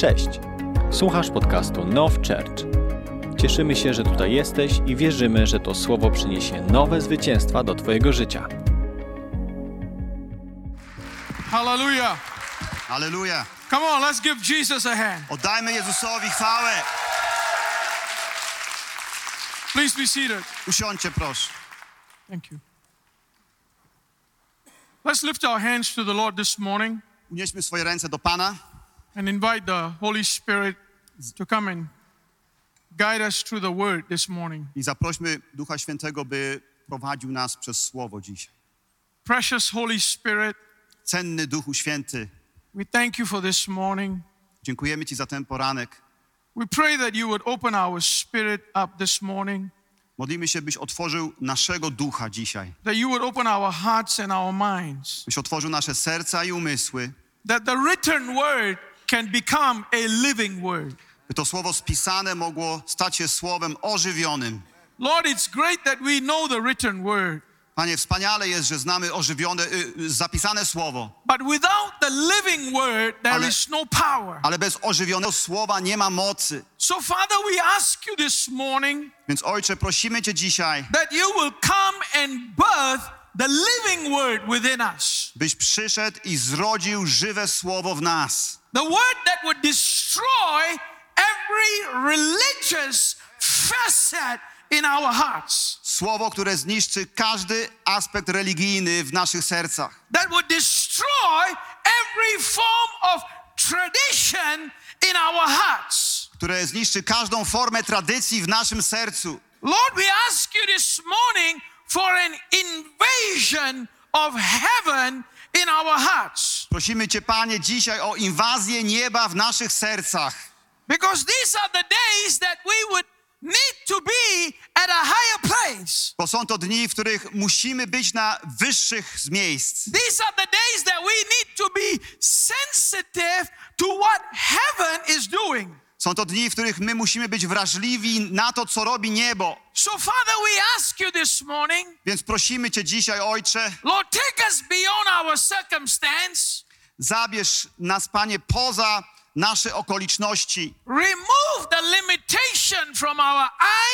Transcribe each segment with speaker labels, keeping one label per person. Speaker 1: Cześć! Słuchasz podcastu Now Church. Cieszymy się, że tutaj jesteś i wierzymy, że to słowo przyniesie nowe zwycięstwa do Twojego życia.
Speaker 2: Hallelujah.
Speaker 3: Aleluja.
Speaker 2: Come on, let's give Jesus a hand.
Speaker 3: Oddajmy Jezusowi chwałę.
Speaker 2: Please be seated.
Speaker 3: Usiądźcie proszę.
Speaker 2: Thank you. Let's lift our hands to the Lord this morning
Speaker 3: Unieśmy swoje ręce do Pana
Speaker 2: and invite the Holy Spirit to come and guide us through the word this morning.
Speaker 3: i zaprośmy Ducha Świętego, by prowadził nas przez Słowo dzisiaj.
Speaker 2: Precious Holy Spirit,
Speaker 3: Cenny Duchu Święty,
Speaker 2: we thank you for this morning.
Speaker 3: dziękujemy Ci za ten poranek.
Speaker 2: We pray that you would open our spirit up this morning,
Speaker 3: Modlimy się, byś otworzył naszego ducha dzisiaj,
Speaker 2: that you would open our hearts and our minds,
Speaker 3: byś otworzył nasze serca i umysły,
Speaker 2: that the written word can become a living word.
Speaker 3: by to słowo spisane mogło stać się słowem ożywionym.
Speaker 2: Lord, it's great that we know the written word,
Speaker 3: Panie, wspaniale jest, że znamy ożywione, y, y, zapisane słowo,
Speaker 2: but without the living word, there
Speaker 3: Ale-
Speaker 2: is no power.
Speaker 3: ale bez ożywionego słowa nie ma mocy.
Speaker 2: So, Father, we ask you this morning
Speaker 3: Więc Ojcze, prosimy Cię dzisiaj,
Speaker 2: that you will come and birth the living word within us,
Speaker 3: byś przyszedł i zrodził żywe słowo w nas.
Speaker 2: the word that would destroy every religious facet in our hearts,
Speaker 3: Słowo, które zniszczy każdy aspekt religijny w naszych sercach.
Speaker 2: that would destroy every form of tradition in our hearts.
Speaker 3: Które zniszczy każdą formę tradycji w naszym sercu.
Speaker 2: Lord, we ask you this morning for an invasion of heaven in our hearts.
Speaker 3: Prosimy Cię, Panie, dzisiaj o inwazję nieba w naszych sercach.
Speaker 2: Because these are the days that we would need to be at a higher place.
Speaker 3: Bo są to dni, w których musimy być na wyższych z miejsc.
Speaker 2: These are the days that we need to be sensitive to what heaven is doing.
Speaker 3: Są to dni, w których my musimy być wrażliwi na to, co robi niebo.
Speaker 2: So, Father, we ask you this morning,
Speaker 3: Więc prosimy Cię dzisiaj, Ojcze,
Speaker 2: Lord, take us beyond our circumstance,
Speaker 3: zabierz nas, Panie, poza nasze okoliczności.
Speaker 2: remove the limitation from our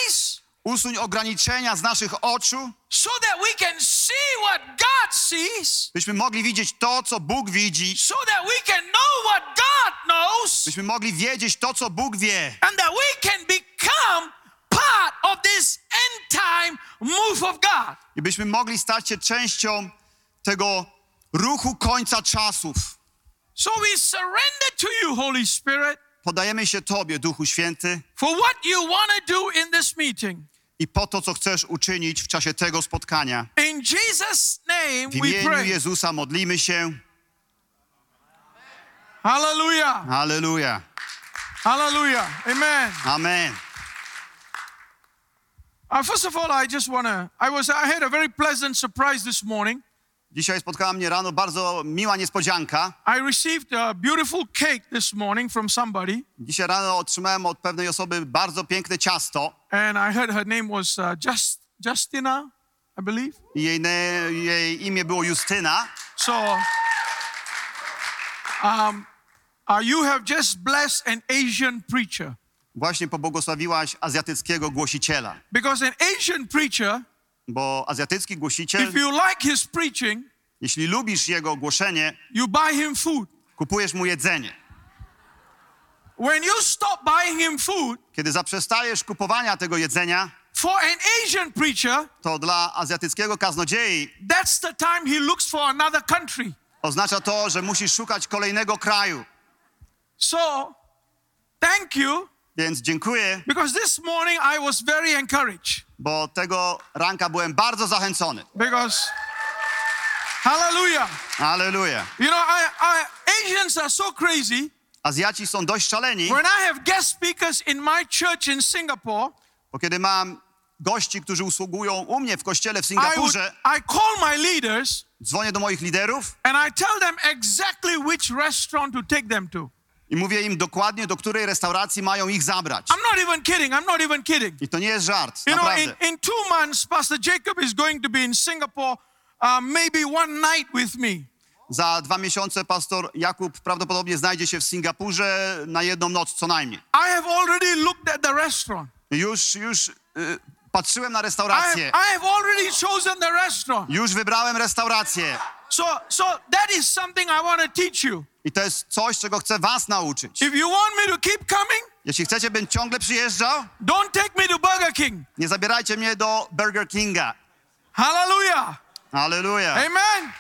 Speaker 2: eyes.
Speaker 3: Usuń ograniczenia z naszych oczu,
Speaker 2: so that we can see what God sees,
Speaker 3: byśmy mogli widzieć to, co Bóg widzi,
Speaker 2: so that we can know what God knows,
Speaker 3: byśmy mogli wiedzieć to, co Bóg wie
Speaker 2: and that we can become part of this end time move of God.
Speaker 3: i byśmy mogli stać się częścią tego ruchu końca czasów.
Speaker 2: So we surrender to you, Holy Spirit,
Speaker 3: Podajemy się Tobie, Duchu Święty,
Speaker 2: for what you want to do in this meeting.
Speaker 3: i po to, co chcesz uczynić w czasie tego spotkania.
Speaker 2: In Jesus' name
Speaker 3: W
Speaker 2: we
Speaker 3: imieniu
Speaker 2: pray.
Speaker 3: Jezusa modlimy się.
Speaker 2: Hallelujah.
Speaker 3: Halleluja.
Speaker 2: Hallelujah. Amen.
Speaker 3: Amen.
Speaker 2: Uh, first of all, I just want to, I was, I had a very pleasant surprise this morning.
Speaker 3: Dzisiaj spotkała mnie rano bardzo miła niespodzianka.
Speaker 2: I received a beautiful cake this morning from somebody.
Speaker 3: Dzisiaj rano otrzymałem od pewnej osoby bardzo piękne ciasto.
Speaker 2: and I heard her name was uh, Just, Justina, I believe.
Speaker 3: i Jej, ne- jej imię było Justyna.
Speaker 2: So, um, uh, you have just blessed an Asian preacher
Speaker 3: Właśnie pobłogosławiłaś azjatyckiego głosiciela,
Speaker 2: because an Asian preacher,
Speaker 3: bo azjatycki głosiciel,
Speaker 2: if you like his preaching,
Speaker 3: jeśli lubisz jego ogłoszenie,
Speaker 2: you buy him food.
Speaker 3: kupujesz mu jedzenie.
Speaker 2: When you stop buying him food
Speaker 3: Kiedy zaprzestajesz kupowania tego jedzenia,
Speaker 2: for an Asian preacher,
Speaker 3: to dla azjatyckiego kaznodziei
Speaker 2: that's the time he looks for another country.
Speaker 3: oznacza to, że musisz szukać kolejnego kraju.
Speaker 2: So, thank you
Speaker 3: Więc dziękuję,
Speaker 2: because this morning I was very encouraged
Speaker 3: bo tego ranka byłem bardzo zachęcony.
Speaker 2: because, hallelujah.
Speaker 3: Aleluja.
Speaker 2: You know, I, I, Asians are so crazy.
Speaker 3: Azjaci są dość szaleni,
Speaker 2: When I have guest speakers in my church in Singapore,
Speaker 3: bo kiedy mam gości, którzy usługują u mnie w kościele w
Speaker 2: I, would,
Speaker 3: Singapurze,
Speaker 2: I call my leaders
Speaker 3: dzwonię do moich liderów
Speaker 2: and I tell them exactly which restaurant to take them to.
Speaker 3: i mówię im dokładnie, do której restauracji mają ich zabrać.
Speaker 2: I'm not even kidding. I'm not even kidding.
Speaker 3: I to nie jest żart,
Speaker 2: You know,
Speaker 3: naprawdę.
Speaker 2: in, in two months, Pastor Jacob is going to be in Singapore, uh, maybe one night with me.
Speaker 3: Za dwa miesiące pastor Jakub prawdopodobnie znajdzie się w Singapurze na jedną noc co najmniej.
Speaker 2: I have already looked at the restaurant.
Speaker 3: Już, już y, patrzyłem na
Speaker 2: I have,
Speaker 3: restaurację.
Speaker 2: I have already chosen the restaurant.
Speaker 3: Już wybrałem restaurację.
Speaker 2: So, so that is something I want to teach you.
Speaker 3: I to jest coś, czego chcę was nauczyć.
Speaker 2: If you want me to keep coming,
Speaker 3: Jeśli chcecie, bym ciągle przyjeżdżał,
Speaker 2: don't take me to Burger King.
Speaker 3: nie zabierajcie mnie do Burger Kinga.
Speaker 2: Hallelujah.
Speaker 3: Aleluja.
Speaker 2: Amen.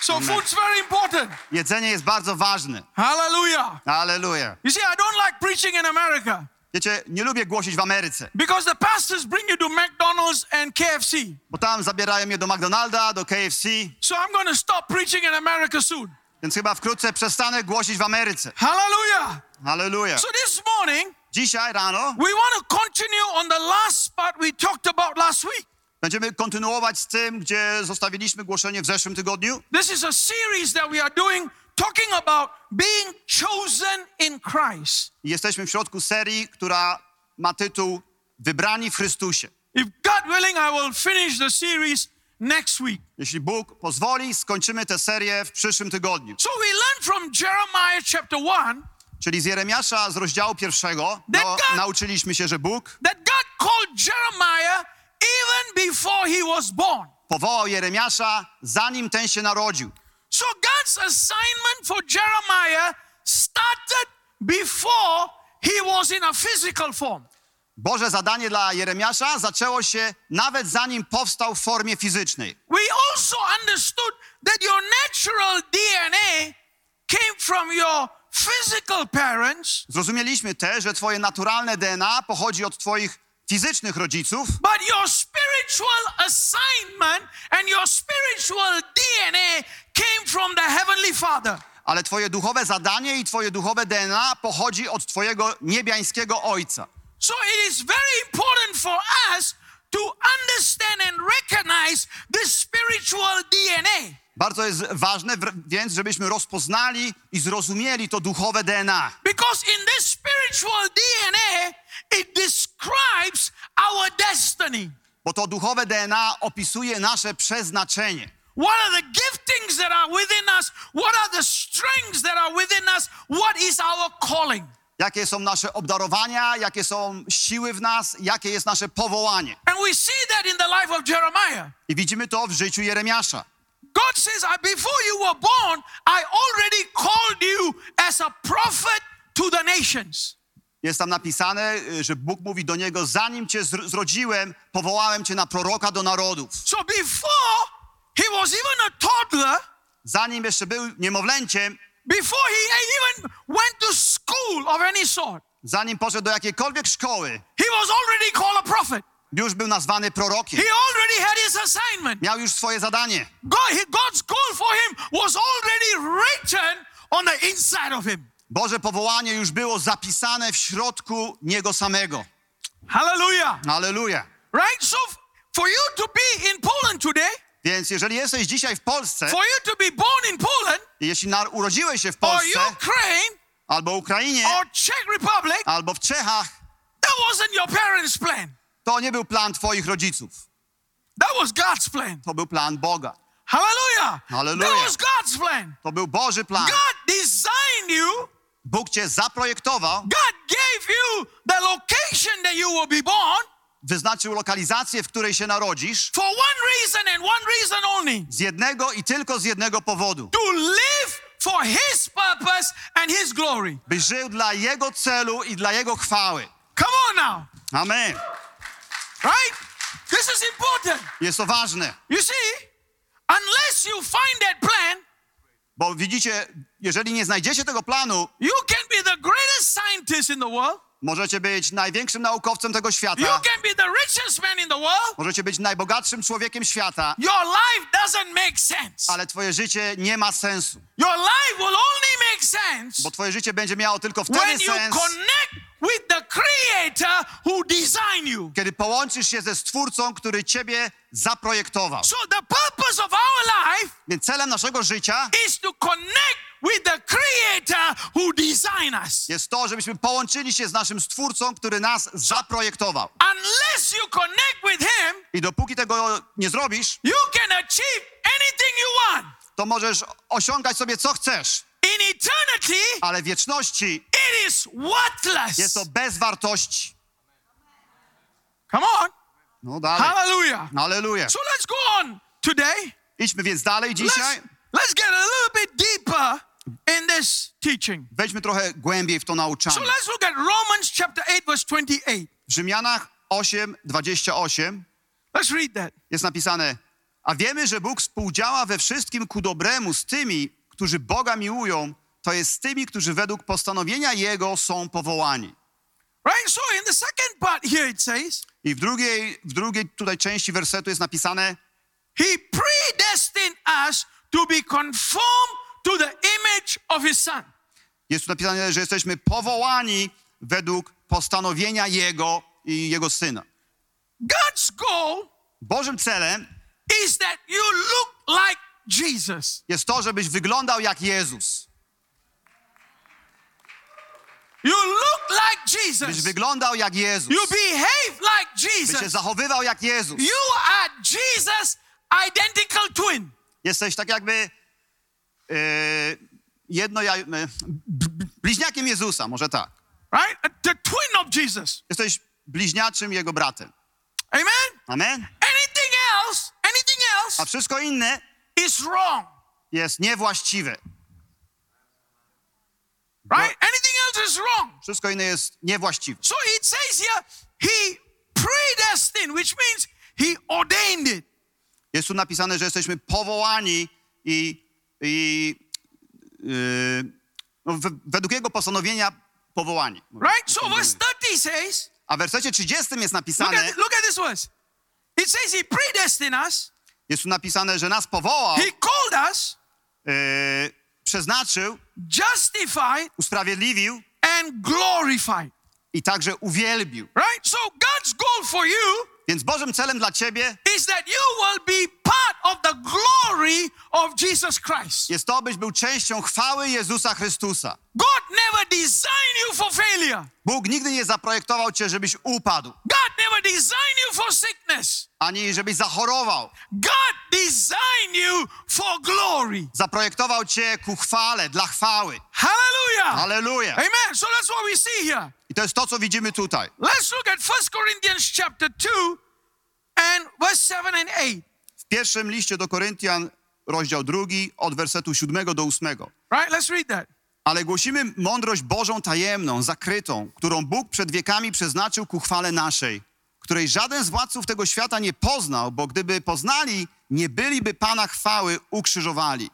Speaker 2: So
Speaker 3: Amen.
Speaker 2: food's very important.
Speaker 3: Jedzenie jest bardzo ważne.
Speaker 2: Hallelujah.
Speaker 3: Aleluja.
Speaker 2: You see, I don't like preaching in America
Speaker 3: Wiecie, nie lubię głosić w Ameryce,
Speaker 2: because the pastors bring you to McDonald's and KFC.
Speaker 3: bo tam zabierają mnie do McDonalda, do KFC,
Speaker 2: So I'm going to stop preaching in America soon.
Speaker 3: więc chyba wkrótce przestanę głosić w Ameryce.
Speaker 2: Hallelujah.
Speaker 3: Aleluja.
Speaker 2: So this morning,
Speaker 3: Dzisiaj rano
Speaker 2: we want to continue on the last part we talked about last week.
Speaker 3: będziemy kontynuować z tym, gdzie zostawiliśmy głoszenie w zeszłym tygodniu.
Speaker 2: This is a series that we are doing talking about being chosen in Christ.
Speaker 3: I Jesteśmy w środku serii, która ma tytuł Wybrani w Chrystusie.
Speaker 2: If God willing, I will finish the series next week.
Speaker 3: Jeśli Bóg pozwoli, skończymy tę serię w przyszłym tygodniu.
Speaker 2: So we learn from Jeremiah chapter 1
Speaker 3: Czyli z Jeremiasza z rozdziału pierwszego no,
Speaker 2: Deka-
Speaker 3: nauczyliśmy się, że Bóg
Speaker 2: that God called Jeremiah even before he was born.
Speaker 3: powołał Jeremiasza, zanim ten się narodził.
Speaker 2: So God's assignment for Jeremiah started before he was in a physical form.
Speaker 3: Boże zadanie dla Jeremiasza zaczęło się nawet zanim powstał w formie fizycznej.
Speaker 2: We also understood that your natural DNA came from your physical parents,
Speaker 3: Zrozumieliśmy też, że twoje naturalne DNA pochodzi od twoich fizycznych rodziców,
Speaker 2: but your spiritual assignment and your spiritual DNA came from the Heavenly Father.
Speaker 3: ale twoje duchowe zadanie i twoje duchowe DNA pochodzi od twojego niebiańskiego ojca.
Speaker 2: So it is very important for us to understand and recognize this spiritual DNA.
Speaker 3: Bardzo jest ważne wr- więc, żebyśmy rozpoznali i zrozumieli to duchowe DNA.
Speaker 2: Because in this spiritual DNA, it describes our destiny.
Speaker 3: Bo to duchowe DNA opisuje nasze przeznaczenie.
Speaker 2: What are the giftings that are within us? What are the strengths that are within us? What is our calling?
Speaker 3: Jakie są nasze obdarowania, jakie są siły w nas, jakie jest nasze powołanie.
Speaker 2: And we see that in the life of Jeremiah.
Speaker 3: I widzimy to w życiu Jeremiasza.
Speaker 2: God says, I, Before you were born, I already called you as a prophet to the nations.
Speaker 3: Jest tam napisane, y, że Bóg mówi do niego: Zanim cię zr- zrodziłem, powołałem cię na proroka do narodów.
Speaker 2: So before he was even a toddler,
Speaker 3: Zanim jeszcze był niemowlęciem,
Speaker 2: before he even went to school of any sort,
Speaker 3: zanim poszedł do jakiejkolwiek szkoły,
Speaker 2: he was already called a prophet.
Speaker 3: już był nazwany prorokiem.
Speaker 2: He already had his assignment.
Speaker 3: Miał już swoje zadanie.
Speaker 2: God, he- God's goal for him was already written on the inside of him.
Speaker 3: Boże powołanie już było zapisane w środku niego samego.
Speaker 2: Hallelujah.
Speaker 3: Aleluja.
Speaker 2: Right? So, f- for you to be in Poland today,
Speaker 3: Więc jeżeli jesteś dzisiaj w Polsce,
Speaker 2: for you to be born in Poland,
Speaker 3: jeśli na, urodziłeś się w
Speaker 2: or
Speaker 3: Polsce,
Speaker 2: Ukraine,
Speaker 3: albo Ukrainie,
Speaker 2: or Czech Republic,
Speaker 3: albo w Czechach,
Speaker 2: that wasn't your parents' plan.
Speaker 3: to nie był plan twoich rodziców.
Speaker 2: That was God's plan.
Speaker 3: To był plan Boga.
Speaker 2: Hallelujah. That
Speaker 3: Hallelujah.
Speaker 2: was God's plan.
Speaker 3: To był Boży plan.
Speaker 2: God designed you,
Speaker 3: Bóg cię zaprojektował,
Speaker 2: God gave you the location that you will be born
Speaker 3: wyznaczył lokalizację, w której się narodzisz,
Speaker 2: for one reason and one reason only.
Speaker 3: z jednego i tylko z jednego powodu.
Speaker 2: to live for His purpose and His glory.
Speaker 3: Byś żył dla Jego celu i dla Jego chwały.
Speaker 2: Come on now,
Speaker 3: Amen.
Speaker 2: right? This is important.
Speaker 3: Jest to ważne,
Speaker 2: You see, unless you find that plan,
Speaker 3: bo widzicie, jeżeli nie znajdziecie tego planu,
Speaker 2: you can be the greatest scientist in the world,
Speaker 3: możecie być największym naukowcem tego
Speaker 2: you
Speaker 3: świata,
Speaker 2: can be the richest man in the world.
Speaker 3: możecie być najbogatszym człowiekiem świata,
Speaker 2: Your life doesn't make sense.
Speaker 3: ale twoje życie nie ma sensu,
Speaker 2: Your life will only make sense
Speaker 3: bo twoje życie będzie miało tylko
Speaker 2: when
Speaker 3: wtedy
Speaker 2: you
Speaker 3: sens,
Speaker 2: connect with the Creator who designed you.
Speaker 3: kiedy połączysz się ze Stwórcą, który ciebie zaprojektował.
Speaker 2: So, the purpose of our life
Speaker 3: Więc celem naszego życia
Speaker 2: is to connect with the creator who designed us.
Speaker 3: jest to, żebyśmy połączyli się z naszym Stwórcą, który nas zaprojektował.
Speaker 2: Unless you connect with him,
Speaker 3: I dopóki tego nie zrobisz,
Speaker 2: you can achieve anything you want.
Speaker 3: to możesz osiągać sobie co chcesz,
Speaker 2: In eternity,
Speaker 3: ale w wieczności
Speaker 2: it is
Speaker 3: jest
Speaker 2: worthless.
Speaker 3: to bez wartości.
Speaker 2: Come on.
Speaker 3: No dalej.
Speaker 2: Hallelujah.
Speaker 3: Aleluję.
Speaker 2: So let's go on today.
Speaker 3: Idźmy więc dalej
Speaker 2: Let's,
Speaker 3: dzisiaj.
Speaker 2: let's get a little bit deeper in this teaching.
Speaker 3: Wejdźmy trochę głębiej w to
Speaker 2: So
Speaker 3: nauczanie.
Speaker 2: let's look at Romans chapter 8, verse 28.
Speaker 3: W Rzymianach 8, 28
Speaker 2: Let's read that.
Speaker 3: jest napisane, a wiemy, że Bóg współdziała we wszystkim ku dobremu z tymi, którzy Boga miłują, to jest z tymi, którzy według postanowienia Jego są powołani.
Speaker 2: Right? So in the second part here it says,
Speaker 3: I w drugiej, w drugiej tutaj części wersetu jest napisane,
Speaker 2: He predestined us to be conformed to the image of His Son.
Speaker 3: jest tu napisane, że jesteśmy powołani według postanowienia Jego i Jego Syna.
Speaker 2: God's goal
Speaker 3: Bożym celem
Speaker 2: is that you look like Jesus.
Speaker 3: jest to, żebyś wyglądał jak Jezus.
Speaker 2: You look like
Speaker 3: Byś
Speaker 2: Jesus.
Speaker 3: wyglądał jak Jezus.
Speaker 2: You behave like
Speaker 3: Byś się
Speaker 2: Jesus.
Speaker 3: zachowywał jak Jezus.
Speaker 2: You are Jesus' identical twin.
Speaker 3: Jesteś tak jakby e, jedno ja, e, b- b- bliźniakiem Jezusa, może tak.
Speaker 2: Right? Uh, The twin of Jesus.
Speaker 3: Jesteś bliźniaczym Jego bratem.
Speaker 2: Amen?
Speaker 3: Amen?
Speaker 2: Anything else, anything
Speaker 3: A
Speaker 2: else
Speaker 3: wszystko inne
Speaker 2: is wrong.
Speaker 3: jest niewłaściwe.
Speaker 2: Right? Anything else is wrong.
Speaker 3: Wszystko inne jest niewłaściwe.
Speaker 2: So it says here, he predestined, which means he ordained it.
Speaker 3: Jest tu napisane, że jesteśmy powołani i, i yy, no, we, według jego postanowienia powołani.
Speaker 2: Right? So verse 30 says,
Speaker 3: A w wersecie 30 jest
Speaker 2: look
Speaker 3: napisane,
Speaker 2: at, look at this verse. It says he predestined us,
Speaker 3: jest tu napisane, że nas powołał,
Speaker 2: he called us,
Speaker 3: yy, przeznaczył,
Speaker 2: justified,
Speaker 3: usprawiedliwił
Speaker 2: and glorified.
Speaker 3: i także uwielbił.
Speaker 2: Right? So God's goal for you
Speaker 3: Więc Bożym celem dla ciebie
Speaker 2: is that you will be part of the glory of Jesus Christ.
Speaker 3: jest to, byś był częścią chwały Jezusa Chrystusa.
Speaker 2: God never designed you for failure.
Speaker 3: Bóg nigdy nie zaprojektował cię, żebyś upadł,
Speaker 2: God never designed you for sickness.
Speaker 3: ani żebyś zachorował.
Speaker 2: God designed you for glory.
Speaker 3: Zaprojektował cię ku chwale, dla chwały.
Speaker 2: Hallelujah.
Speaker 3: Aleluja.
Speaker 2: Amen. So that's what we see here.
Speaker 3: I to jest to, co widzimy tutaj.
Speaker 2: Let's look at 1 Corinthians chapter 2 and verse 7 and 8.
Speaker 3: W pierwszym liście do Koryntian, rozdział drugi, od wersetu siódmego do ósmego.
Speaker 2: Right? Let's read that.
Speaker 3: Ale głosimy mądrość Bożą tajemną, zakrytą, którą Bóg przed wiekami przeznaczył ku chwale naszej, której żaden z władców tego świata nie poznał, bo gdyby poznali, nie byliby Pana chwały ukrzyżowali.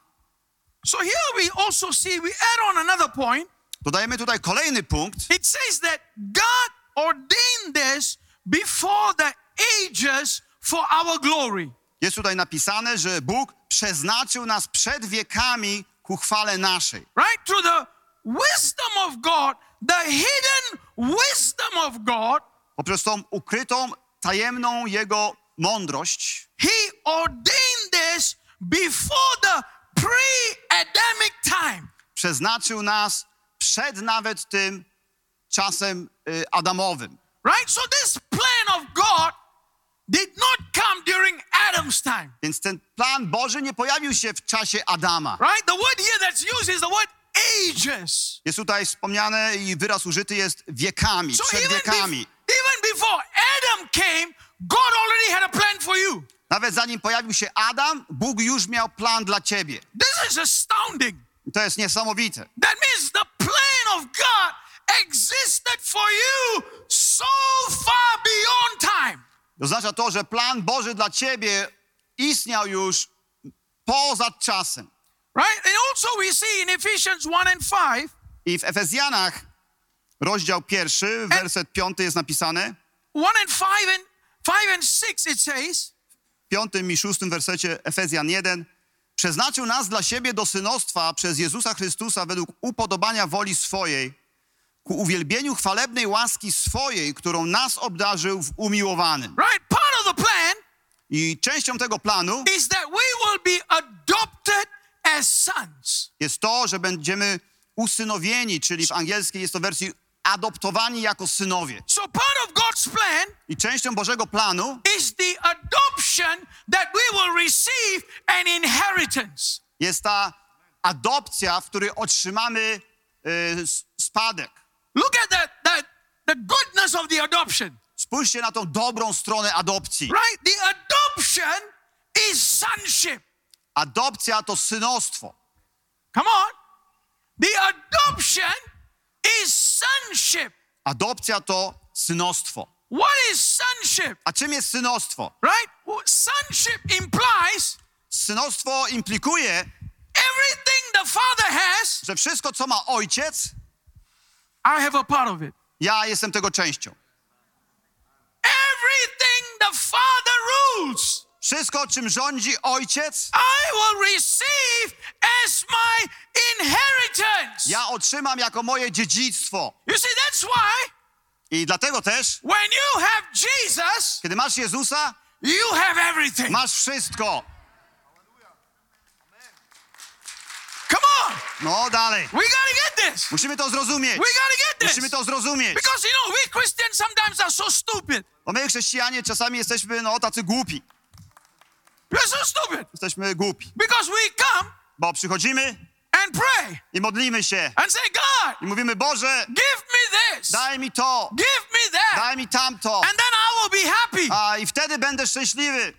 Speaker 2: So here we also see we add on another point.
Speaker 3: Dodajemy tutaj kolejny punkt.
Speaker 2: It says that God ordained this before the ages for our glory.
Speaker 3: Jest tutaj napisane, że Bóg przeznaczył nas przed wiekami ku chwale naszej.
Speaker 2: Right? Through the wisdom of God, the hidden wisdom of God,
Speaker 3: Poprzez tą ukrytą, tajemną Jego mądrość
Speaker 2: He ordained this before the pre-Adamic time.
Speaker 3: przeznaczył nas przed nawet tym czasem y, Adamowym.
Speaker 2: Right? So this plan of God did not come during Adam's time.
Speaker 3: Więc ten plan Boży nie pojawił się w czasie Adama.
Speaker 2: Right? The word here that's used is the word ages.
Speaker 3: Jest tutaj wspomniane i wyraz użyty jest wiekami,
Speaker 2: So
Speaker 3: przed
Speaker 2: even, bef-
Speaker 3: wiekami.
Speaker 2: even before Adam came, God already had a plan for you.
Speaker 3: Nawet zanim pojawił się Adam, Bóg już miał plan dla ciebie.
Speaker 2: This is astounding.
Speaker 3: I To jest niesamowite.
Speaker 2: That means the plan of God existed for you so far beyond time.
Speaker 3: Oznacza to, że plan Boży dla ciebie istniał już poza czasem.
Speaker 2: Right? And also we see in Ephesians 1 and 5,
Speaker 3: I w Efezjanach, rozdział
Speaker 2: E-
Speaker 3: pierwszy, werset piąty jest napisane.
Speaker 2: 1 and 5 and 5 and 6 it says,
Speaker 3: piątym i szóstym wersecie Efezjan 1 przeznaczył nas dla siebie do synostwa przez Jezusa Chrystusa według upodobania woli swojej, ku uwielbieniu chwalebnej łaski swojej, którą nas obdarzył w umiłowanym.
Speaker 2: right? Part of the plan
Speaker 3: I częścią tego planu
Speaker 2: is that we will be adopted as sons.
Speaker 3: jest to, że będziemy usynowieni, czyli w angielskiej jest to wersji adoptowani jako synowie.
Speaker 2: So part of God's plan
Speaker 3: I częścią Bożego planu
Speaker 2: is the adoption that we will receive an inheritance.
Speaker 3: Jest ta adopcja, w której otrzymamy y, s- spadek.
Speaker 2: Look at that, that the goodness of the adoption.
Speaker 3: Spójrzcie na tą dobrą stronę adopcji.
Speaker 2: Right? The adoption is sonship.
Speaker 3: Adopcja to synostwo.
Speaker 2: Come on. The adoption is sonship.
Speaker 3: Adopcja to synostwo.
Speaker 2: What is sonship?
Speaker 3: A czym jest synostwo?
Speaker 2: Right? Well, Sonship implies
Speaker 3: Synostwo implikuje,
Speaker 2: everything the Father has,
Speaker 3: że wszystko, co ma ojciec,
Speaker 2: I have a part of it.
Speaker 3: ja jestem tego częścią.
Speaker 2: Everything the Father rules,
Speaker 3: Wszystko, czym rządzi ojciec,
Speaker 2: I will receive as my inheritance.
Speaker 3: ja otrzymam jako moje dziedzictwo.
Speaker 2: You see, that's why
Speaker 3: I dlatego też,
Speaker 2: when you have Jesus,
Speaker 3: kiedy masz Jezusa,
Speaker 2: you have everything.
Speaker 3: masz wszystko.
Speaker 2: Come on.
Speaker 3: No dalej.
Speaker 2: We got to get this.
Speaker 3: Musimy to zrozumieć.
Speaker 2: We got to get
Speaker 3: Musimy
Speaker 2: this.
Speaker 3: to zrozumieć.
Speaker 2: Because, you know, we Christians sometimes are so stupid.
Speaker 3: Bo my, chrześcijanie, czasami jesteśmy, no, tacy głupi.
Speaker 2: We're so stupid.
Speaker 3: Jesteśmy głupi.
Speaker 2: Because we come
Speaker 3: Bo przychodzimy
Speaker 2: and pray
Speaker 3: i modlimy się.
Speaker 2: and say, God,
Speaker 3: I mówimy, Boże,
Speaker 2: give me this.
Speaker 3: daj mi to,
Speaker 2: Give me that,
Speaker 3: daj mi tamto.
Speaker 2: and then I will be happy.
Speaker 3: A i wtedy będę szczęśliwy.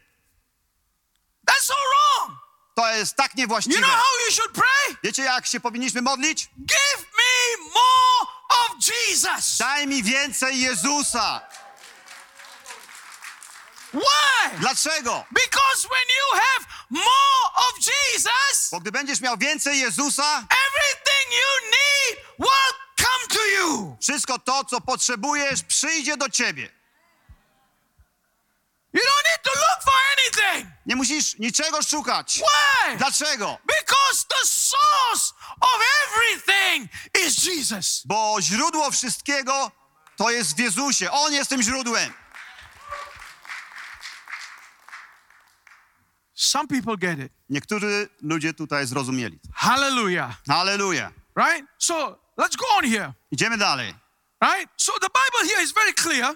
Speaker 2: That's so wrong.
Speaker 3: To jest tak
Speaker 2: You
Speaker 3: niewłaściwe.
Speaker 2: know how you should pray?
Speaker 3: Wiecie, jak się powinniśmy modlić?
Speaker 2: Give me more of Jesus.
Speaker 3: Daj mi więcej Jezusa.
Speaker 2: Why?
Speaker 3: Dlaczego?
Speaker 2: Because when you have more of Jesus,
Speaker 3: Bo gdy będziesz miał więcej Jezusa,
Speaker 2: everything you need will come to you.
Speaker 3: wszystko to, co potrzebujesz, przyjdzie do ciebie.
Speaker 2: You don't need to look for anything.
Speaker 3: Nie musisz niczego szukać.
Speaker 2: Why?
Speaker 3: Dlaczego?
Speaker 2: Because the source of everything is Jesus.
Speaker 3: Bo źródło wszystkiego to jest w Jezusie. On jest tym źródłem.
Speaker 2: Some people get it.
Speaker 3: Niektórzy ludzie tutaj zrozumieli.
Speaker 2: Hallelujah.
Speaker 3: Halleluja.
Speaker 2: Right? So let's go on here.
Speaker 3: Idziemy dalej.
Speaker 2: Right? So the Bible here is very clear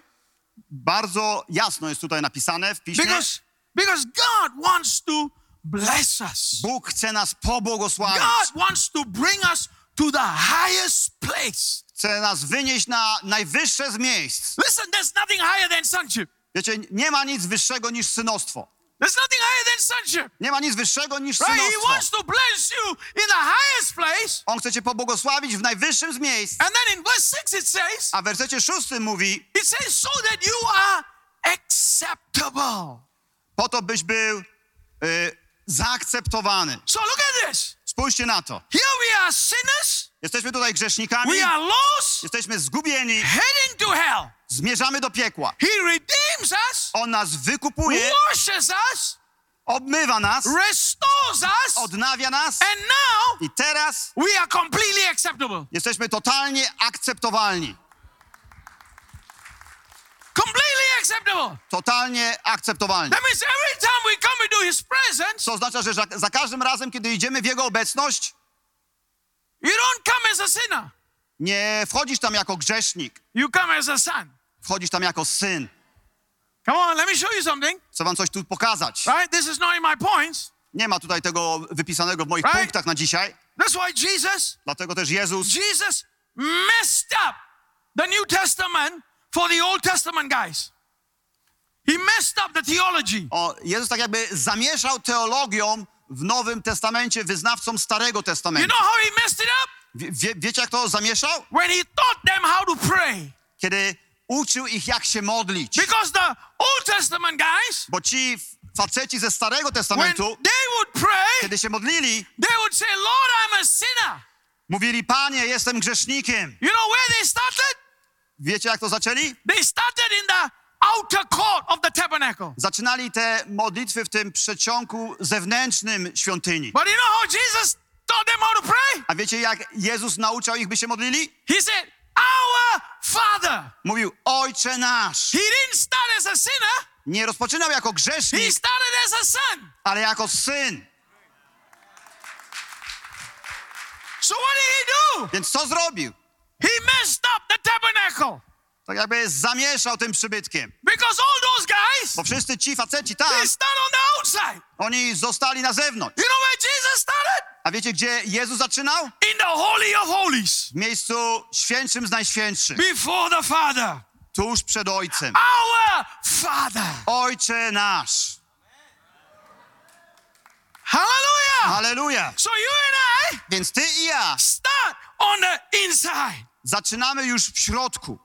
Speaker 3: Bardzo jasno jest tutaj napisane w piśmie.
Speaker 2: because because God wants to bless us.
Speaker 3: Bóg chce nas pobłogosławić.
Speaker 2: God wants to bring us to the highest place.
Speaker 3: Chce nas wynieść na najwyższe z miejsc.
Speaker 2: Listen, there's nothing higher than sonship.
Speaker 3: Wiecie, nie ma nic wyższego niż synostwo.
Speaker 2: There's nothing higher than sonship.
Speaker 3: Nie ma nic wyższego niż
Speaker 2: Right? He wants
Speaker 3: synostwo.
Speaker 2: to bless you in the highest place.
Speaker 3: On chce cię pobłogosławić w najwyższym z miejsc.
Speaker 2: And then in verse 6 it says,
Speaker 3: A w wersecie szóstym mówi,
Speaker 2: it says, so that you are acceptable.
Speaker 3: po to byś był y, zaakceptowany.
Speaker 2: So look at this.
Speaker 3: Spójrzcie na to.
Speaker 2: Here we are sinners,
Speaker 3: Jesteśmy tutaj grzesznikami.
Speaker 2: we are lost,
Speaker 3: Jesteśmy zgubieni.
Speaker 2: heading to hell.
Speaker 3: Zmierzamy do piekła.
Speaker 2: He redeems us.
Speaker 3: On nas wykupuje,
Speaker 2: washes us,
Speaker 3: obmywa nas,
Speaker 2: restores us,
Speaker 3: odnawia nas
Speaker 2: and now
Speaker 3: i teraz
Speaker 2: we are completely acceptable.
Speaker 3: jesteśmy totalnie akceptowalni.
Speaker 2: Completely acceptable.
Speaker 3: Totalnie akceptowalni.
Speaker 2: That means every time we come into His presence,
Speaker 3: Co oznacza, że za, za każdym razem, kiedy idziemy w Jego obecność,
Speaker 2: you don't come as a sinner,
Speaker 3: nie wchodzisz tam jako grzesznik,
Speaker 2: you come as a son.
Speaker 3: wchodzisz tam jako syn.
Speaker 2: Come on, let me show you something.
Speaker 3: Chcę wam coś tu pokazać.
Speaker 2: Right? This is not in my points.
Speaker 3: Nie ma tutaj tego wypisanego w moich
Speaker 2: Right.
Speaker 3: punktach na dzisiaj.
Speaker 2: That's why Jesus,
Speaker 3: Dlatego też Jezus
Speaker 2: Jesus messed up the New Testament for the Old Testament guys. He messed up the theology.
Speaker 3: O, Jezus tak jakby zamieszał teologią w Nowym Testamencie wyznawcom Starego
Speaker 2: You know
Speaker 3: Testamentu.
Speaker 2: how he messed it up?
Speaker 3: Wie, wie, wiecie, jak to zamieszał?
Speaker 2: When he taught them how to pray.
Speaker 3: Kiedy uczył ich, jak się modlić.
Speaker 2: Because the Old Testament guys,
Speaker 3: Bo ci faceci ze Starego
Speaker 2: when they
Speaker 3: Testamentu,
Speaker 2: would pray,
Speaker 3: kiedy się modlili,
Speaker 2: they would say, Lord, I'm a sinner.
Speaker 3: mówili, Panie, jestem grzesznikiem.
Speaker 2: You know where they started?
Speaker 3: Wiecie, jak to zaczęli?
Speaker 2: They started in the outer court of the tabernacle.
Speaker 3: Zaczynali te modlitwy w tym przeciągu zewnętrznym świątyni.
Speaker 2: But you know how Jesus taught them how to pray?
Speaker 3: A wiecie, jak Jezus nauczał ich, by się modlili?
Speaker 2: He said, Our Father.
Speaker 3: Mówił, Ojcze nasz.
Speaker 2: He didn't start as a sinner,
Speaker 3: Nie rozpoczynał jako
Speaker 2: he
Speaker 3: grzesznik,
Speaker 2: started as a son.
Speaker 3: ale jako syn.
Speaker 2: So what did he do?
Speaker 3: Więc co zrobił?
Speaker 2: He messed up the tabernacle.
Speaker 3: Tak jakby jest zamieszał tym przybytkiem.
Speaker 2: Because all those guys,
Speaker 3: Bo wszyscy ci faceci tam,
Speaker 2: they start on the outside.
Speaker 3: oni zostali na zewnątrz.
Speaker 2: You know where Jesus started?
Speaker 3: A wiecie, gdzie Jezus zaczynał?
Speaker 2: In the Holy of Holies,
Speaker 3: W miejscu świętszym z najświętszych.
Speaker 2: before the Father.
Speaker 3: Tuż przed Ojcem.
Speaker 2: Our Father.
Speaker 3: Ojcze nasz.
Speaker 2: Hallelujah.
Speaker 3: Halleluja.
Speaker 2: So you and I
Speaker 3: Więc ty i ja
Speaker 2: start on the inside.
Speaker 3: zaczynamy już w środku.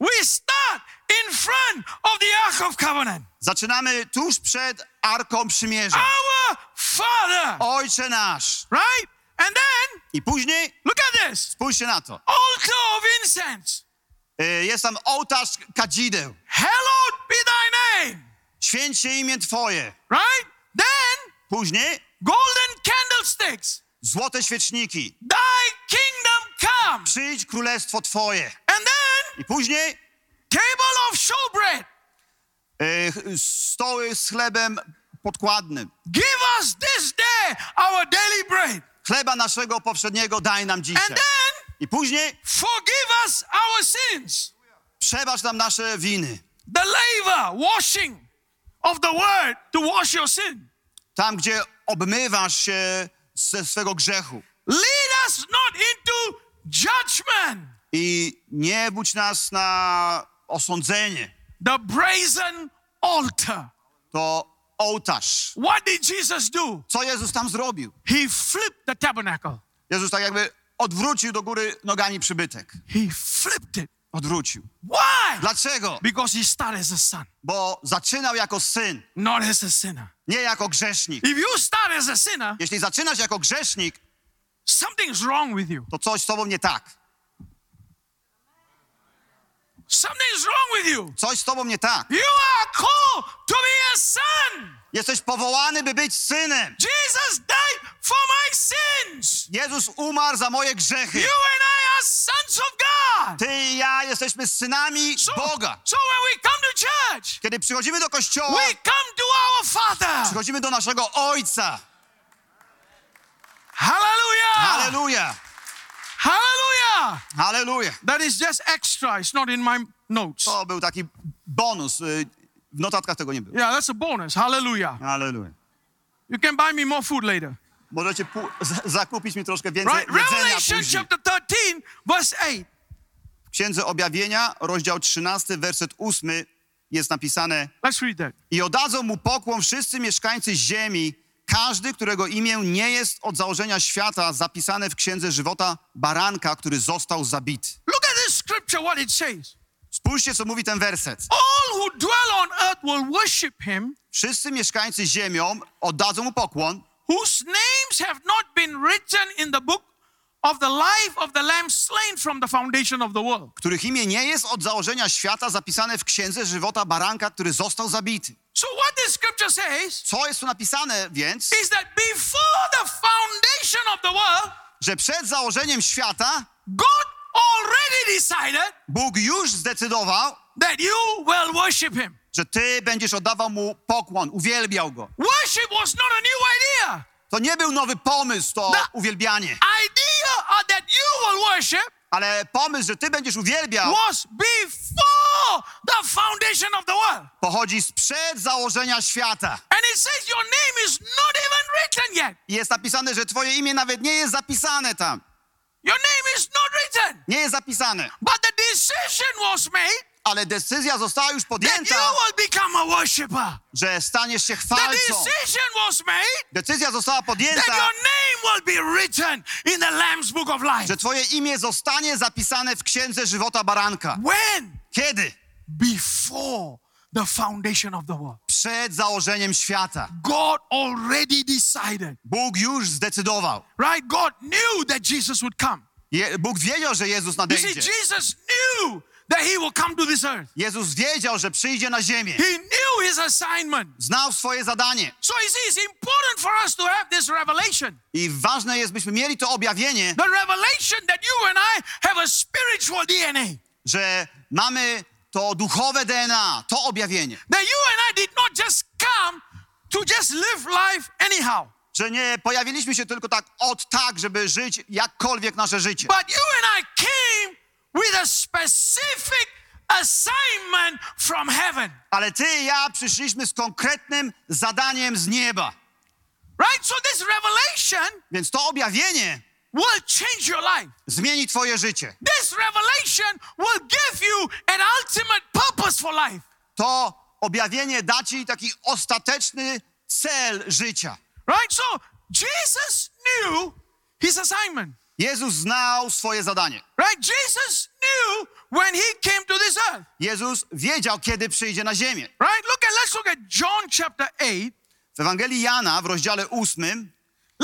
Speaker 2: We start in front of the Ark of Covenant.
Speaker 3: Zaczynamy tuż przed Arką Przymierza.
Speaker 2: Our Father.
Speaker 3: Ojcze nasz.
Speaker 2: Right? And then,
Speaker 3: I później,
Speaker 2: look at this.
Speaker 3: spójrzcie na to.
Speaker 2: Altar of incense.
Speaker 3: Y, Jest tam ołtarz kadzideł.
Speaker 2: Hallowed be thy name.
Speaker 3: Święć się imię Twoje.
Speaker 2: Right? Then,
Speaker 3: Później
Speaker 2: golden candlesticks.
Speaker 3: złote świeczniki.
Speaker 2: Thy kingdom come.
Speaker 3: Przyjdź królestwo Twoje.
Speaker 2: And then,
Speaker 3: I później
Speaker 2: table of showbread.
Speaker 3: y, ch- stoły z chlebem podkładnym.
Speaker 2: Give us this day our daily bread.
Speaker 3: Chleba naszego poprzedniego daj nam
Speaker 2: And
Speaker 3: dzisiaj.
Speaker 2: then,
Speaker 3: I później
Speaker 2: forgive us our sins.
Speaker 3: przebacz nam nasze winy.
Speaker 2: The labor, washing of the word to wash your sin.
Speaker 3: Tam, gdzie obmywasz się ze swego grzechu.
Speaker 2: Lead us not into judgment.
Speaker 3: I nie budź nas na osądzenie.
Speaker 2: The brazen altar.
Speaker 3: To ołtarz.
Speaker 2: What did Jesus do?
Speaker 3: Co Jezus tam zrobił?
Speaker 2: He flipped the tabernacle.
Speaker 3: Jezus tak jakby odwrócił do góry nogami przybytek.
Speaker 2: He flipped it.
Speaker 3: Odwrócił.
Speaker 2: Why?
Speaker 3: Dlaczego?
Speaker 2: Because he started as a son,
Speaker 3: Bo zaczynał jako syn,
Speaker 2: not as a sinner.
Speaker 3: nie jako grzesznik.
Speaker 2: If you start as a sinner,
Speaker 3: Jeśli zaczynasz jako grzesznik,
Speaker 2: something's wrong with you.
Speaker 3: to coś z tobą nie tak.
Speaker 2: Something's wrong with you.
Speaker 3: Coś z tobą nie tak.
Speaker 2: You are called to be a son.
Speaker 3: Jesteś powołany, by być synem.
Speaker 2: Jesus died for my sins.
Speaker 3: Jezus umarł za moje
Speaker 2: You
Speaker 3: grzechy.
Speaker 2: and I are sons of God.
Speaker 3: Ty i ja jesteśmy synami
Speaker 2: So,
Speaker 3: Boga.
Speaker 2: so when we come to church,
Speaker 3: Kiedy przychodzimy do kościoła,
Speaker 2: we come to our Father.
Speaker 3: przychodzimy do naszego Ojca.
Speaker 2: Hallelujah.
Speaker 3: Halleluja!
Speaker 2: Hallelujah.
Speaker 3: Halleluja!
Speaker 2: That is just extra. It's not in my notes.
Speaker 3: To był taki bonus. y, W notatkach tego nie było.
Speaker 2: Yeah, that's a bonus. Hallelujah.
Speaker 3: Halleluja.
Speaker 2: You can buy me more food later.
Speaker 3: Możecie pół, z- zakupić mi troszkę więcej
Speaker 2: Right?
Speaker 3: jedzenia
Speaker 2: Revelation
Speaker 3: później.
Speaker 2: chapter 13, verse 8.
Speaker 3: W Księdze Objawienia, rozdział 13, werset 8 jest napisane
Speaker 2: Let's read that.
Speaker 3: I oddadzą mu pokłon wszyscy mieszkańcy ziemi, każdy, którego imię nie jest od założenia świata zapisane w Księdze Żywota Baranka, który został zabity.
Speaker 2: Look at this scripture, what it says.
Speaker 3: Spójrzcie, co mówi ten werset.
Speaker 2: All who dwell on earth will worship him,
Speaker 3: Wszyscy mieszkańcy ziemią oddadzą mu pokłon,
Speaker 2: whose names have not been written in the book of the life of the Lamb slain from the foundation of the world.
Speaker 3: których imię nie jest od założenia świata zapisane w Księdze Żywota Baranka, który został zabity.
Speaker 2: So, what this scripture says
Speaker 3: Co jest tu napisane więc?
Speaker 2: is that before the foundation of the world,
Speaker 3: Że przed założeniem świata
Speaker 2: God already decided
Speaker 3: Bóg już zdecydował,
Speaker 2: that you will worship him.
Speaker 3: że ty będziesz oddawał mu pokłon, uwielbiał go.
Speaker 2: Worship was not a new idea.
Speaker 3: To nie był nowy pomysł, to
Speaker 2: Da-
Speaker 3: uwielbianie,
Speaker 2: Idea of that you will worship
Speaker 3: ale pomysł, że ty będziesz uwielbiał,
Speaker 2: was before the foundation of the world.
Speaker 3: pochodzi sprzed założenia świata.
Speaker 2: And it says your name is not even written yet.
Speaker 3: I jest napisane, że twoje imię nawet nie jest zapisane tam.
Speaker 2: Your name is not written.
Speaker 3: Nie jest zapisane,
Speaker 2: But the decision was made
Speaker 3: ale decyzja została już
Speaker 2: that you
Speaker 3: podjęta,
Speaker 2: will become a worshiper.
Speaker 3: że staniesz się
Speaker 2: The
Speaker 3: chwalcą.
Speaker 2: decision was made
Speaker 3: Decyzja została
Speaker 2: that
Speaker 3: podjęta,
Speaker 2: your name will be written in the Lamb's Book of Life.
Speaker 3: że twoje imię zostanie zapisane w Księdze Żywota Baranka.
Speaker 2: When?
Speaker 3: Kiedy?
Speaker 2: Before the foundation of the world.
Speaker 3: Przed założeniem świata.
Speaker 2: God already decided,
Speaker 3: Bóg już zdecydował.
Speaker 2: right? God knew that Jesus would come.
Speaker 3: Je, Bóg wiedział, że Jezus
Speaker 2: You see,
Speaker 3: nadejdzie.
Speaker 2: Jesus knew that he will come to this earth.
Speaker 3: Jezus wiedział, że przyjdzie na ziemię.
Speaker 2: He knew his assignment.
Speaker 3: Znał swoje zadanie.
Speaker 2: So you see, it's important for us to have this revelation.
Speaker 3: I ważne jest, byśmy mieli to objawienie,
Speaker 2: The revelation that you and I have a spiritual DNA.
Speaker 3: że mamy to duchowe DNA, to objawienie.
Speaker 2: That you and I did not just come to just live life anyhow.
Speaker 3: Że nie pojawiliśmy się tylko tak od tak, żeby żyć jakkolwiek nasze życie.
Speaker 2: But you and I came with a specific from heaven.
Speaker 3: ale ty i ja przyszliśmy z konkretnym zadaniem z nieba.
Speaker 2: Right? So this revelation
Speaker 3: Więc to objawienie
Speaker 2: will change your life.
Speaker 3: zmieni twoje życie.
Speaker 2: This revelation will give you an ultimate purpose for life.
Speaker 3: To objawienie da ci taki ostateczny cel życia.
Speaker 2: Right? So Jesus knew his assignment.
Speaker 3: Jezus znał swoje zadanie.
Speaker 2: Right? Jesus knew when he came to this earth.
Speaker 3: Jezus wiedział, kiedy przyjdzie na ziemię.
Speaker 2: Right? Look at let's look at John chapter 8.
Speaker 3: W Ewangelii Jana w rozdziale 8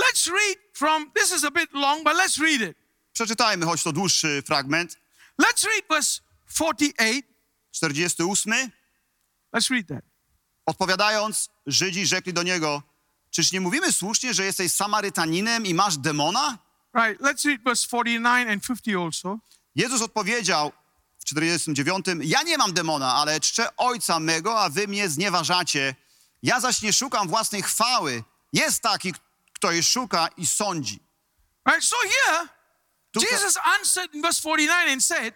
Speaker 2: Let's read from this is a bit long, but let's read it.
Speaker 3: przeczytajmy choć to dłuższy fragment,
Speaker 2: Let's read verse 48.
Speaker 3: 48.
Speaker 2: Let's read that.
Speaker 3: Odpowiadając, Żydzi rzekli do niego: Czyż nie mówimy słusznie, że jesteś Samarytaninem i masz demona?
Speaker 2: Right, let's read verse 49 and 50 also.
Speaker 3: Jezus odpowiedział w 49: Ja nie mam demona, ale czczę ojca mego, a wy mnie znieważacie. Ja zaś nie szukam własnej chwały. Jest taki, kto jej szuka i sądzi.
Speaker 2: Right, so here,
Speaker 3: Tu-
Speaker 2: Jesus answered in verse 49 and said,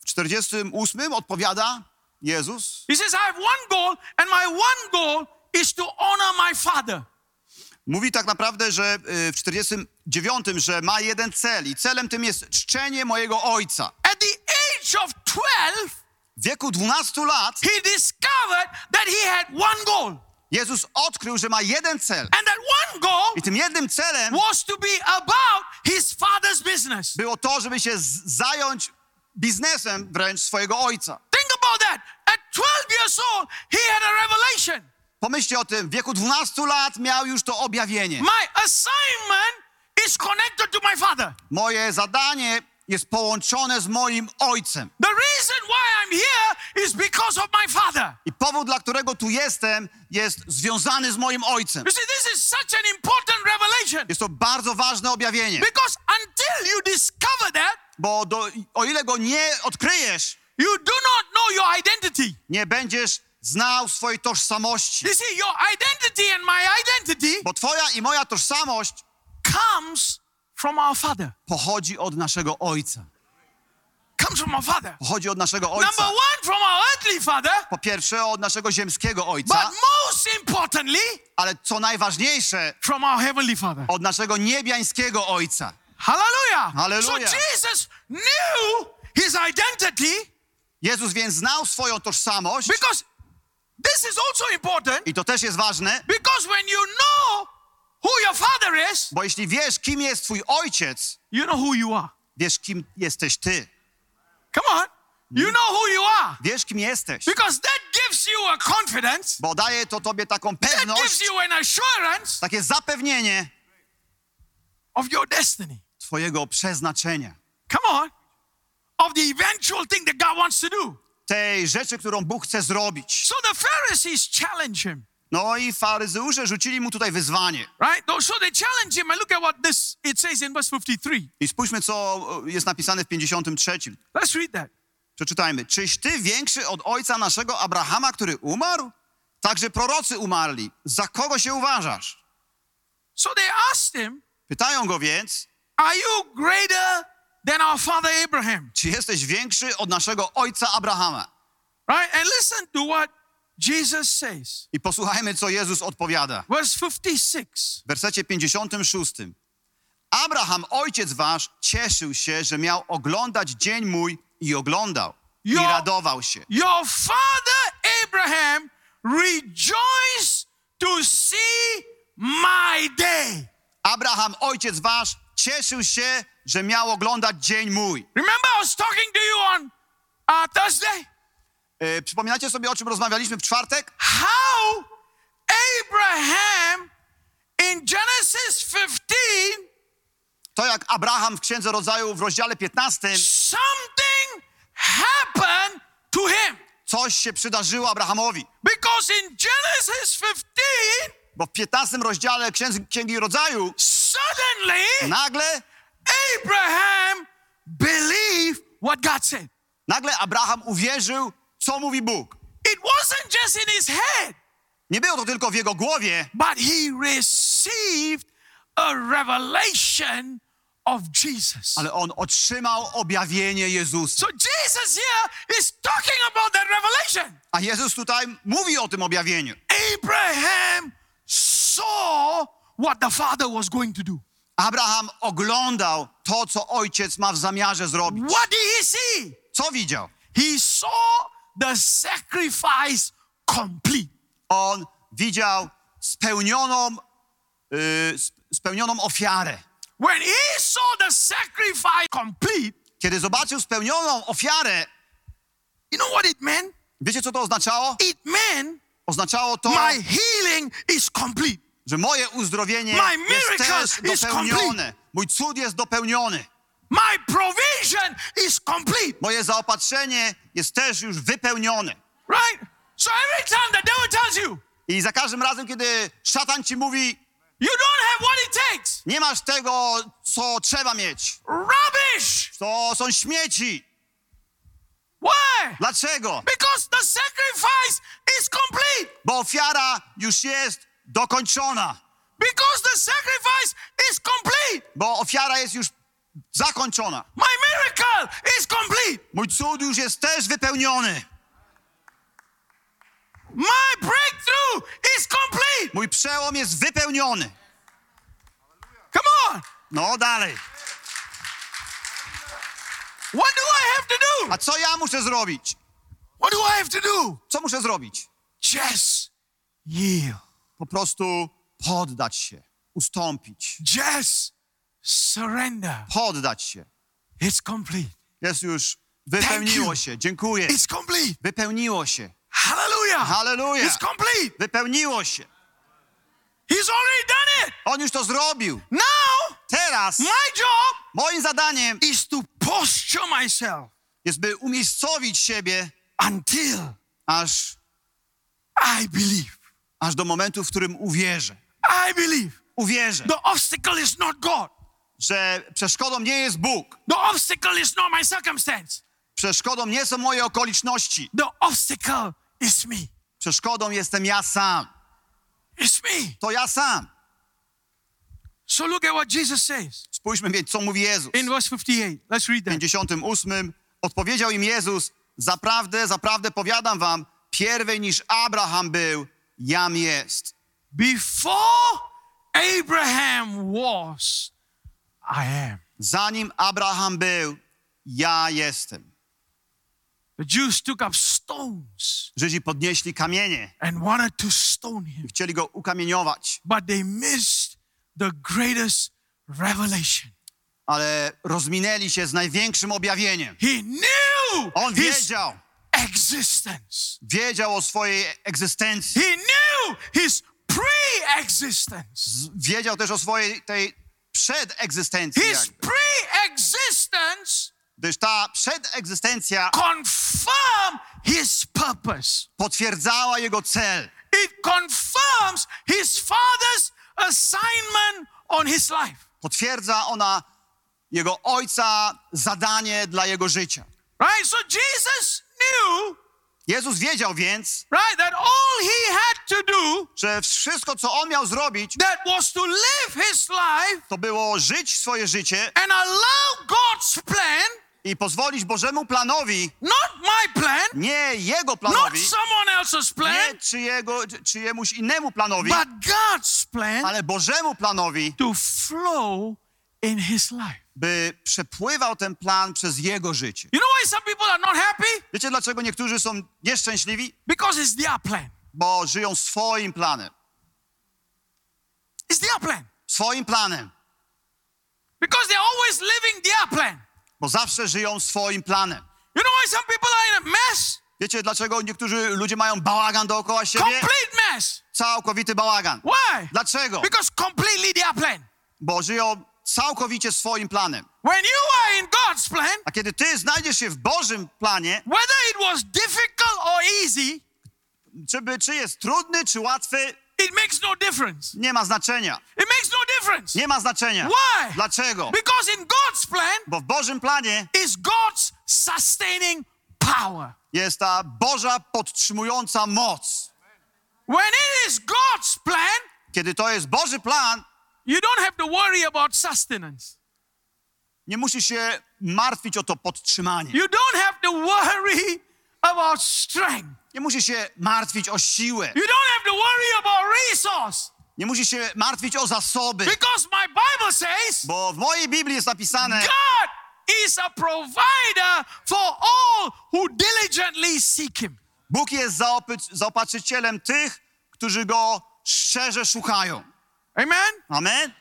Speaker 3: W 48 odpowiada Jezus:
Speaker 2: He says, I have one goal, and my one goal is to honor my Father.
Speaker 3: Mówi tak naprawdę, że y, w 49, że ma jeden cel, i celem tym jest czczenie mojego ojca.
Speaker 2: At the age of 12,
Speaker 3: W wieku 12 lat
Speaker 2: he discovered that he had one goal.
Speaker 3: Jezus odkrył, że ma jeden cel.
Speaker 2: And that one
Speaker 3: I
Speaker 2: goal
Speaker 3: tym jednym celem
Speaker 2: was to be about his Father's business.
Speaker 3: było to, żeby się z- zająć biznesem wręcz swojego ojca.
Speaker 2: Think about that. At 12 years old, he had a revelation.
Speaker 3: Pomyślcie o tym, w wieku 12 lat miał już to objawienie.
Speaker 2: My assignment is connected to my Father.
Speaker 3: Moje zadanie jest połączone z moim ojcem.
Speaker 2: The reason why I'm here is because of my father.
Speaker 3: I powód, dla którego tu jestem, jest związany z moim ojcem.
Speaker 2: You see, this is such an important revelation
Speaker 3: Jest to bardzo ważne objawienie,
Speaker 2: because until you discover that,
Speaker 3: bo do, o ile go nie odkryjesz,
Speaker 2: you do not know your identity.
Speaker 3: nie będziesz znał swojej tożsamości.
Speaker 2: You see, your identity and my identity
Speaker 3: Bo twoja i moja tożsamość
Speaker 2: comes from our father.
Speaker 3: pochodzi od naszego ojca.
Speaker 2: Comes from our father.
Speaker 3: Pochodzi od naszego
Speaker 2: Number
Speaker 3: ojca.
Speaker 2: one, from our earthly father,
Speaker 3: Po pierwsze od naszego ziemskiego
Speaker 2: but
Speaker 3: ojca,
Speaker 2: most importantly,
Speaker 3: ale co najważniejsze,
Speaker 2: from our heavenly father.
Speaker 3: od naszego niebiańskiego ojca.
Speaker 2: Hallelujah. So
Speaker 3: Hallelujah.
Speaker 2: Jesus knew his identity
Speaker 3: Jezus więc znał swoją tożsamość
Speaker 2: because this is also important.
Speaker 3: i to też jest ważne,
Speaker 2: Because when you know who your father is,
Speaker 3: bo jeśli wiesz, kim jest twój ojciec,
Speaker 2: you know who you are.
Speaker 3: wiesz, kim jesteś ty.
Speaker 2: Come on. You know who you are.
Speaker 3: Wiesz, kim jesteś.
Speaker 2: Because that gives you a confidence,
Speaker 3: Bo daje to tobie taką
Speaker 2: that gives
Speaker 3: pewność,
Speaker 2: you an assurance
Speaker 3: takie zapewnienie
Speaker 2: of your destiny.
Speaker 3: twojego przeznaczenia.
Speaker 2: Come on. Of the eventual thing that God wants to do.
Speaker 3: Tej rzeczy, którą Bóg chce zrobić.
Speaker 2: So the Pharisees challenge him,
Speaker 3: No i faryzeusze rzucili mu tutaj wyzwanie.
Speaker 2: right? Though- So they challenge him, and look at what this it says in verse 53.
Speaker 3: I spójrzmy, co e, jest napisane w 53.
Speaker 2: Let's read that.
Speaker 3: Przeczytajmy. Czyś ty większy od ojca naszego Abrahama, który umarł? Także prorocy umarli. Za kogo się uważasz?
Speaker 2: So they asked him,
Speaker 3: Pytają go więc,
Speaker 2: Are you greater than our father Abraham?
Speaker 3: czy jesteś większy od naszego ojca Abrahama?
Speaker 2: Right? And listen to what Jesus says.
Speaker 3: I posłuchajmy, co Jezus odpowiada.
Speaker 2: verse 56.
Speaker 3: W wersecie 56. Abraham, ojciec wasz, cieszył się, że miał oglądać dzień mój i oglądał. I
Speaker 2: Jo.
Speaker 3: radował się.
Speaker 2: Your father Abraham rejoiced to see my day.
Speaker 3: Abraham, ojciec wasz, cieszył się, że miał oglądać dzień mój.
Speaker 2: Remember, I was talking to you on uh, Thursday
Speaker 3: E, przypominacie sobie, o czym rozmawialiśmy w czwartek?
Speaker 2: how Abraham in Genesis 15
Speaker 3: To jak Abraham w Księdze Rodzaju w rozdziale 15
Speaker 2: something happened to him
Speaker 3: coś się przydarzyło Abrahamowi.
Speaker 2: because in Genesis 15
Speaker 3: Bo w 15 rozdziale Księgi, Księgi Rodzaju
Speaker 2: suddenly
Speaker 3: nagle,
Speaker 2: Abraham believed what God said.
Speaker 3: nagle Abraham uwierzył, co mówi Bóg.
Speaker 2: It wasn't just in his head,
Speaker 3: Nie było to tylko w jego głowie,
Speaker 2: but he received a revelation of Jesus.
Speaker 3: ale on otrzymał objawienie Jezusa.
Speaker 2: So Jesus here is talking about that revelation.
Speaker 3: A Jezus tutaj mówi o tym objawieniu.
Speaker 2: Abraham saw what the father was going to do.
Speaker 3: Abraham oglądał to, co ojciec ma w zamiarze zrobić.
Speaker 2: What did he see?
Speaker 3: Co widział?
Speaker 2: He saw the sacrifice complete.
Speaker 3: On widział spełnioną, y, sp- spełnioną ofiarę.
Speaker 2: When he saw the sacrifice complete,
Speaker 3: Kiedy zobaczył spełnioną ofiarę,
Speaker 2: you know what it meant?
Speaker 3: wiecie co to oznaczało?
Speaker 2: It meant
Speaker 3: Oznaczało to,
Speaker 2: my healing is complete.
Speaker 3: że moje uzdrowienie
Speaker 2: My
Speaker 3: jest
Speaker 2: miracle
Speaker 3: też
Speaker 2: is
Speaker 3: dopełnione.
Speaker 2: complete.
Speaker 3: Mój cud jest dopełniony.
Speaker 2: My provision is complete.
Speaker 3: Moje zaopatrzenie jest też już wypełnione.
Speaker 2: Right? So every time the devil tells you,
Speaker 3: I za każdym razem, kiedy szatan ci mówi,
Speaker 2: you don't have what it takes,
Speaker 3: nie masz tego, co trzeba mieć,
Speaker 2: rubbish.
Speaker 3: to są śmieci.
Speaker 2: Why?
Speaker 3: Dlaczego?
Speaker 2: Because the sacrifice is complete.
Speaker 3: Bo ofiara już jest dokończona.
Speaker 2: Because the sacrifice is complete.
Speaker 3: Bo ofiara jest już zakończona.
Speaker 2: My miracle is complete.
Speaker 3: Mój cud już jest też wypełniony.
Speaker 2: My breakthrough is complete.
Speaker 3: Mój przełom jest wypełniony.
Speaker 2: Come on.
Speaker 3: No dalej.
Speaker 2: What do I have to do?
Speaker 3: A co ja muszę zrobić?
Speaker 2: What do I have to do?
Speaker 3: Co muszę zrobić?
Speaker 2: Just yield.
Speaker 3: Po prostu poddać się, ustąpić,
Speaker 2: Just surrender.
Speaker 3: poddać się.
Speaker 2: It's complete.
Speaker 3: Jest już, wypełniło się. Dziękuję.
Speaker 2: It's complete.
Speaker 3: Wypełniło się.
Speaker 2: Hallelujah.
Speaker 3: Hallelujah.
Speaker 2: It's complete.
Speaker 3: Wypełniło się.
Speaker 2: He's already done it.
Speaker 3: On już to zrobił.
Speaker 2: Now,
Speaker 3: Teraz
Speaker 2: my job
Speaker 3: moim zadaniem
Speaker 2: is to posture myself
Speaker 3: jest, by umiejscowić siebie
Speaker 2: until
Speaker 3: aż,
Speaker 2: I believe.
Speaker 3: aż do momentu, w którym uwierzę.
Speaker 2: I believe.
Speaker 3: Uwierzę,
Speaker 2: The obstacle is not God.
Speaker 3: że przeszkodą nie jest Bóg.
Speaker 2: The obstacle is not my circumstance.
Speaker 3: Przeszkodą nie są moje okoliczności.
Speaker 2: The obstacle is me.
Speaker 3: Przeszkodą jestem ja sam.
Speaker 2: It's me.
Speaker 3: To ja sam.
Speaker 2: So look at what Jesus says
Speaker 3: Spójrzmy więc, co mówi Jezus.
Speaker 2: in verse 58. Let's read
Speaker 3: W
Speaker 2: that.
Speaker 3: 58 odpowiedział im Jezus, zaprawdę, zaprawdę powiadam wam, pierwej niż Abraham był, jam jest.
Speaker 2: Before Abraham was, I am.
Speaker 3: Zanim Abraham był, ja jestem.
Speaker 2: The Jews took up stones
Speaker 3: Żydzi podnieśli kamienie,
Speaker 2: and wanted to stone him,
Speaker 3: chcieli go ukamieniować,
Speaker 2: but they missed the greatest revelation.
Speaker 3: ale rozminęli się z największym objawieniem.
Speaker 2: He knew
Speaker 3: On
Speaker 2: his
Speaker 3: wiedział,
Speaker 2: existence.
Speaker 3: wiedział o swojej egzystencji,
Speaker 2: He knew his pre-existence.
Speaker 3: wiedział też o swojej tej przedegzystencji,
Speaker 2: His
Speaker 3: jakby.
Speaker 2: pre-existence
Speaker 3: gdyż ta przedegzystencja
Speaker 2: confirmed his purpose.
Speaker 3: potwierdzała jego cel.
Speaker 2: It confirms his father's assignment on his life.
Speaker 3: Potwierdza ona jego ojca zadanie dla jego życia.
Speaker 2: Right? So Jesus knew,
Speaker 3: Jezus wiedział więc,
Speaker 2: right, that all he had to do
Speaker 3: że wszystko, co on miał zrobić,
Speaker 2: that was to live his life
Speaker 3: to było żyć swoje życie
Speaker 2: and allow God's plan,
Speaker 3: i pozwolić Bożemu planowi,
Speaker 2: not my plan,
Speaker 3: nie jego
Speaker 2: not
Speaker 3: planowi,
Speaker 2: someone else's plan,
Speaker 3: nie czyjego, czy- czyjemuś innemu planowi,
Speaker 2: but God's plan
Speaker 3: ale Bożemu planowi,
Speaker 2: to flow in his life.
Speaker 3: by przepływał ten plan przez jego życie.
Speaker 2: You know why some people are not happy?
Speaker 3: Wiecie, dlaczego niektórzy są nieszczęśliwi?
Speaker 2: Because it's their plan.
Speaker 3: Bo żyją swoim planem.
Speaker 2: It's their plan.
Speaker 3: Swoim planem.
Speaker 2: Because they're always living their plan.
Speaker 3: Bo zawsze żyją swoim planem.
Speaker 2: You know why some people are in a mess?
Speaker 3: Wiecie, dlaczego niektórzy ludzie mają bałagan dookoła siebie?
Speaker 2: Complete mess.
Speaker 3: Całkowity bałagan.
Speaker 2: Why?
Speaker 3: Dlaczego?
Speaker 2: Because completely their plan.
Speaker 3: Bo żyją całkowicie swoim planem.
Speaker 2: When you are in God's plan,
Speaker 3: A kiedy ty znajdziesz się w Bożym planie,
Speaker 2: whether it was difficult or easy,
Speaker 3: czy, by, czy jest trudny, czy łatwy,
Speaker 2: it makes no difference.
Speaker 3: nie ma znaczenia.
Speaker 2: It makes no difference.
Speaker 3: Nie ma znaczenia.
Speaker 2: Why?
Speaker 3: Dlaczego?
Speaker 2: Because in God's plan
Speaker 3: Bo w Bożym planie
Speaker 2: is God's sustaining power.
Speaker 3: jest ta Boża podtrzymująca moc.
Speaker 2: When it is God's plan,
Speaker 3: Kiedy to jest Boży plan,
Speaker 2: you don't have to worry about sustenance.
Speaker 3: Nie musisz się martwić o to podtrzymanie.
Speaker 2: You don't have to worry about strength.
Speaker 3: Nie musisz się martwić o siłę.
Speaker 2: You don't have to worry about resource.
Speaker 3: Nie musisz się martwić o zasoby.
Speaker 2: Because my Bible says
Speaker 3: Bo w mojej Biblii jest napisane,
Speaker 2: God is a provider for all who diligently seek Him.
Speaker 3: Bóg jest zaopy- zaopatrzycielem tych, którzy Go szczerze szukają.
Speaker 2: Amen?
Speaker 3: Amen?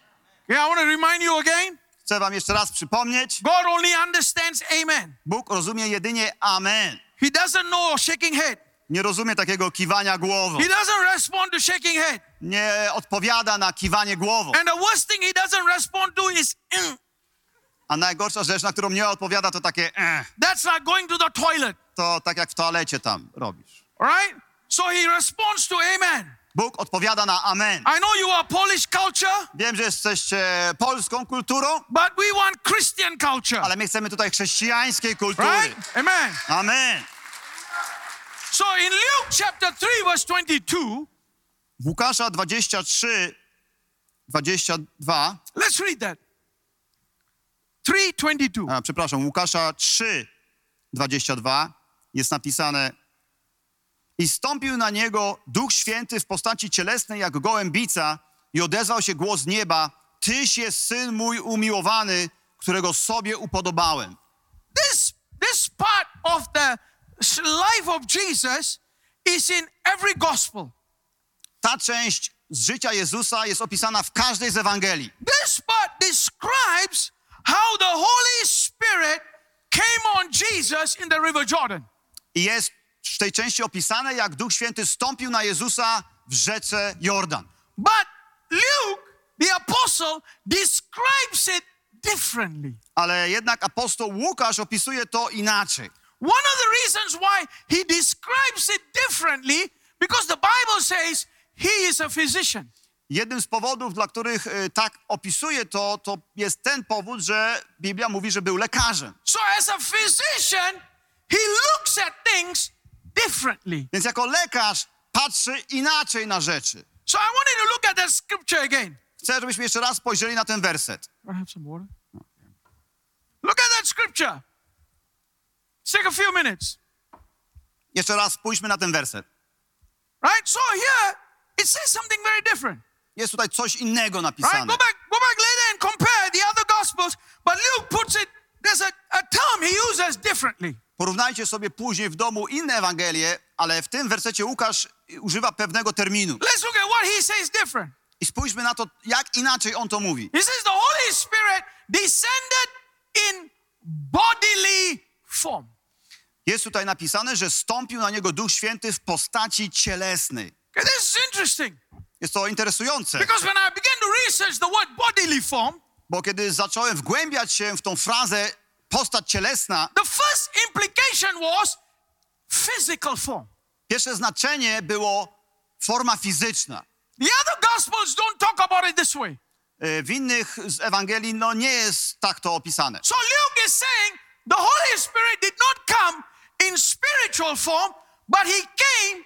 Speaker 2: Yeah, I want to remind you again
Speaker 3: Chcę wam jeszcze raz przypomnieć,
Speaker 2: God only understands amen.
Speaker 3: Bóg rozumie jedynie amen.
Speaker 2: He doesn't know shaking head,
Speaker 3: Nie rozumie takiego kiwania głową.
Speaker 2: He doesn't respond to shaking head.
Speaker 3: Nie odpowiada na kiwanie głową.
Speaker 2: And the worst thing He doesn't respond to is, "Mm."
Speaker 3: A najgorsza rzecz, na którą nie odpowiada, to takie eh,
Speaker 2: that's like going to the toilet.
Speaker 3: to tak jak w toalecie tam robisz.
Speaker 2: All right? So He responds to amen.
Speaker 3: Bóg odpowiada na amen.
Speaker 2: I know you are Polish culture,
Speaker 3: Wiem, że jesteście polską kulturą,
Speaker 2: but we want Christian culture.
Speaker 3: ale my chcemy tutaj chrześcijańskiej
Speaker 2: Right?
Speaker 3: kultury.
Speaker 2: Amen.
Speaker 3: Amen.
Speaker 2: So in Luke chapter 3, verse 22,
Speaker 3: W Łukasza 23, 22,
Speaker 2: let's read that. 322.
Speaker 3: a, przepraszam, Łukasza 3, 22 jest napisane I stąpił na niego Duch Święty w postaci cielesnej jak gołębica i odezwał się głos z nieba Tyś jest Syn mój umiłowany, którego sobie upodobałem.
Speaker 2: This this part of the s- life of Jesus is in every gospel.
Speaker 3: Ta część z życia Jezusa jest opisana w każdej z Ewangelii.
Speaker 2: This part describes how the Holy Spirit came on Jesus in the River Jordan.
Speaker 3: I jest w tej części opisane, jak Duch Święty stąpił na Jezusa w rzece Jordan.
Speaker 2: But Luke, the apostle, describes it differently.
Speaker 3: Ale jednak apostoł Łukasz opisuje to inaczej.
Speaker 2: One of the reasons why he describes it differently, because the Bible says he is a physician.
Speaker 3: Jednym z powodów, dla których y, tak opisuje to, to jest ten powód, że Biblia mówi, że był lekarzem.
Speaker 2: So, as a physician, he looks at things differently.
Speaker 3: Więc jako lekarz patrzy inaczej na rzeczy.
Speaker 2: So, I want you to look at that scripture again.
Speaker 3: Chcę, żebyśmy jeszcze raz spojrzeli na ten werset.
Speaker 2: I have some water. Look at that scripture. Let's take a few minutes,
Speaker 3: Jeszcze raz spójrzmy na ten werset.
Speaker 2: right? So here it says something very different,
Speaker 3: Jest tutaj coś innego
Speaker 2: right?
Speaker 3: napisane.
Speaker 2: Go back, go back later and compare the other gospels. But Luke puts it. There's a, a term he uses differently.
Speaker 3: Porównajcie sobie później w domu inne Ewangelie, ale w tym wersecie Łukasz y, używa pewnego terminu.
Speaker 2: Let's look at what he says different.
Speaker 3: I spójrzmy na to, jak inaczej on to mówi.
Speaker 2: He says the Holy Spirit descended in bodily form.
Speaker 3: Jest tutaj napisane, że stąpił na niego Duch Święty w postaci cielesnej.
Speaker 2: Okay, this is interesting
Speaker 3: Jest to interesujące,
Speaker 2: because when I began to research the word bodily form,
Speaker 3: bo kiedy zacząłem wgłębiać się w tą frazę postać cielesna,
Speaker 2: the first implication was physical form.
Speaker 3: pierwsze znaczenie było forma fizyczna.
Speaker 2: The other gospels don't talk about it this way.
Speaker 3: Y, W innych z Ewangelii no nie jest tak to opisane.
Speaker 2: So Luke is saying the Holy Spirit did not come in spiritual form, but he came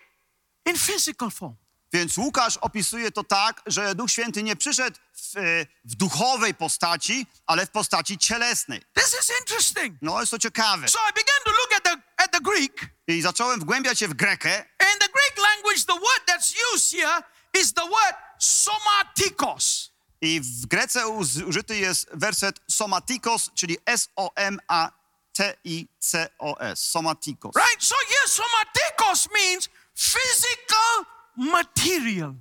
Speaker 2: in physical form.
Speaker 3: Więc Łukasz opisuje to tak, że Duch Święty nie przyszedł w, y, w duchowej postaci, ale w postaci cielesnej.
Speaker 2: This is interesting.
Speaker 3: No jest to ciekawe.
Speaker 2: So I began to look at the at the Greek
Speaker 3: I zacząłem wgłębiać się w Grekę
Speaker 2: In the Greek language, the word that's used here is the word somatikos.
Speaker 3: I w Grece uz- użyty jest werset somatikos, czyli S-O-M-A-T-I-C-O-S. Somatikos.
Speaker 2: Right? So here, somatikos means physical material.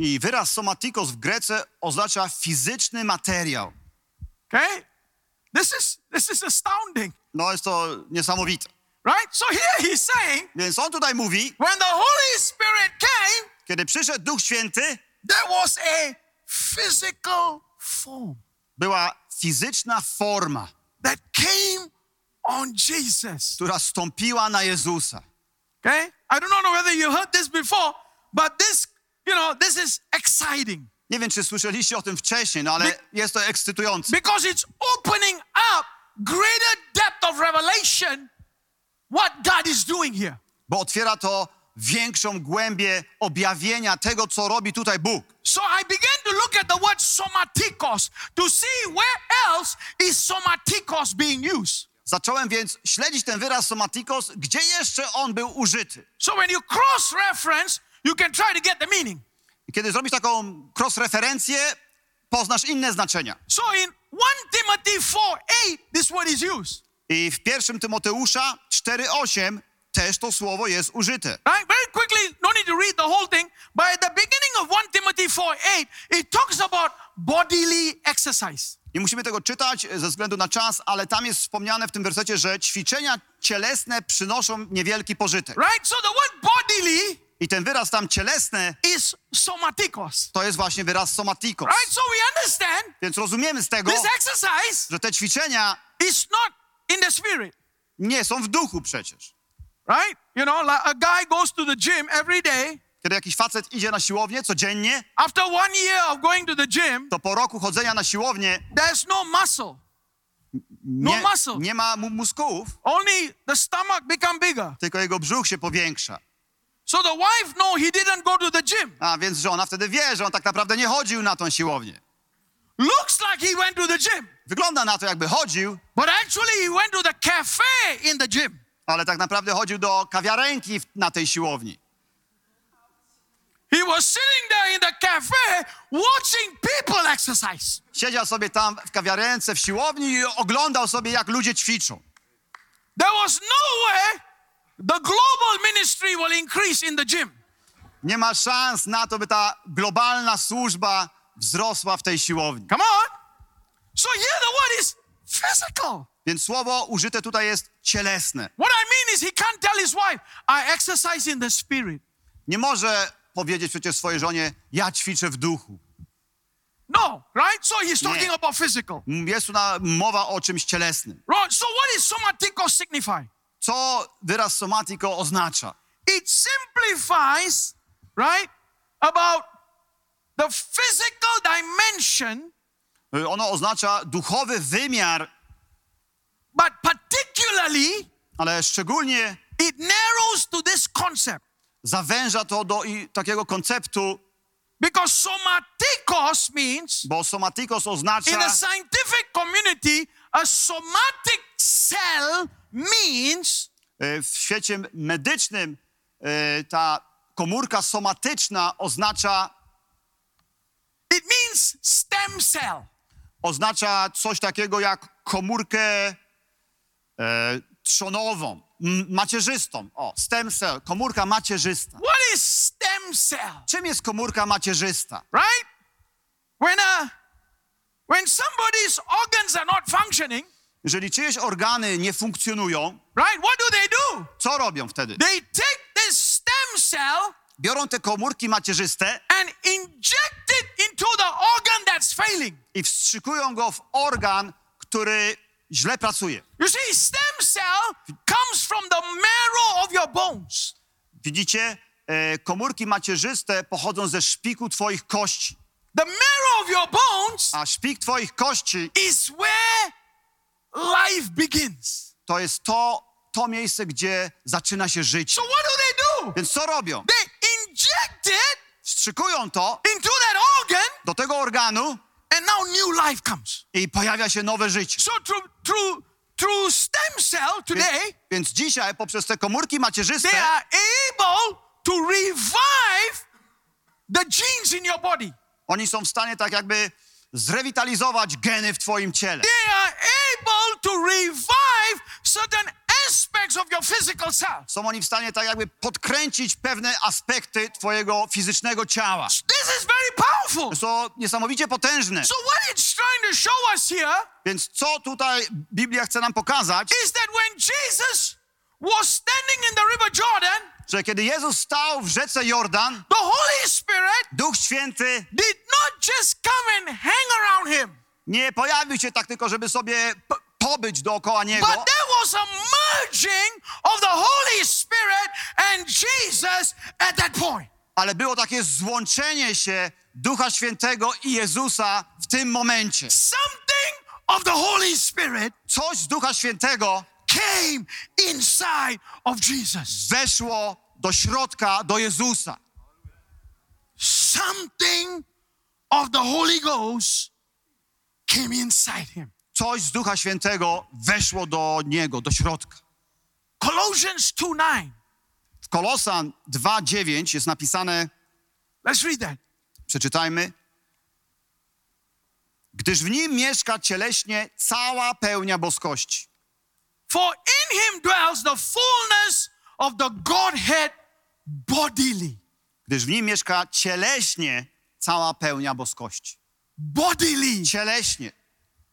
Speaker 3: I wyraz somatikos w Grece oznacza fizyczny materiał.
Speaker 2: Okay? This is this is astounding.
Speaker 3: No jest to niesamowite.
Speaker 2: Right? So here he's saying,
Speaker 3: Więc on tutaj mówi,
Speaker 2: when the Holy Spirit came,
Speaker 3: kiedy przyszedł Duch Święty,
Speaker 2: there was a physical form
Speaker 3: była fizyczna forma,
Speaker 2: that came on Jesus.
Speaker 3: która stąpiła na Jezusa.
Speaker 2: Okay? I do not know whether you heard this before, but this, you know, this is exciting.
Speaker 3: Nie wiem, czy słyszeliście o tym wcześniej, no ale
Speaker 2: By-
Speaker 3: jest to ekscytujące.
Speaker 2: Because it's opening up greater depth of revelation what God is doing here.
Speaker 3: bo otwiera to większą głębię objawienia tego, co robi tutaj Bóg.
Speaker 2: So I began to look at the word somatikos to see where else is somatikos being used.
Speaker 3: Zacząłem więc śledzić ten wyraz somatikos, gdzie jeszcze on był użyty.
Speaker 2: So when you cross reference, you can try to get the meaning.
Speaker 3: I Kiedy zrobisz taką cross-referencję, poznasz inne znaczenia.
Speaker 2: So in 1 Timothy 4 8, this word is used.
Speaker 3: I w pierwszym Tymoteusza 4,8 też to słowo jest użyte.
Speaker 2: Right? Very quickly, no need to read the whole thing, but at the beginning of 1 Timothy 4 8, it talks about bodily exercise.
Speaker 3: Nie musimy tego czytać ze względu na czas, ale tam jest wspomniane w tym wersecie, że ćwiczenia cielesne przynoszą niewielki pożytek.
Speaker 2: Right? So the word bodily
Speaker 3: I ten wyraz tam cielesne
Speaker 2: is somatikos.
Speaker 3: to jest właśnie wyraz somatikos.
Speaker 2: Right? So we understand
Speaker 3: Więc rozumiemy z tego,
Speaker 2: this exercise
Speaker 3: że te ćwiczenia
Speaker 2: is not in the spirit.
Speaker 3: nie są w duchu przecież.
Speaker 2: Right? You know, like a guy goes to the gym every day.
Speaker 3: Kiedy jakiś facet idzie na siłownię codziennie,
Speaker 2: After one year of going to the gym,
Speaker 3: to po roku chodzenia na siłownię
Speaker 2: there's no muscle.
Speaker 3: nie,
Speaker 2: No muscle.
Speaker 3: nie ma mu muskułów,
Speaker 2: Only the stomach become bigger.
Speaker 3: tylko jego brzuch się powiększa.
Speaker 2: So the wife know he didn't go to the gym.
Speaker 3: A więc żona wtedy wie, że on tak naprawdę nie chodził na tą siłownię.
Speaker 2: Looks like he went to the gym,
Speaker 3: Wygląda na to, jakby chodził,
Speaker 2: but actually he went to the cafe in the gym.
Speaker 3: ale tak naprawdę chodził do kawiarenki w- na tej siłowni.
Speaker 2: He was sitting there in the cafe watching people exercise.
Speaker 3: Siedział sobie tam w kawiarence, w siłowni i oglądał sobie, jak ludzie ćwiczą.
Speaker 2: There was no way the global ministry will increase in the gym.
Speaker 3: Nie ma szans na to, by ta globalna służba wzrosła w tej siłowni.
Speaker 2: Come on. So here the word is physical.
Speaker 3: Więc słowo użyte tutaj jest cielesne.
Speaker 2: What I mean is he can't tell his wife, I exercise in the spirit.
Speaker 3: Nie może powiedzieć przecież swojej żonie, ja ćwiczę w duchu.
Speaker 2: No, right? So he's
Speaker 3: Yeah.
Speaker 2: talking about physical.
Speaker 3: M- Jest tu na- mowa o czymś cielesnym.
Speaker 2: Right. So what is somatiko signify?
Speaker 3: Co wyraz somatiko oznacza?
Speaker 2: it simplifies, right, about the physical dimension,
Speaker 3: Y, Ono oznacza duchowy wymiar,
Speaker 2: but particularly
Speaker 3: ale szczególnie
Speaker 2: it narrows to this concept
Speaker 3: zawęża to do i, takiego konceptu,
Speaker 2: because somaticos means,
Speaker 3: bo somatikos
Speaker 2: in the
Speaker 3: oznacza,
Speaker 2: scientific community, a somatic cell means
Speaker 3: y, w świecie medycznym y, ta komórka somatyczna oznacza,
Speaker 2: it means stem cell.
Speaker 3: oznacza coś takiego jak komórkę e, trzonową, m- macierzystą. O, stem cell, komórka macierzysta.
Speaker 2: What is stem cell?
Speaker 3: Czym jest komórka macierzysta?
Speaker 2: Right? When a when somebody's organs are not functioning,
Speaker 3: Jeżeli czyjeś organy nie funkcjonują,
Speaker 2: right? What do they do?
Speaker 3: co robią wtedy?
Speaker 2: They take this stem cell
Speaker 3: Biorą te komórki macierzyste
Speaker 2: and inject it into the organ that's failing.
Speaker 3: i wstrzykują go w organ, który źle pracuje.
Speaker 2: You see, stem cell comes from the marrow of your bones.
Speaker 3: Widzicie, e, komórki macierzyste pochodzą ze szpiku twoich kości.
Speaker 2: The marrow of your bones
Speaker 3: A szpik twoich kości
Speaker 2: is where life begins.
Speaker 3: to jest to, to miejsce, gdzie zaczyna się życie.
Speaker 2: So, what do they do?
Speaker 3: Więc co robią?
Speaker 2: They inject it
Speaker 3: Wstrzykują to
Speaker 2: into that organ,
Speaker 3: do tego organu
Speaker 2: and now new life comes.
Speaker 3: i pojawia się nowe życie.
Speaker 2: So, through, through, through stem cell
Speaker 3: Więc,
Speaker 2: today,
Speaker 3: więc dzisiaj poprzez te komórki
Speaker 2: they
Speaker 3: macierzyste
Speaker 2: are able to revive the genes in your body.
Speaker 3: oni są w stanie tak jakby zrewitalizować geny w twoim ciele.
Speaker 2: They are able to revive certain aspects of your physical self.
Speaker 3: Są oni w stanie tak jakby podkręcić pewne aspekty twojego fizycznego ciała.
Speaker 2: This is very powerful.
Speaker 3: Są niesamowicie potężne.
Speaker 2: So, what it's trying to show us here
Speaker 3: Więc co tutaj Biblia chce nam pokazać,
Speaker 2: is that when Jesus was standing in the River Jordan,
Speaker 3: że kiedy Jezus stał w rzece Jordan,
Speaker 2: the Holy Spirit
Speaker 3: Duch Święty
Speaker 2: did not just come and hang around him,
Speaker 3: nie pojawił się tak tylko, żeby sobie p- pobyć dookoła Niego,
Speaker 2: but there was a merging of the Holy Spirit and Jesus at that point.
Speaker 3: ale było takie złączenie się Ducha Świętego i Jezusa w tym momencie.
Speaker 2: Something of the Holy Spirit
Speaker 3: Coś z Ducha Świętego
Speaker 2: came inside of Jesus.
Speaker 3: weszło do środka, do Jezusa.
Speaker 2: Something of the Holy Ghost came inside him.
Speaker 3: Coś z Ducha Świętego weszło do niego, do środka.
Speaker 2: Colossians 2 9.
Speaker 3: W Kolosan 2:9 jest napisane
Speaker 2: Let's read that.
Speaker 3: Przeczytajmy. Gdyż w nim mieszka cieleśnie cała pełnia boskości.
Speaker 2: For in him dwells the fullness of the Godhead bodily.
Speaker 3: Gdyż w nim mieszka cieleśnie cała pełnia boskości.
Speaker 2: Bodily.
Speaker 3: Cieleśnie,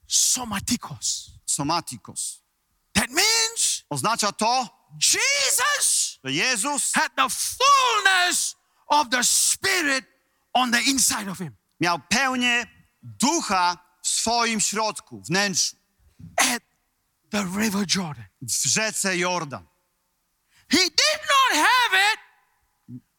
Speaker 2: Somatikos.
Speaker 3: somatikos.
Speaker 2: That means
Speaker 3: Oznacza to,
Speaker 2: Jesus
Speaker 3: że Jezus
Speaker 2: had the fullness of the Spirit on the inside of him.
Speaker 3: miał pełnię ducha w swoim środku, wnętrzu,
Speaker 2: at the River Jordan.
Speaker 3: w rzece Jordan.
Speaker 2: He did not have it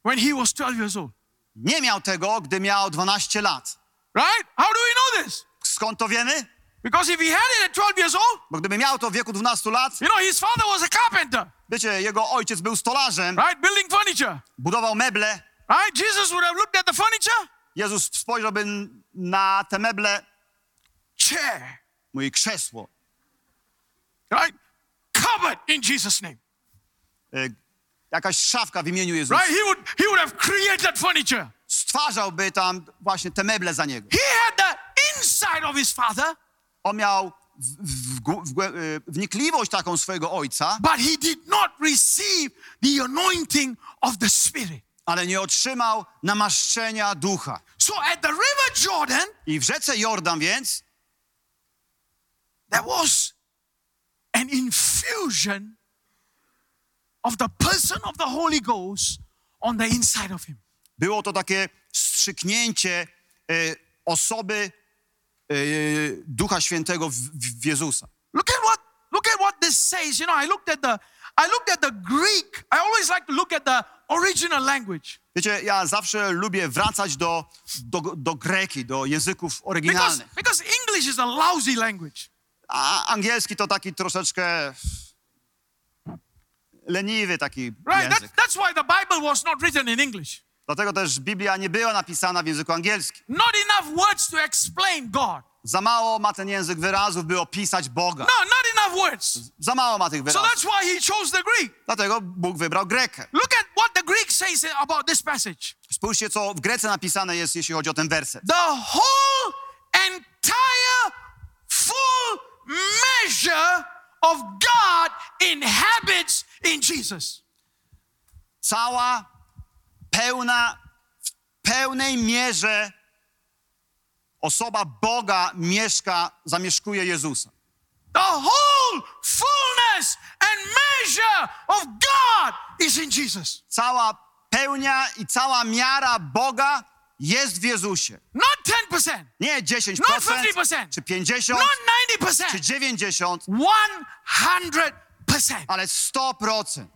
Speaker 2: when he was 12 years old,
Speaker 3: Nie miał tego, gdy miał 12 lat.
Speaker 2: right? How do we know this?
Speaker 3: Skąd to wiemy?
Speaker 2: Because if he had it at 12 years old,
Speaker 3: Bo gdyby miał to w wieku 12 lat,
Speaker 2: you know, his father was a carpenter,
Speaker 3: wiecie, jego ojciec był stolarzem,
Speaker 2: right? Building furniture,
Speaker 3: budował meble,
Speaker 2: right? Jesus would have looked at the furniture,
Speaker 3: Jezus spojrzałby n- na te meble,
Speaker 2: chair,
Speaker 3: moje krzesło,
Speaker 2: right? Cupboard in Jesus' name,
Speaker 3: y, jakaś szafka w imieniu Jezusa.
Speaker 2: right? He would, he would have created furniture.
Speaker 3: Stwarzałby tam właśnie te meble za niego.
Speaker 2: He had the inside of his father,
Speaker 3: On miał w, w, w, głę- y, wnikliwość taką swojego ojca,
Speaker 2: but he did not receive the anointing of the Spirit.
Speaker 3: ale nie otrzymał namaszczenia ducha.
Speaker 2: So at the River Jordan,
Speaker 3: I w rzece Jordan więc
Speaker 2: there was an infusion of the person of the Holy Ghost on the inside of him.
Speaker 3: było to takie wstrzyknięcie y, osoby y, Ducha Świętego w, w w Jezusa.
Speaker 2: Look at what look at what this says. You know, I looked at the I looked at the Greek. I always like to look at the original language
Speaker 3: Wiecie, ja zawsze lubię wracać do, do, do Greki, do języków
Speaker 2: because
Speaker 3: oryginalnych.
Speaker 2: because English is a lousy language.
Speaker 3: A angielski to taki troszeczkę leniwy taki
Speaker 2: Right? That,
Speaker 3: język.
Speaker 2: that's why the Bible was not written in English.
Speaker 3: Dlatego też Biblia nie była napisana w języku angielskim.
Speaker 2: Not enough words to explain God.
Speaker 3: Za mało ma ten język wyrazów, by opisać Boga.
Speaker 2: No, not enough words.
Speaker 3: Za mało ma tych
Speaker 2: So
Speaker 3: wyrazów.
Speaker 2: that's why he chose the Greek.
Speaker 3: Dlatego Bóg wybrał Grekę.
Speaker 2: Look at what the Greek says about this passage.
Speaker 3: Spójrzcie, co w Grece napisane jest, jeśli chodzi o ten werset.
Speaker 2: the whole entire full measure of God inhabits in Jesus.
Speaker 3: Cała pełna, w pełnej mierze osoba Boga mieszka, zamieszkuje Jezusa.
Speaker 2: The whole fullness and measure of God is in Jesus.
Speaker 3: Cała pełnia i cała miara Boga jest w Jezusie.
Speaker 2: Not 10%,
Speaker 3: Nie 10%,
Speaker 2: Not 50%.
Speaker 3: czy 50,
Speaker 2: not
Speaker 3: czy
Speaker 2: 90%,
Speaker 3: 90,
Speaker 2: 100%.
Speaker 3: ale 100%.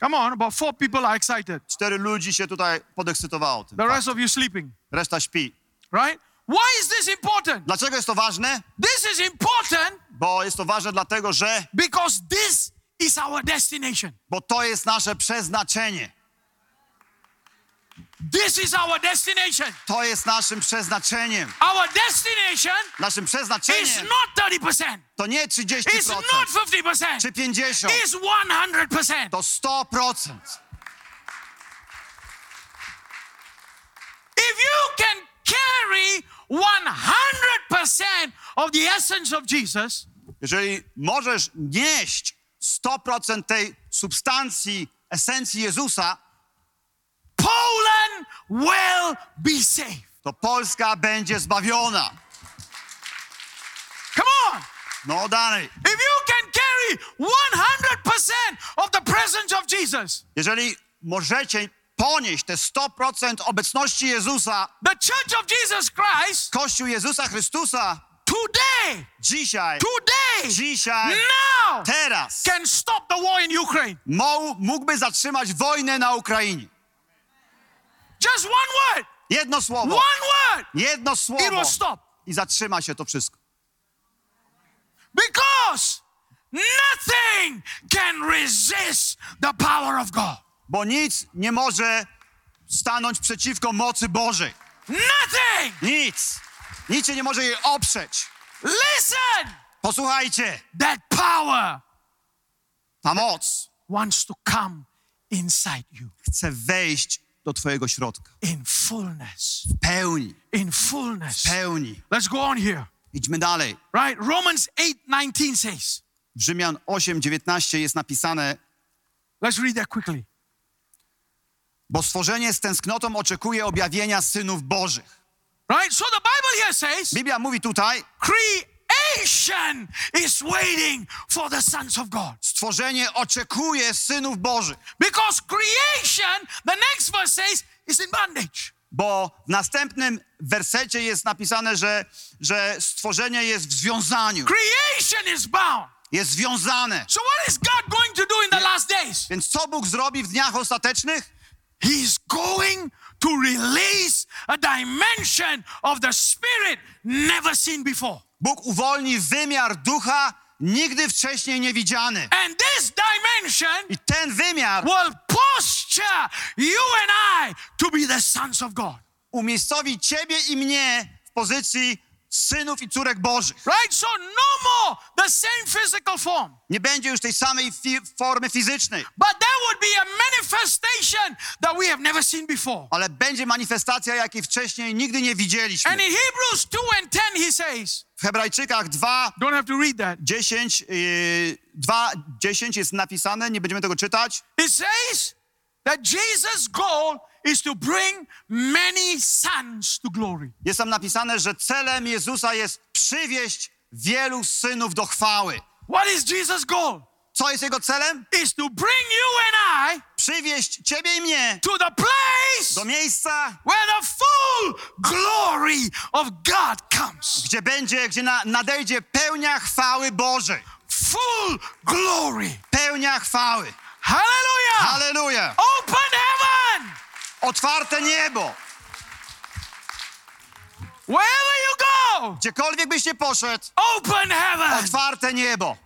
Speaker 2: Come on, about four people are excited.
Speaker 3: Cztery ludzi się tutaj podekscytowało tym. Tak,
Speaker 2: The rest of you sleeping,
Speaker 3: Reszta śpi.
Speaker 2: right? Why is this important?
Speaker 3: Dlaczego jest to ważne?
Speaker 2: This is important
Speaker 3: Bo jest to ważne dlatego, że
Speaker 2: because this is our destination.
Speaker 3: bo to jest nasze przeznaczenie.
Speaker 2: This is our destination.
Speaker 3: To jest naszym przeznaczeniem.
Speaker 2: Our destination
Speaker 3: Naszym
Speaker 2: is
Speaker 3: przeznaczeniem
Speaker 2: not 30%,
Speaker 3: to nie
Speaker 2: it's
Speaker 3: 30%,
Speaker 2: not 50%,
Speaker 3: czy 50,
Speaker 2: it's 100%.
Speaker 3: to 100%.
Speaker 2: If you can carry 100% of the essence of Jesus,
Speaker 3: Jeżeli możesz nieść 100% tej substancji, esencji Jezusa,
Speaker 2: Poland will be saved.
Speaker 3: to Polska będzie zbawiona.
Speaker 2: Come on.
Speaker 3: No dalej.
Speaker 2: If you can carry 100% of the presence of Jesus,
Speaker 3: Jeżeli możecie ponieść te 100% obecności Jezusa,
Speaker 2: the church of Jesus Christ,
Speaker 3: Kościół Jezusa Chrystusa,
Speaker 2: today,
Speaker 3: dzisiaj,
Speaker 2: today,
Speaker 3: dzisiaj,
Speaker 2: now,
Speaker 3: teraz,
Speaker 2: can stop the war in Ukraine.
Speaker 3: mo- mógłby zatrzymać wojnę na Ukrainie.
Speaker 2: Just one word.
Speaker 3: Jedno słowo.
Speaker 2: One word,
Speaker 3: Jedno
Speaker 2: it
Speaker 3: słowo
Speaker 2: will stop.
Speaker 3: i zatrzyma się to wszystko.
Speaker 2: Because nothing can resist the power of God.
Speaker 3: bo nic nie może stanąć przeciwko mocy Bożej.
Speaker 2: Nothing!
Speaker 3: Nic. Nic się nie może jej oprzeć.
Speaker 2: Listen!
Speaker 3: Posłuchajcie,
Speaker 2: That power
Speaker 3: ta moc
Speaker 2: wants to come inside you
Speaker 3: chce wejść do twojego środka.
Speaker 2: in fullness.
Speaker 3: W pełni,
Speaker 2: In
Speaker 3: w
Speaker 2: fullness.
Speaker 3: pełni.
Speaker 2: Let's go on here.
Speaker 3: Idźmy dalej.
Speaker 2: Right? Romans 8 19 says,
Speaker 3: W Rzymian 8, 19 jest napisane,
Speaker 2: let's read that quickly.
Speaker 3: bo stworzenie z tęsknotą oczekuje objawienia synów Bożych.
Speaker 2: Right? So the Bible here says,
Speaker 3: Biblia mówi tutaj,
Speaker 2: creation is waiting for the sons of God.
Speaker 3: stworzenie oczekuje synów Bożych,
Speaker 2: Because creation, the next verse says, is in bondage.
Speaker 3: bo w następnym wersecie jest napisane, że, że stworzenie jest w związaniu,
Speaker 2: Creation is bound.
Speaker 3: jest związane.
Speaker 2: So what is God going to do in the last days?
Speaker 3: Więc co Bóg zrobi w dniach ostatecznych?
Speaker 2: He's going to release a dimension of the spirit never seen before.
Speaker 3: Bóg uwolni wymiar ducha nigdy wcześniej niewidziany.
Speaker 2: And this dimension
Speaker 3: I ten wymiar
Speaker 2: will posture you and I to be the sons of God.
Speaker 3: umiejscowi ciebie i mnie w pozycji synów i córek Bożych.
Speaker 2: Right? So no more the same physical form,
Speaker 3: Nie będzie już tej samej fi- formy fizycznej,
Speaker 2: but there would be a manifestation that we have never seen before.
Speaker 3: ale będzie manifestacja, jakiej wcześniej nigdy nie widzieliśmy.
Speaker 2: And in Hebrews 2 and 10, he says,
Speaker 3: W Hebrajczykach 2,
Speaker 2: don't have to read that.
Speaker 3: 10, yy, 2, 10 jest napisane, nie będziemy tego czytać.
Speaker 2: It says that Jesus' goal is to bring many sons to glory.
Speaker 3: Jest tam napisane, że celem Jezusa jest przywieść wielu synów do chwały.
Speaker 2: What is Jesus' goal?
Speaker 3: Co jest jego celem?
Speaker 2: Is to bring you and I
Speaker 3: Przywieść ciebie i mnie
Speaker 2: to the place
Speaker 3: do miejsca,
Speaker 2: where the full glory of God comes.
Speaker 3: gdzie będzie, gdzie na, nadejdzie pełnia chwały Bożej.
Speaker 2: Full glory.
Speaker 3: Pełnia chwały.
Speaker 2: Hallelujah.
Speaker 3: Halleluja!
Speaker 2: Open heaven.
Speaker 3: Otwarte niebo!
Speaker 2: Wherever you go,
Speaker 3: Gdziekolwiek byś nie poszedł,
Speaker 2: open heaven.
Speaker 3: otwarte niebo!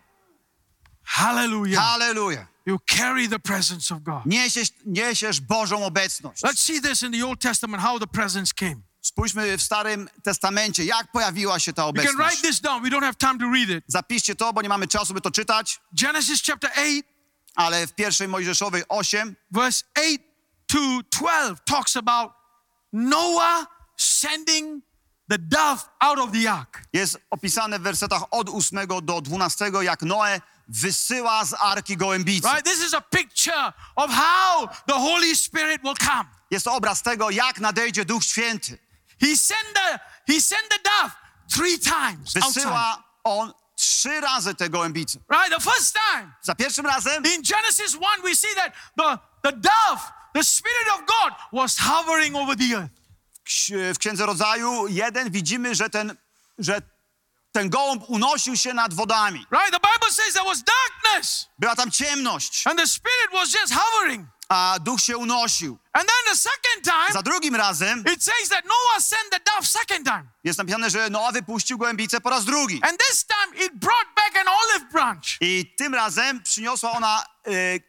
Speaker 2: Hallelujah.
Speaker 3: Halleluja!
Speaker 2: You carry the presence of God.
Speaker 3: Niesiesz, niesiesz Bożą obecność.
Speaker 2: Let's see this in the Old Testament how the presence came.
Speaker 3: Spójrzmy w Starym Testamencie, jak pojawiła się ta
Speaker 2: You can write
Speaker 3: obecność.
Speaker 2: this down. We don't have time to read it.
Speaker 3: Zapiszcie to, bo nie mamy czasu, by to czytać,
Speaker 2: Genesis chapter 8,
Speaker 3: ale w pierwszej Mojżeszowej 8,
Speaker 2: verse 8 to 12 talks about Noah sending the dove out of the ark.
Speaker 3: jest opisane w wersetach od 8 do 12, jak Noe wysyła z Arki Gołębicy.
Speaker 2: Right? This is a picture of how the Holy Spirit will come.
Speaker 3: Jest to obraz tego, jak nadejdzie Duch Święty.
Speaker 2: He sent the he sent the dove three times outside.
Speaker 3: Wysyła on trzy razy te gołębice.
Speaker 2: Right? The first time
Speaker 3: Za pierwszym razem
Speaker 2: in Genesis 1 we see that the the dove, the spirit of God was hovering over the earth.
Speaker 3: ksi- w Księdze Rodzaju 1 widzimy, że ten, że ten gołąb unosił się nad wodami.
Speaker 2: Right? The Bible says there was darkness
Speaker 3: Była tam ciemność,
Speaker 2: and the spirit was just hovering.
Speaker 3: a duch się unosił.
Speaker 2: And then the second
Speaker 3: Za
Speaker 2: time,
Speaker 3: drugim razem
Speaker 2: it says that Noah sent the dove second time.
Speaker 3: jest napisane, że Noa wypuścił gołębicę po raz drugi.
Speaker 2: And this time, it brought back an olive branch.
Speaker 3: I tym razem przyniosła ona y,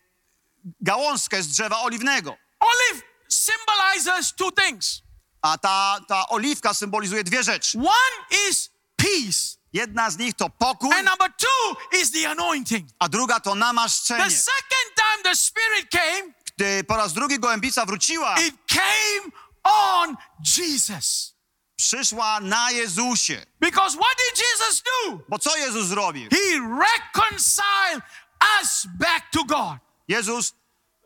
Speaker 3: gałązkę z drzewa oliwnego.
Speaker 2: Olive symbolizes two things
Speaker 3: A ta, ta oliwka symbolizuje dwie rzeczy.
Speaker 2: one is peace,
Speaker 3: Jedna z nich to pokój,
Speaker 2: and number two is the anointing.
Speaker 3: a druga to
Speaker 2: The
Speaker 3: namaszczenie.
Speaker 2: second time the Spirit came,
Speaker 3: Gdy po raz drugi gołębica wróciła,
Speaker 2: it came on Jesus.
Speaker 3: przyszła na Jezusie.
Speaker 2: Because what did Jesus do?
Speaker 3: Bo co Jezus zrobił?
Speaker 2: He reconciled us back to God.
Speaker 3: Jezus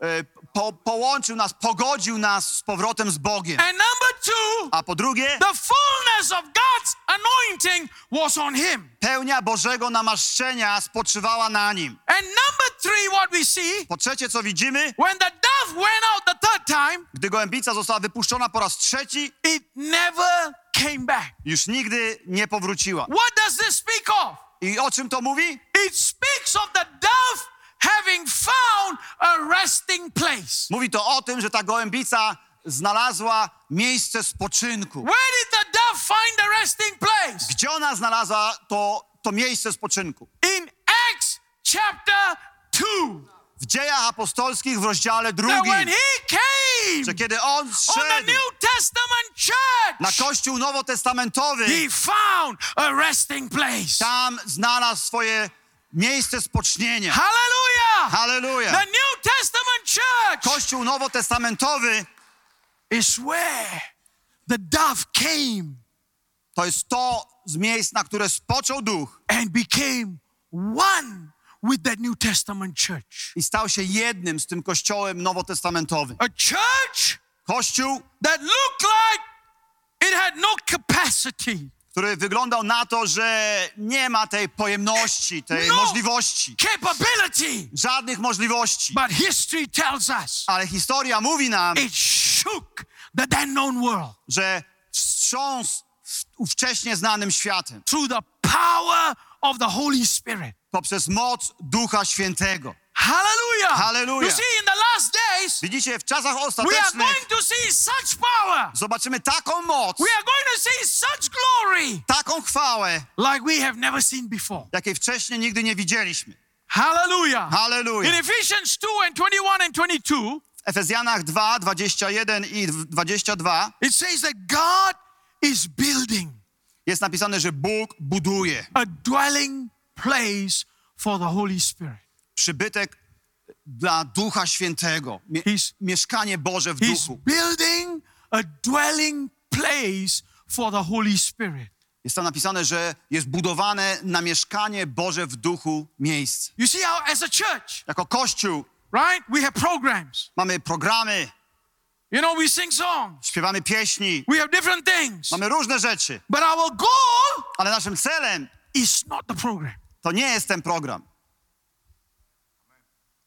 Speaker 3: e, po, połączył nas, pogodził nas z powrotem z Bogiem.
Speaker 2: And number two,
Speaker 3: A po drugie,
Speaker 2: the fullness of God's anointing was on him.
Speaker 3: pełnia Bożego namaszczenia spoczywała na nim.
Speaker 2: And number three, what we see,
Speaker 3: Po trzecie, co widzimy,
Speaker 2: when the dove went out the third time,
Speaker 3: gdy gołębica została wypuszczona po raz trzeci,
Speaker 2: it never came back.
Speaker 3: już nigdy nie powróciła.
Speaker 2: What does this speak of?
Speaker 3: I o czym to mówi?
Speaker 2: It speaks of the dove having found a resting place.
Speaker 3: Mówi to o tym, że ta gołębica znalazła miejsce spoczynku.
Speaker 2: Where did the dove find the resting place?
Speaker 3: Gdzie ona znalazła to, to miejsce spoczynku?
Speaker 2: In Acts chapter 2.
Speaker 3: W dziejach apostolskich w rozdziale
Speaker 2: that when
Speaker 3: drugim,
Speaker 2: he
Speaker 3: że
Speaker 2: came
Speaker 3: kiedy on
Speaker 2: on the
Speaker 3: szedł
Speaker 2: New Testament
Speaker 3: na
Speaker 2: church,
Speaker 3: kościół nowotestamentowy,
Speaker 2: he found a resting place.
Speaker 3: tam znalazł swoje miejsce spocznienia.
Speaker 2: Hallelujah!
Speaker 3: Halleluja!
Speaker 2: The New Testament church
Speaker 3: Kościół nowotestamentowy
Speaker 2: is where the dove came
Speaker 3: to jest to z miejsc, na które spoczął duch
Speaker 2: and became one with the New Testament church.
Speaker 3: i stał się jednym z tym kościołem nowotestamentowym.
Speaker 2: A church
Speaker 3: Kościół,
Speaker 2: that looked like it had no capacity,
Speaker 3: który wyglądał na to, że nie ma tej pojemności, tej
Speaker 2: No.
Speaker 3: możliwości,
Speaker 2: capability.
Speaker 3: żadnych możliwości.
Speaker 2: But history tells us
Speaker 3: Ale historia mówi nam,
Speaker 2: it shook the then known world
Speaker 3: że wstrząs ówcześnie znanym światem
Speaker 2: through the power of the Holy Spirit.
Speaker 3: poprzez moc Ducha Świętego.
Speaker 2: Hallelujah.
Speaker 3: Hallelujah.
Speaker 2: You see, in the last days,
Speaker 3: Widzicie, w czasach
Speaker 2: we are
Speaker 3: ostatecznych
Speaker 2: going to see such power.
Speaker 3: zobaczymy taką moc,
Speaker 2: We are going to see such glory
Speaker 3: taką chwałę,
Speaker 2: like we have never seen before.
Speaker 3: jakiej wcześniej nigdy nie widzieliśmy.
Speaker 2: Hallelujah. In
Speaker 3: Halleluja.
Speaker 2: Ephesians 2 and 21 and 22,
Speaker 3: W Efezjanach 2, 21 i 22
Speaker 2: it says that God is building
Speaker 3: jest napisane, że Bóg buduje
Speaker 2: a dwelling place for the Holy Spirit.
Speaker 3: przybytek dla Ducha Świętego, mie-
Speaker 2: He's-
Speaker 3: mieszkanie Boże w
Speaker 2: He's
Speaker 3: duchu.
Speaker 2: building a dwelling place for the Holy Spirit.
Speaker 3: Jest tam napisane, że jest budowane na mieszkanie Boże w duchu miejsce.
Speaker 2: You see how, as a church,
Speaker 3: Jako Kościół
Speaker 2: right, we have programs.
Speaker 3: mamy programy,
Speaker 2: You know, we sing songs,
Speaker 3: śpiewamy pieśni,
Speaker 2: we have different things.
Speaker 3: mamy różne rzeczy,
Speaker 2: But our goal
Speaker 3: ale naszym celem
Speaker 2: is not the program.
Speaker 3: to nie jest ten program.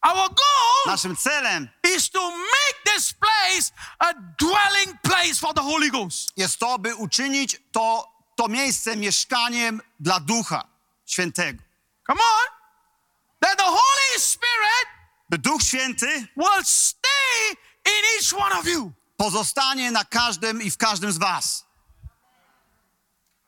Speaker 2: Our goal
Speaker 3: Naszym celem
Speaker 2: is to make this place a dwelling place for the Holy Ghost.
Speaker 3: jest to, by uczynić to, to miejsce mieszkaniem dla Ducha Świętego.
Speaker 2: Come on. That the Holy Spirit
Speaker 3: By Duch Święty
Speaker 2: will stay in each one of you.
Speaker 3: pozostanie na każdym i w każdym z was.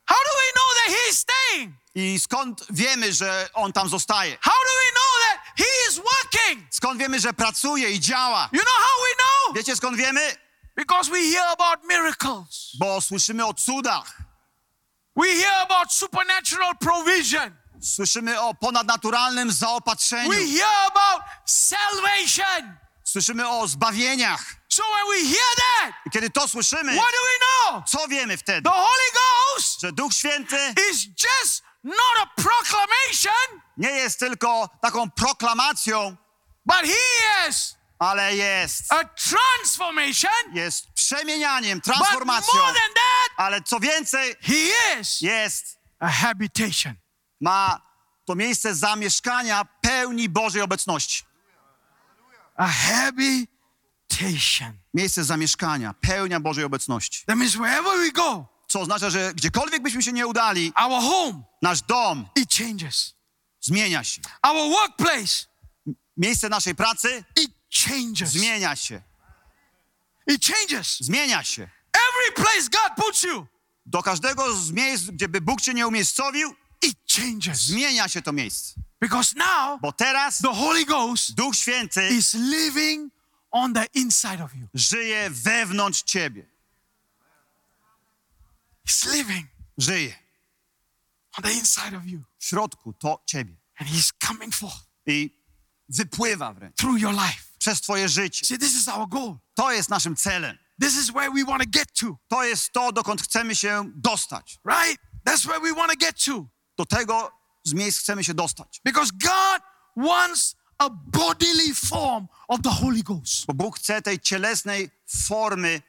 Speaker 2: How do we know that He's staying?
Speaker 3: I skąd wiemy, że On tam zostaje?
Speaker 2: How do we know that He is working?
Speaker 3: Skąd wiemy, że pracuje i działa?
Speaker 2: You know how we know?
Speaker 3: Wiecie skąd wiemy?
Speaker 2: Because we hear about miracles,
Speaker 3: Bo słyszymy o cudach,
Speaker 2: we hear about supernatural provision,
Speaker 3: słyszymy o ponadnaturalnym
Speaker 2: we
Speaker 3: zaopatrzeniu,
Speaker 2: hear about salvation.
Speaker 3: słyszymy o zbawieniach.
Speaker 2: So when we hear that,
Speaker 3: I kiedy to słyszymy,
Speaker 2: what No. do we know?
Speaker 3: co wiemy wtedy?
Speaker 2: The Holy Ghost
Speaker 3: Że Duch Święty
Speaker 2: is just not a proclamation,
Speaker 3: nie jest tylko taką proklamacją,
Speaker 2: but He is
Speaker 3: ale jest,
Speaker 2: a transformation.
Speaker 3: jest przemienianiem,
Speaker 2: But more
Speaker 3: transformacją.
Speaker 2: than that,
Speaker 3: Ale co więcej,
Speaker 2: He is
Speaker 3: jest,
Speaker 2: a habitation.
Speaker 3: ma to miejsce zamieszkania pełni Bożej obecności.
Speaker 2: A habitation.
Speaker 3: Miejsce zamieszkania, pełnia Bożej obecności.
Speaker 2: That means wherever we go,
Speaker 3: Co oznacza, że gdziekolwiek byśmy się nie udali,
Speaker 2: our home,
Speaker 3: nasz dom
Speaker 2: it changes.
Speaker 3: zmienia się.
Speaker 2: Our workplace,
Speaker 3: Miejsce naszej pracy
Speaker 2: it changes.
Speaker 3: zmienia się.
Speaker 2: It changes.
Speaker 3: Zmienia się.
Speaker 2: Every place God puts you,
Speaker 3: Do każdego z miejsc, gdzie by Bóg cię nie umiejscowił,
Speaker 2: it changes.
Speaker 3: zmienia się to miejsce.
Speaker 2: Because now
Speaker 3: Bo teraz
Speaker 2: the Holy Ghost
Speaker 3: Duch Święty
Speaker 2: is living on the inside of you.
Speaker 3: żyje wewnątrz ciebie.
Speaker 2: He's living
Speaker 3: Żyje
Speaker 2: on the inside of you.
Speaker 3: w środku to ciebie.
Speaker 2: And He's coming forth
Speaker 3: I wypływa wręcz
Speaker 2: through your life.
Speaker 3: przez twoje życie.
Speaker 2: See, this is our goal.
Speaker 3: To jest naszym celem.
Speaker 2: This is where we want to get to,
Speaker 3: To jest to, dokąd chcemy się dostać.
Speaker 2: right? That's where we want to get to.
Speaker 3: Do tego z miejsc chcemy się dostać.
Speaker 2: Because God wants a bodily form of the Holy Ghost.
Speaker 3: Bo Bóg chce tej cielesnej formy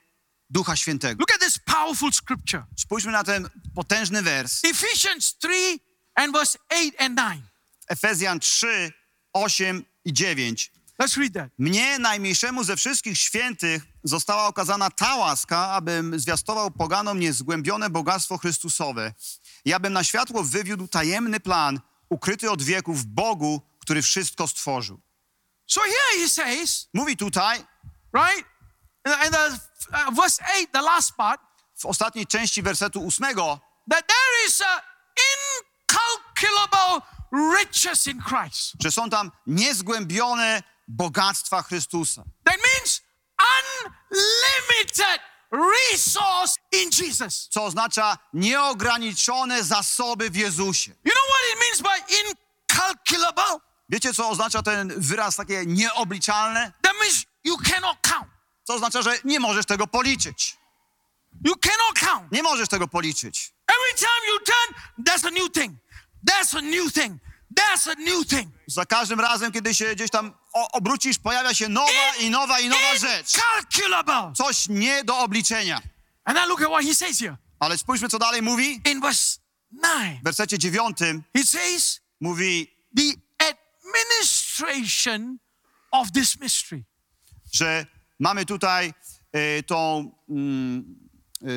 Speaker 3: Ducha Świętego.
Speaker 2: Look at this powerful scripture
Speaker 3: Spójrzmy na ten potężny wers.
Speaker 2: Ephesians 3 and verse 8 and 9.
Speaker 3: Efezjan 3, 8 i 9.
Speaker 2: Let's read that.
Speaker 3: Mnie, najmniejszemu ze wszystkich świętych, została okazana ta łaska, abym zwiastował poganom niezgłębione bogactwo Chrystusowe. I abym na światło wywiódł tajemny plan, ukryty od wieków w Bogu, który wszystko stworzył.
Speaker 2: So here he says,
Speaker 3: Mówi tutaj,
Speaker 2: right? In the, in the, uh, verse 8, the last part,
Speaker 3: w ostatniej części wersetu ósmego,
Speaker 2: that there is an incalculable riches in Christ.
Speaker 3: że są tam niezgłębione bogactwa Chrystusa.
Speaker 2: That means unlimited resource in Jesus.
Speaker 3: co oznacza nieograniczone zasoby w Jezusie.
Speaker 2: You know what it means by incalculable?
Speaker 3: Wiecie, co oznacza ten wyraz takie nieobliczalne?
Speaker 2: That means you cannot count.
Speaker 3: Co oznacza, że nie możesz tego policzyć.
Speaker 2: You cannot count.
Speaker 3: Nie możesz tego policzyć.
Speaker 2: Every time you turn, that's a new thing. That's a new thing. That's a new thing.
Speaker 3: Za każdym razem, kiedy się gdzieś tam o- obrócisz, pojawia się nowa i nowa i nowa rzecz.
Speaker 2: Incalculable.
Speaker 3: Coś nie do obliczenia.
Speaker 2: And now look at what he says here
Speaker 3: Ale spójrzmy, co dalej mówi.
Speaker 2: in verse 9.
Speaker 3: W wersecie dziewiątym
Speaker 2: He says,
Speaker 3: mówi,
Speaker 2: the administration of this mystery.
Speaker 3: że mamy tutaj y, tą... Mm, y,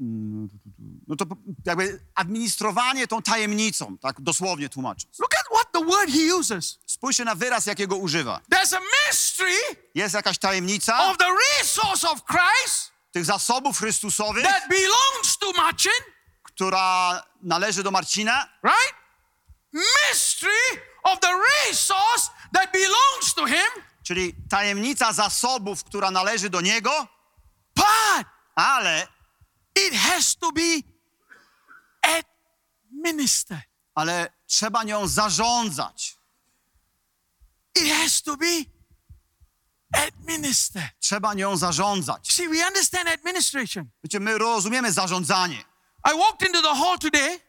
Speaker 3: mm, no to jakby administrowanie tą tajemnicą, tak dosłownie tłumacząc.
Speaker 2: Look at what the word he uses.
Speaker 3: Spójrzcie na wyraz, jakiego używa.
Speaker 2: There's a mystery
Speaker 3: Jest jakaś tajemnica
Speaker 2: of the resource of Christ
Speaker 3: tych zasobów Chrystusowych,
Speaker 2: that belongs to Martin,
Speaker 3: która należy do Marcina,
Speaker 2: right? Mystery of the resource that belongs to him,
Speaker 3: czyli tajemnica zasobów, która należy do niego,
Speaker 2: but
Speaker 3: ale,
Speaker 2: it has to be administered.
Speaker 3: ale trzeba nią zarządzać.
Speaker 2: It has to be administered.
Speaker 3: Trzeba nią zarządzać.
Speaker 2: See, we understand administration.
Speaker 3: Wiecie, my rozumiemy zarządzanie.
Speaker 2: I walked into the hall today.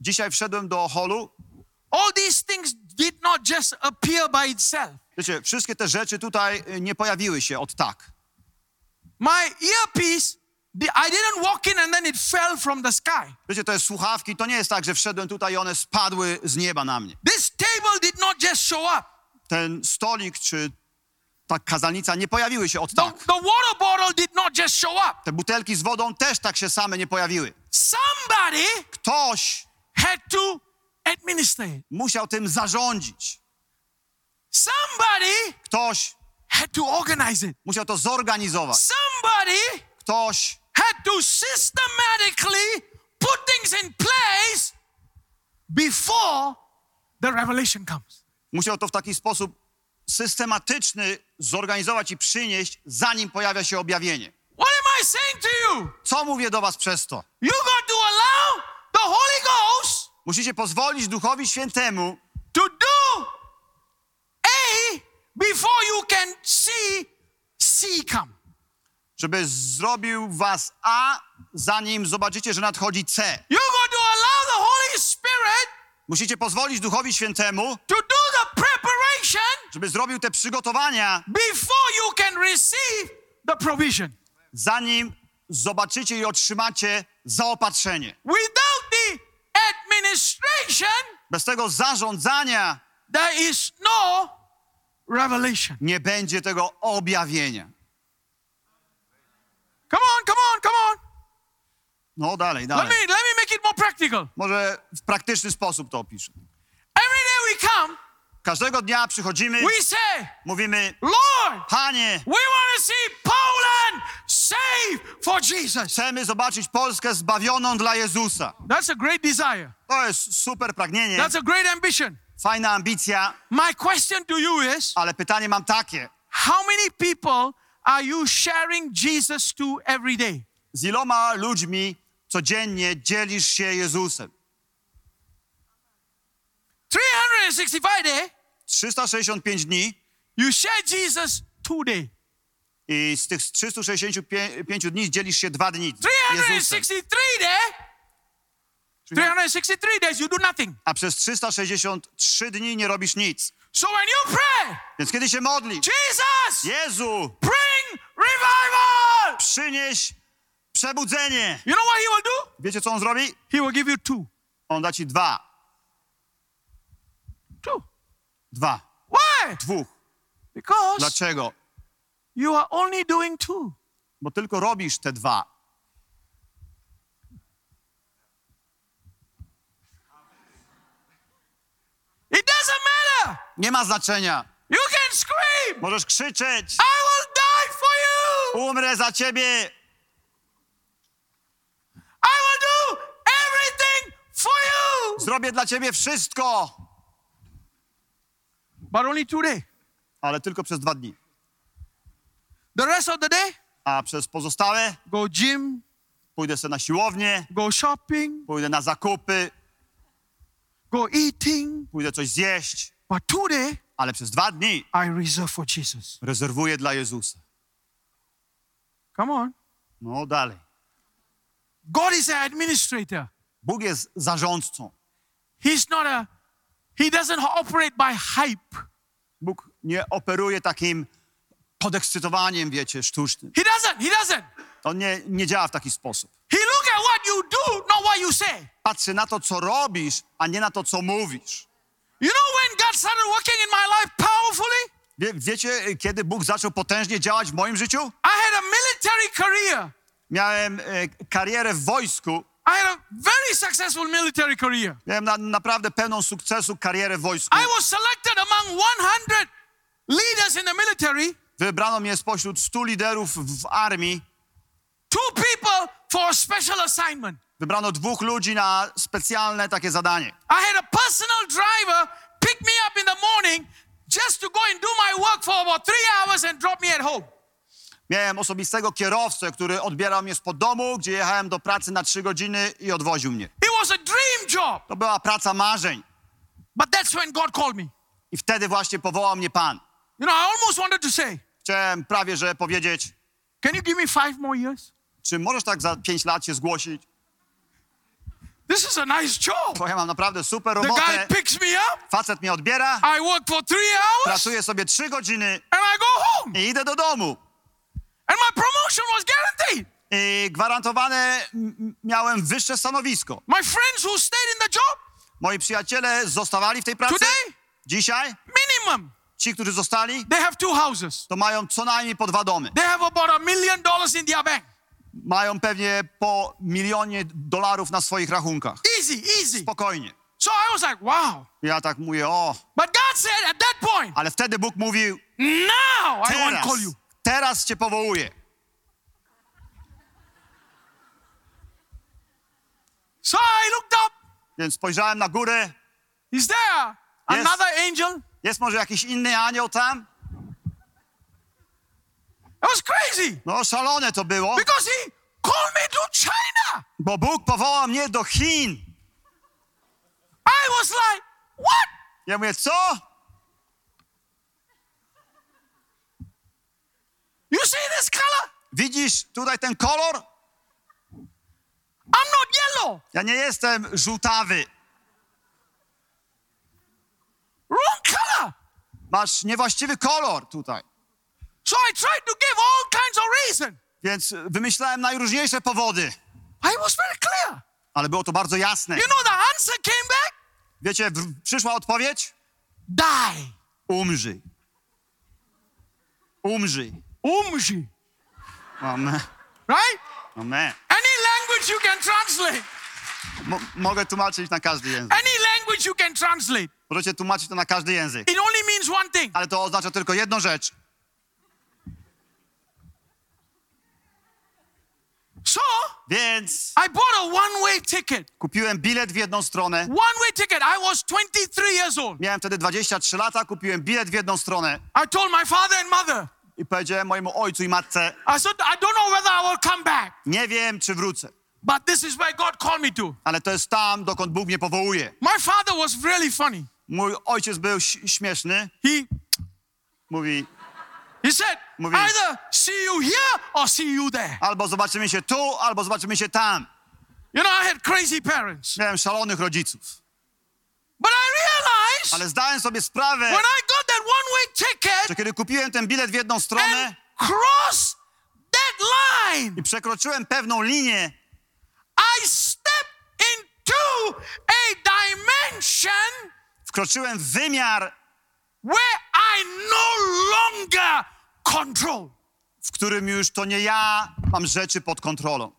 Speaker 3: Dzisiaj wszedłem do holu.
Speaker 2: All these things did not just appear by itself.
Speaker 3: Wiecie, wszystkie te rzeczy tutaj y, nie pojawiły się od tak.
Speaker 2: My earpiece, the- I didn't walk in and then it fell from the sky.
Speaker 3: Wiecie, to jest słuchawki, to nie jest tak, że wszedłem tutaj i one spadły z nieba na mnie.
Speaker 2: This table did not just show up.
Speaker 3: Ten stolik czy ta kazalnica nie pojawiły się od
Speaker 2: The,
Speaker 3: tak.
Speaker 2: the water bottle did not just show up.
Speaker 3: Te butelki z wodą też tak się same nie pojawiły.
Speaker 2: Somebody
Speaker 3: Ktoś
Speaker 2: had to administer it.
Speaker 3: musiał tym zarządzić.
Speaker 2: Somebody
Speaker 3: Ktoś
Speaker 2: had to organize it.
Speaker 3: musiał to zorganizować.
Speaker 2: Somebody
Speaker 3: Ktoś
Speaker 2: had to systematically put things in place before the revelation comes.
Speaker 3: musiał to w taki sposób systematyczny zorganizować i przynieść, zanim pojawia się objawienie.
Speaker 2: What am I saying to you?
Speaker 3: Co mówię do was przez to?
Speaker 2: You got to allow the Holy Ghost
Speaker 3: Musicie pozwolić Duchowi Świętemu,
Speaker 2: to do A before you can see C come.
Speaker 3: żeby zrobił was A, zanim zobaczycie, że nadchodzi C.
Speaker 2: You got to allow the Holy Spirit
Speaker 3: Musicie pozwolić Duchowi Świętemu,
Speaker 2: to do the preparation
Speaker 3: żeby zrobił te przygotowania,
Speaker 2: before you can receive the provision.
Speaker 3: zanim zobaczycie i otrzymacie zaopatrzenie.
Speaker 2: Without the administration,
Speaker 3: Bez tego zarządzania
Speaker 2: there is no revelation.
Speaker 3: nie będzie tego objawienia.
Speaker 2: Come on, come on, come on.
Speaker 3: No dalej,
Speaker 2: Let
Speaker 3: dalej.
Speaker 2: me let me make it more practical.
Speaker 3: Może w praktyczny sposób to opiszę.
Speaker 2: Every day we come,
Speaker 3: Każdego dnia przychodzimy,
Speaker 2: we say,
Speaker 3: mówimy,
Speaker 2: Lord,
Speaker 3: Panie,
Speaker 2: We want to see Poland saved for Jesus.
Speaker 3: chcemy zobaczyć Polskę zbawioną dla Jezusa.
Speaker 2: That's a great desire.
Speaker 3: To jest super pragnienie,
Speaker 2: That's a great ambition.
Speaker 3: fajna ambicja,
Speaker 2: My question to you is
Speaker 3: ale pytanie mam takie.
Speaker 2: how many people are you sharing Jesus to every day?
Speaker 3: Z iloma ludźmi codziennie dzielisz się Jezusem?
Speaker 2: 365 day,
Speaker 3: 365 dni
Speaker 2: you share Jesus today.
Speaker 3: i z tych 365 dni dzielisz się dwa dni Jezusem.
Speaker 2: 363 day, 363 days you do nothing.
Speaker 3: A przez 363 dni nie robisz nic.
Speaker 2: So when you pray,
Speaker 3: Więc kiedy się modlisz,
Speaker 2: Jesus,
Speaker 3: Jezu,
Speaker 2: bring revival.
Speaker 3: przynieś przebudzenie.
Speaker 2: You know what he will do?
Speaker 3: Wiecie, co on zrobi?
Speaker 2: He will give you two.
Speaker 3: On da ci dwa.
Speaker 2: Two.
Speaker 3: Dwa.
Speaker 2: Why?
Speaker 3: Dwóch.
Speaker 2: Because
Speaker 3: Dlaczego?
Speaker 2: You are only doing two.
Speaker 3: Bo tylko robisz te dwa.
Speaker 2: It doesn't matter.
Speaker 3: Nie ma znaczenia.
Speaker 2: You can scream,
Speaker 3: Możesz krzyczeć.
Speaker 2: I will die for you.
Speaker 3: Umrę za ciebie.
Speaker 2: I will do everything for you.
Speaker 3: Zrobię dla ciebie wszystko.
Speaker 2: but only two days.
Speaker 3: ale tylko przez dwa dni.
Speaker 2: The rest of the day,
Speaker 3: A przez pozostałe
Speaker 2: go gym,
Speaker 3: pójdę sobie na siłownię,
Speaker 2: go shopping,
Speaker 3: pójdę na zakupy,
Speaker 2: go eating.
Speaker 3: pójdę coś zjeść,
Speaker 2: But two days,
Speaker 3: ale przez dwa dni
Speaker 2: I reserve for Jesus.
Speaker 3: rezerwuję dla Jezusa.
Speaker 2: Come on.
Speaker 3: No dalej.
Speaker 2: God is an administrator.
Speaker 3: Bóg jest zarządcą.
Speaker 2: He's not a, he doesn't operate by hype.
Speaker 3: Bóg nie operuje takim podekscytowaniem, wiecie, sztucznym.
Speaker 2: He doesn't, he doesn't.
Speaker 3: On nie, nie działa w taki sposób.
Speaker 2: He look at what you do, not what you say.
Speaker 3: Patrzy na to, co robisz, a nie na to, co mówisz.
Speaker 2: You know when God started working in my life powerfully?
Speaker 3: Wie, wiecie, kiedy Bóg zaczął potężnie działać w moim życiu?
Speaker 2: I had a military career.
Speaker 3: Miałem e, karierę w wojsku.
Speaker 2: I had a very successful military career.
Speaker 3: Miałem na, naprawdę pełną sukcesu karierę w wojsku.
Speaker 2: I was selected among 100 leaders in the military,
Speaker 3: Wybrano mnie spośród 100 liderów w armii.
Speaker 2: two people for a special assignment.
Speaker 3: Wybrano dwóch ludzi na specjalne takie zadanie.
Speaker 2: I had a personal driver pick me up in the morning just to go and do my work for about three hours and drop me at home.
Speaker 3: Miałem osobistego kierowcę, który odbierał mnie spod domu, gdzie jechałem do pracy na 3 godziny i odwoził mnie.
Speaker 2: It was a dream job,
Speaker 3: To była praca marzeń.
Speaker 2: but that's when God called me.
Speaker 3: I wtedy właśnie powołał mnie Pan.
Speaker 2: You know, I almost wanted to say,
Speaker 3: Chciałem prawie, że powiedzieć,
Speaker 2: Can you give me five more years?
Speaker 3: czy możesz tak za 5 lat się zgłosić?
Speaker 2: This is a nice job.
Speaker 3: Bo ja mam naprawdę super
Speaker 2: The guy
Speaker 3: robotę.
Speaker 2: picks me up,
Speaker 3: Facet mnie odbiera,
Speaker 2: I work for three hours, and
Speaker 3: pracuję sobie 3 godziny
Speaker 2: I go home.
Speaker 3: i idę do domu.
Speaker 2: And my promotion was guaranteed.
Speaker 3: I gwarantowane m- m- miałem wyższe stanowisko.
Speaker 2: My friends who stayed in the job,
Speaker 3: Moi przyjaciele zostawali w tej pracy.
Speaker 2: Today?
Speaker 3: Dzisiaj
Speaker 2: minimum,
Speaker 3: ci, którzy zostali,
Speaker 2: they have two houses.
Speaker 3: to mają co najmniej po dwa domy.
Speaker 2: They have about a million dollars in their bank.
Speaker 3: Mają pewnie po milionie dolarów na swoich rachunkach.
Speaker 2: Easy, easy.
Speaker 3: Spokojnie.
Speaker 2: So I was like, wow.
Speaker 3: Ja tak mówię, o,
Speaker 2: But God said at that point,
Speaker 3: ale wtedy Bóg mówił,
Speaker 2: now I want
Speaker 3: teraz,
Speaker 2: to call you.
Speaker 3: teraz cię powołuję.
Speaker 2: So I looked up.
Speaker 3: Więc spojrzałem na górę,
Speaker 2: Is there
Speaker 3: Yes.
Speaker 2: another angel?
Speaker 3: jest może jakiś inny anioł tam?
Speaker 2: That was crazy
Speaker 3: No szalone to było,
Speaker 2: because he called me to China.
Speaker 3: bo Bóg powołał mnie do Chin.
Speaker 2: I was like, what?
Speaker 3: Ja mówię, co?
Speaker 2: You see this color?
Speaker 3: Widzisz tutaj ten kolor?
Speaker 2: I'm not yellow.
Speaker 3: Ja nie jestem żółtawy.
Speaker 2: Wrong color.
Speaker 3: Masz niewłaściwy kolor tutaj.
Speaker 2: So I tried to give all kinds of reason.
Speaker 3: Więc wymyślałem najróżniejsze powody,
Speaker 2: I was very clear.
Speaker 3: ale było to bardzo jasne.
Speaker 2: You know the answer came back?
Speaker 3: Wiecie, w- przyszła odpowiedź?
Speaker 2: Die.
Speaker 3: Umrzyj. Umrzyj.
Speaker 2: Umji.
Speaker 3: Amen.
Speaker 2: Right?
Speaker 3: Amen.
Speaker 2: Any language you can translate.
Speaker 3: Mo- mogę tłumaczyć na każdy język.
Speaker 2: Any language you can translate.
Speaker 3: Możecie tłumaczyć to na każdy język.
Speaker 2: It only means one thing.
Speaker 3: Ale to oznacza tylko jedną rzecz.
Speaker 2: So
Speaker 3: Więc
Speaker 2: I bought a one-way ticket.
Speaker 3: kupiłem bilet w jedną stronę.
Speaker 2: One-way ticket. I was 23 years old.
Speaker 3: Miałem wtedy 23 lata, kupiłem bilet w jedną stronę.
Speaker 2: I told my father and mother.
Speaker 3: I powiedziałem mojemu ojcu i matce,
Speaker 2: I said, I don't know whether I will come back,
Speaker 3: nie wiem, czy wrócę.
Speaker 2: but this is where God called me to.
Speaker 3: Ale to jest tam, dokąd Bóg mnie powołuje.
Speaker 2: My father was really funny.
Speaker 3: Mój ojciec był ś- śmieszny.
Speaker 2: He
Speaker 3: Mówi,
Speaker 2: he said,
Speaker 3: Mówi-
Speaker 2: either see you here or see you there.
Speaker 3: albo zobaczymy się tu, albo zobaczymy się tam.
Speaker 2: You know, I had crazy parents.
Speaker 3: Miałem szalonych rodziców.
Speaker 2: But I realized
Speaker 3: Ale zdałem sobie sprawę,
Speaker 2: when I got that one-way ticket
Speaker 3: że kiedy kupiłem ten bilet w jedną
Speaker 2: and
Speaker 3: stronę
Speaker 2: crossed that line,
Speaker 3: i przekroczyłem pewną linię,
Speaker 2: I stepped into a dimension
Speaker 3: wkroczyłem w wymiar,
Speaker 2: where I no longer control,
Speaker 3: w którym już to nie ja mam rzeczy pod kontrolą,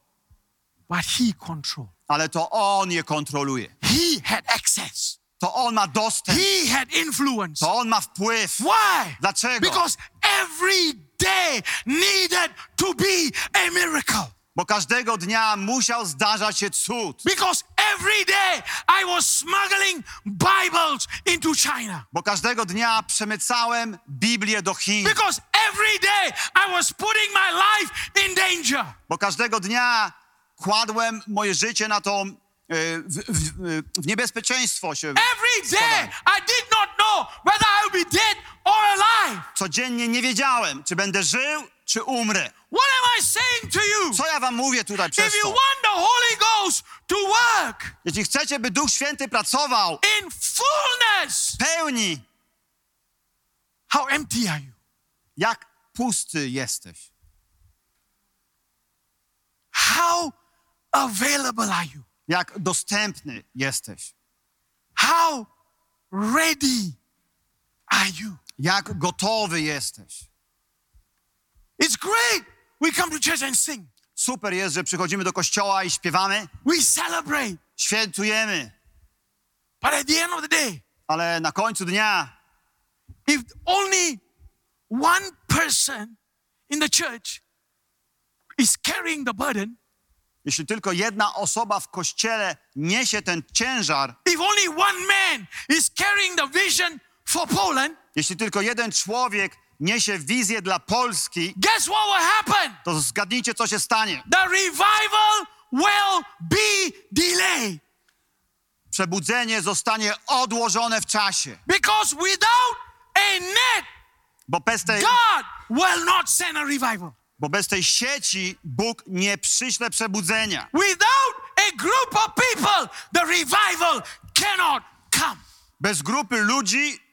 Speaker 2: but he control.
Speaker 3: ale to on je kontroluje.
Speaker 2: He had access.
Speaker 3: To on ma dostęp,
Speaker 2: He had influence.
Speaker 3: to on ma wpływ.
Speaker 2: Why?
Speaker 3: Dlaczego?
Speaker 2: Because every day needed to be a miracle.
Speaker 3: bo każdego dnia musiał zdarzać się cud.
Speaker 2: Because every day I was smuggling Bibles into China.
Speaker 3: Bo każdego dnia przemycałem Biblię do Chin.
Speaker 2: Because every day I was putting my life in danger.
Speaker 3: Bo każdego dnia kładłem moje życie na tą e, w, w, w niebezpieczeństwo się.
Speaker 2: Every day I did not know whether I would be dead or alive.
Speaker 3: Codziennie nie wiedziałem, czy będę żył, czy umrę.
Speaker 2: What am I saying to you?
Speaker 3: Co ja wam mówię tutaj przez
Speaker 2: If you
Speaker 3: to?
Speaker 2: want the Holy Ghost to work
Speaker 3: Jeśli chcecie, by Duch Święty pracował
Speaker 2: in fullness,
Speaker 3: w pełni,
Speaker 2: how empty are you?
Speaker 3: jak pusty jesteś,
Speaker 2: How available are you?
Speaker 3: jak dostępny jesteś,
Speaker 2: How ready are you?
Speaker 3: jak gotowy jesteś.
Speaker 2: It's great. We come to church and sing.
Speaker 3: Super jest, że przychodzimy do kościoła i śpiewamy,
Speaker 2: We celebrate.
Speaker 3: świętujemy,
Speaker 2: But at the end of the day,
Speaker 3: ale na końcu dnia,
Speaker 2: if only one person in the church is carrying the burden,
Speaker 3: jeśli tylko jedna osoba w kościele niesie ten ciężar,
Speaker 2: if only one man is carrying the vision for Poland,
Speaker 3: jeśli tylko jeden człowiek niesie wizję dla Polski,
Speaker 2: guess what will happen?
Speaker 3: to zgadnijcie, co się stanie.
Speaker 2: The revival will be delayed.
Speaker 3: Przebudzenie zostanie odłożone w czasie,
Speaker 2: Because without a net,
Speaker 3: bo bez tej,
Speaker 2: God will not send a revival.
Speaker 3: bo bez tej sieci Bóg nie przyśle przebudzenia.
Speaker 2: Without a group of people, the revival cannot come.
Speaker 3: Bez grupy ludzi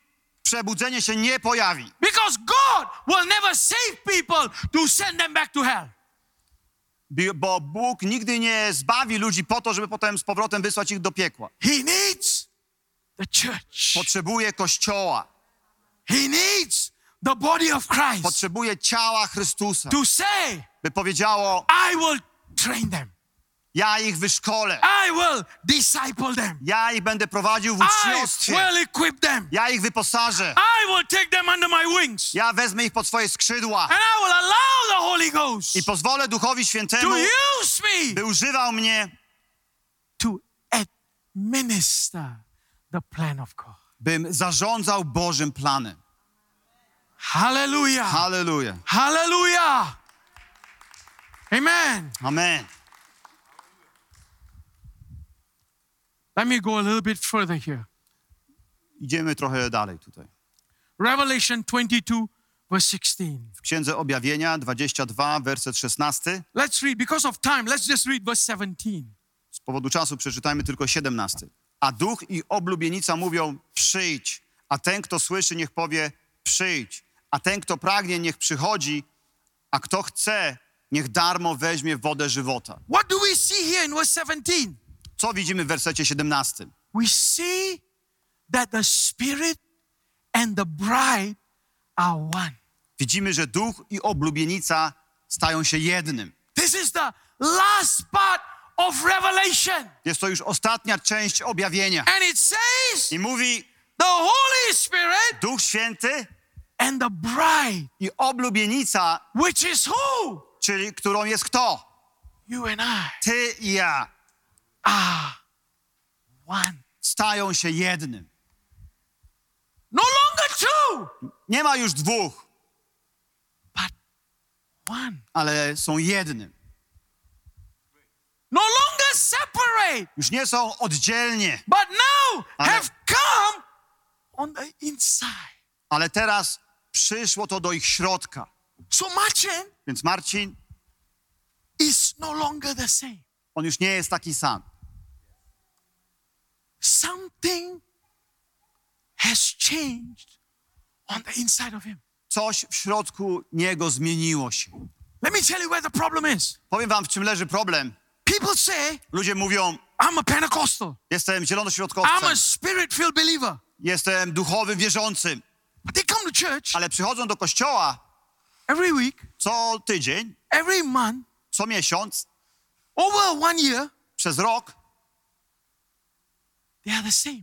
Speaker 3: przebudzenie się nie pojawi,
Speaker 2: Because God will never save people to send them back to hell.
Speaker 3: bi- bo Bóg nigdy nie zbawi ludzi po to, żeby potem z powrotem wysłać ich do piekła.
Speaker 2: He needs the church.
Speaker 3: Potrzebuje kościoła,
Speaker 2: He needs the body of Christ
Speaker 3: potrzebuje ciała Chrystusa,
Speaker 2: to say,
Speaker 3: by powiedziało:
Speaker 2: I will train them.
Speaker 3: Ja ich wyszkolę,
Speaker 2: I will disciple them.
Speaker 3: ja ich będę prowadził w
Speaker 2: I
Speaker 3: uczniostwie,
Speaker 2: will equip them.
Speaker 3: ja ich wyposażę,
Speaker 2: I will take them under my wings.
Speaker 3: ja wezmę ich pod swoje skrzydła
Speaker 2: And I will allow the Holy Ghost
Speaker 3: i pozwolę Duchowi
Speaker 2: to
Speaker 3: Świętemu,
Speaker 2: use me
Speaker 3: by używał mnie,
Speaker 2: to administer the plan of God.
Speaker 3: bym zarządzał Bożym planem.
Speaker 2: Hallelujah.
Speaker 3: Halleluja.
Speaker 2: Hallelujah. Amen.
Speaker 3: Amen.
Speaker 2: Let me go a little bit further here.
Speaker 3: Idziemy trochę dalej tutaj.
Speaker 2: Revelation 22, verse 16.
Speaker 3: W Księdze Objawienia 22, werset 16.
Speaker 2: Let's read, because of time, let's just read verse 17.
Speaker 3: Z powodu czasu przeczytajmy tylko 17. A duch i oblubienica mówią: Przyjdź, a ten, kto słyszy, niech powie: Przyjdź, a ten, kto pragnie, niech przychodzi, a kto chce, niech darmo weźmie wodę żywota.
Speaker 2: What do we see here in verse 17?
Speaker 3: Co widzimy w wersecie 17?
Speaker 2: We see that the Spirit and the bride are one.
Speaker 3: Widzimy, że duch i oblubienica stają się jednym.
Speaker 2: This is the last part of Revelation.
Speaker 3: Jest to już ostatnia część objawienia.
Speaker 2: And it says, the
Speaker 3: I mówi:
Speaker 2: Holy Spirit
Speaker 3: Duch Święty
Speaker 2: and the bride,
Speaker 3: i oblubienica,
Speaker 2: which is who?
Speaker 3: czyli którą jest kto?
Speaker 2: You and I
Speaker 3: Ty i ja
Speaker 2: are one.
Speaker 3: stają się jednym.
Speaker 2: No longer two,
Speaker 3: Nie ma już dwóch,
Speaker 2: but one.
Speaker 3: ale są jednym.
Speaker 2: No longer separate,
Speaker 3: Już nie są oddzielnie,
Speaker 2: but now
Speaker 3: Amen.
Speaker 2: have come on the inside.
Speaker 3: ale teraz przyszło to do ich środka.
Speaker 2: So Martin
Speaker 3: Więc Marcin,
Speaker 2: is no longer the same.
Speaker 3: on już nie jest taki sam.
Speaker 2: Something has changed on the inside of him.
Speaker 3: Coś w środku niego zmieniło się.
Speaker 2: Let me tell you where the problem is.
Speaker 3: Powiem wam, w czym leży problem.
Speaker 2: People say,
Speaker 3: Ludzie mówią,
Speaker 2: I'm a Pentecostal.
Speaker 3: jestem
Speaker 2: I'm
Speaker 3: zielonośrodkowcem,
Speaker 2: a spirit filled believer.
Speaker 3: jestem duchowym wierzącym,
Speaker 2: But they come to church
Speaker 3: ale przychodzą do kościoła
Speaker 2: every week,
Speaker 3: co tydzień,
Speaker 2: every month,
Speaker 3: co miesiąc,
Speaker 2: over one year,
Speaker 3: przez rok
Speaker 2: they are the same.